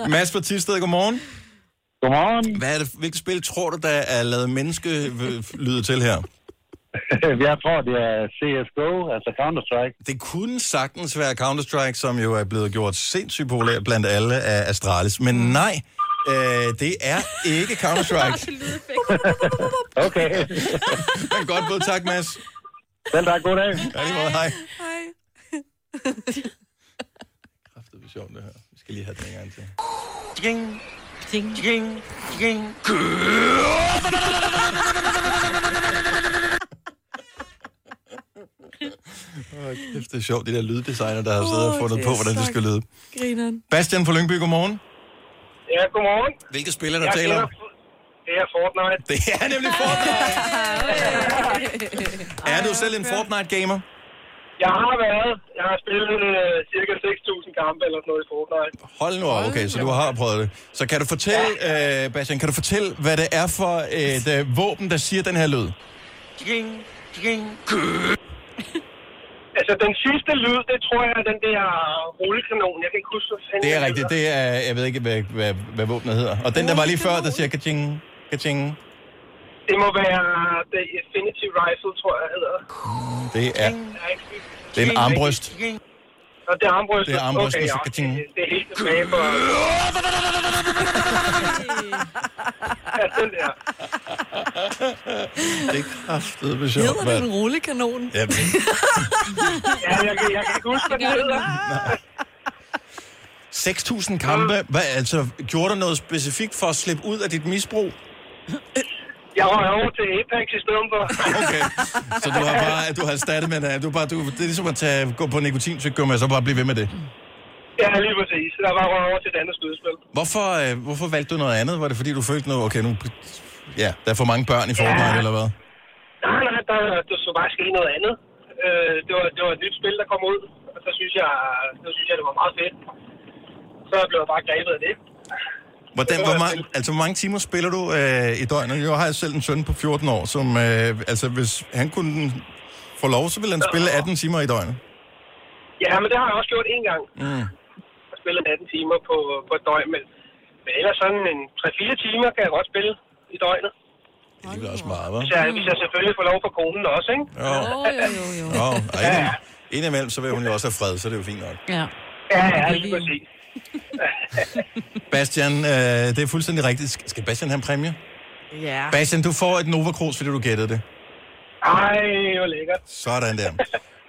S1: Mads fra Tisted, godmorgen. Godmorgen. Hvad er det, hvilket spil tror du, der er lavet menneskelyde til her?
S19: Jeg tror, det er CSGO, altså Counter-Strike.
S1: Det kunne sagtens være Counter-Strike, som jo er blevet gjort sindssygt populært blandt alle af Astralis. Men nej, øh, det er ikke Counter-Strike. okay. Men godt både tak, Mads. Selv tak. God dag. Ja, lige måde. Hej.
S3: Hej.
S1: Det er sjovt, det her. Vi skal lige have den en gang til.
S15: Tjing. Tjing. Tjing. Tjing.
S1: Åh, kæft, det er sjovt, de der lyddesigner, der har siddet og
S15: Åh,
S1: fundet
S15: det
S1: på,
S15: er
S1: hvordan det
S15: så-
S1: skal lyde.
S3: Grineren.
S1: Bastian fra Lyngby, godmorgen.
S19: Ja, godmorgen.
S1: Hvilket spil er der
S19: Jeg
S1: tale om?
S19: Det er Fortnite.
S1: Det er nemlig Fortnite. Er du selv en Fortnite-gamer?
S19: Jeg har været. Jeg har spillet øh, cirka 6.000 kampe eller sådan noget i Fortnite.
S1: Hold nu op, okay, så du har prøvet det. Så kan du fortælle, øh, Bastian, kan du fortælle, hvad det er for et øh, våben, der siger den her lyd?
S19: Tjing, tjing, Altså, den sidste lyd, det tror jeg er den der rullekanon. Jeg kan ikke huske, hvad fanden
S1: Det er
S19: den
S1: rigtigt, det er, jeg ved ikke, hvad, hvad, hvad våbnet hedder. Og den, der var lige før, der siger kaching, kaching.
S19: Det må være The Infinity Rifle, tror jeg, hedder.
S1: Det er, det er en armbryst.
S19: Og det er armbryst.
S1: Det er armbryst
S19: okay,
S1: med
S19: ja,
S1: sådan-
S19: okay, det, det er helt tilbage for... ja, den der.
S1: Det er kraftedeme sjovt.
S3: Hedder det en rullekanon?
S1: Ja, men-
S19: ja jeg, kan- jeg kan ikke huske, hvad den hedder.
S1: 6.000
S19: Mm.
S1: kampe. Hvad, altså, gjorde du noget specifikt for at slippe ud af dit misbrug?
S19: Jeg røg over til Apex i stedet for.
S1: Okay. Så du har bare, du har erstattet med det. Du er bare, du, det er ligesom at tage, gå på nikotintyggegummi, og så bare blive ved med det.
S19: Ja, lige præcis. Der var røg over til et andet skydespil.
S1: Hvorfor, øh, hvorfor valgte du noget andet? Var det fordi, du følte noget, okay, nu, ja, der er for mange børn i forvejen, eller hvad?
S19: Nej, nej, der, der skulle bare ske noget andet. Øh, det, var, det var et nyt spil, der kom ud, og så synes jeg, så synes jeg det var meget fedt. Så blev jeg bare grebet af det.
S1: Hvordan, hvor, mange, altså, hvor mange timer spiller du øh, i døgnet? Jeg har selv en søn på 14 år, som, øh, altså, hvis han kunne få lov, så ville han spille 18 timer i døgnet.
S19: Ja, men det har jeg også gjort en gang.
S1: Mm.
S19: Jeg spillede 18 timer på, på et døgn, men, men ellers sådan en 3-4 timer kan jeg godt spille i døgnet.
S1: Det bliver også meget, hva'?
S19: Hvis jeg, hvis jeg selvfølgelig får lov for konen også, ikke?
S1: Jo. Jo,
S19: jo, jo.
S1: Nå, og ind, indimellem, så vil hun jo også have fred, så det er jo fint nok.
S2: Ja.
S19: Ja, ja, lige præcis.
S1: Bastian, øh, det er fuldstændig rigtigt. Sk- Skal Bastian have en præmie?
S3: Ja.
S1: Bastian, du får et Nova Cruz, fordi du gættede det.
S19: Ej, hvor lækkert.
S1: Sådan der.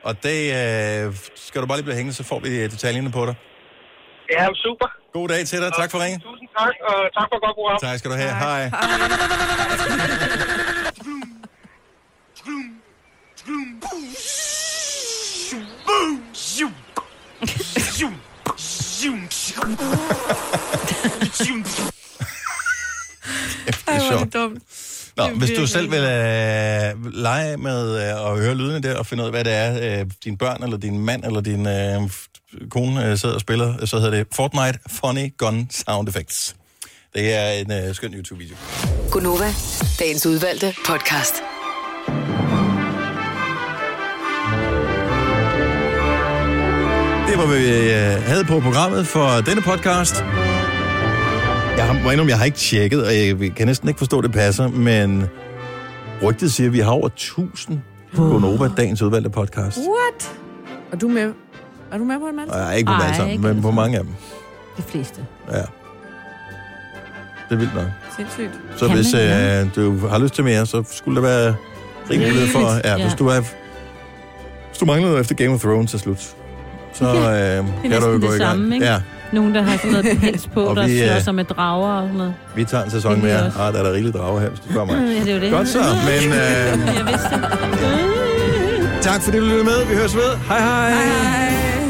S1: Og det øh, skal du bare lige blive hængende, så får vi øh, detaljerne på dig.
S19: Ja, super.
S1: God dag til dig. Tak for ringen.
S19: Tusind tak, og tak for et godt program.
S1: Tak skal du have. Hej.
S3: Ej, hvor er
S1: sjovt.
S3: det dumt.
S1: Nå,
S3: Det er
S1: hvis du
S3: virkelig-
S1: selv vil øh, lege med øh, at høre lydene der, og finde ud af, hvad det er, øh, dine børn, eller din mand, eller din øh, f- kone øh, sidder og spiller, øh, så hedder det Fortnite Funny Gun Sound Effects. Det er en øh, skøn YouTube-video.
S8: Gunova, dagens udvalgte podcast.
S1: Det var, hvad vi øh, havde på programmet for denne podcast. Jeg har, må indrømme, jeg har ikke tjekket, og jeg kan næsten ikke forstå, at det passer, men rygtet siger, at vi har over 1000 på Nova, dagens udvalgte podcast.
S3: What? Er du med? Er du med på en mand?
S1: Og jeg er ikke på dem alle sammen, men på mange af dem.
S2: De fleste.
S1: Ja. Det er vildt nok.
S3: Sindssygt.
S1: Så
S3: Kan
S1: hvis
S3: man, ja.
S1: øh, du har lyst til mere, så skulle der være rig mulighed for... Ja,
S3: Ja.
S1: hvis du er... Hvis du mangler noget efter Game of Thrones til slut, så øh,
S2: Det
S1: kan
S2: er
S1: du jo
S2: næsten
S1: gå i
S2: det samme,
S1: gang.
S2: ikke?
S1: Ja,
S2: Nogen, der har sådan noget pels på,
S1: Og
S2: der
S1: vi, øh,
S2: slår sig med drager og sådan noget.
S1: vi tager en sæson
S2: Det er
S1: mere.
S2: også.
S1: Ah, der er der rigeligt drager her, hvis du spørger mig.
S2: Ja, det er jo det.
S1: Godt så, men øh,
S2: Jeg vidste det.
S1: tak fordi du lyttede med. Vi høres ved. Hej hej. hej, hej.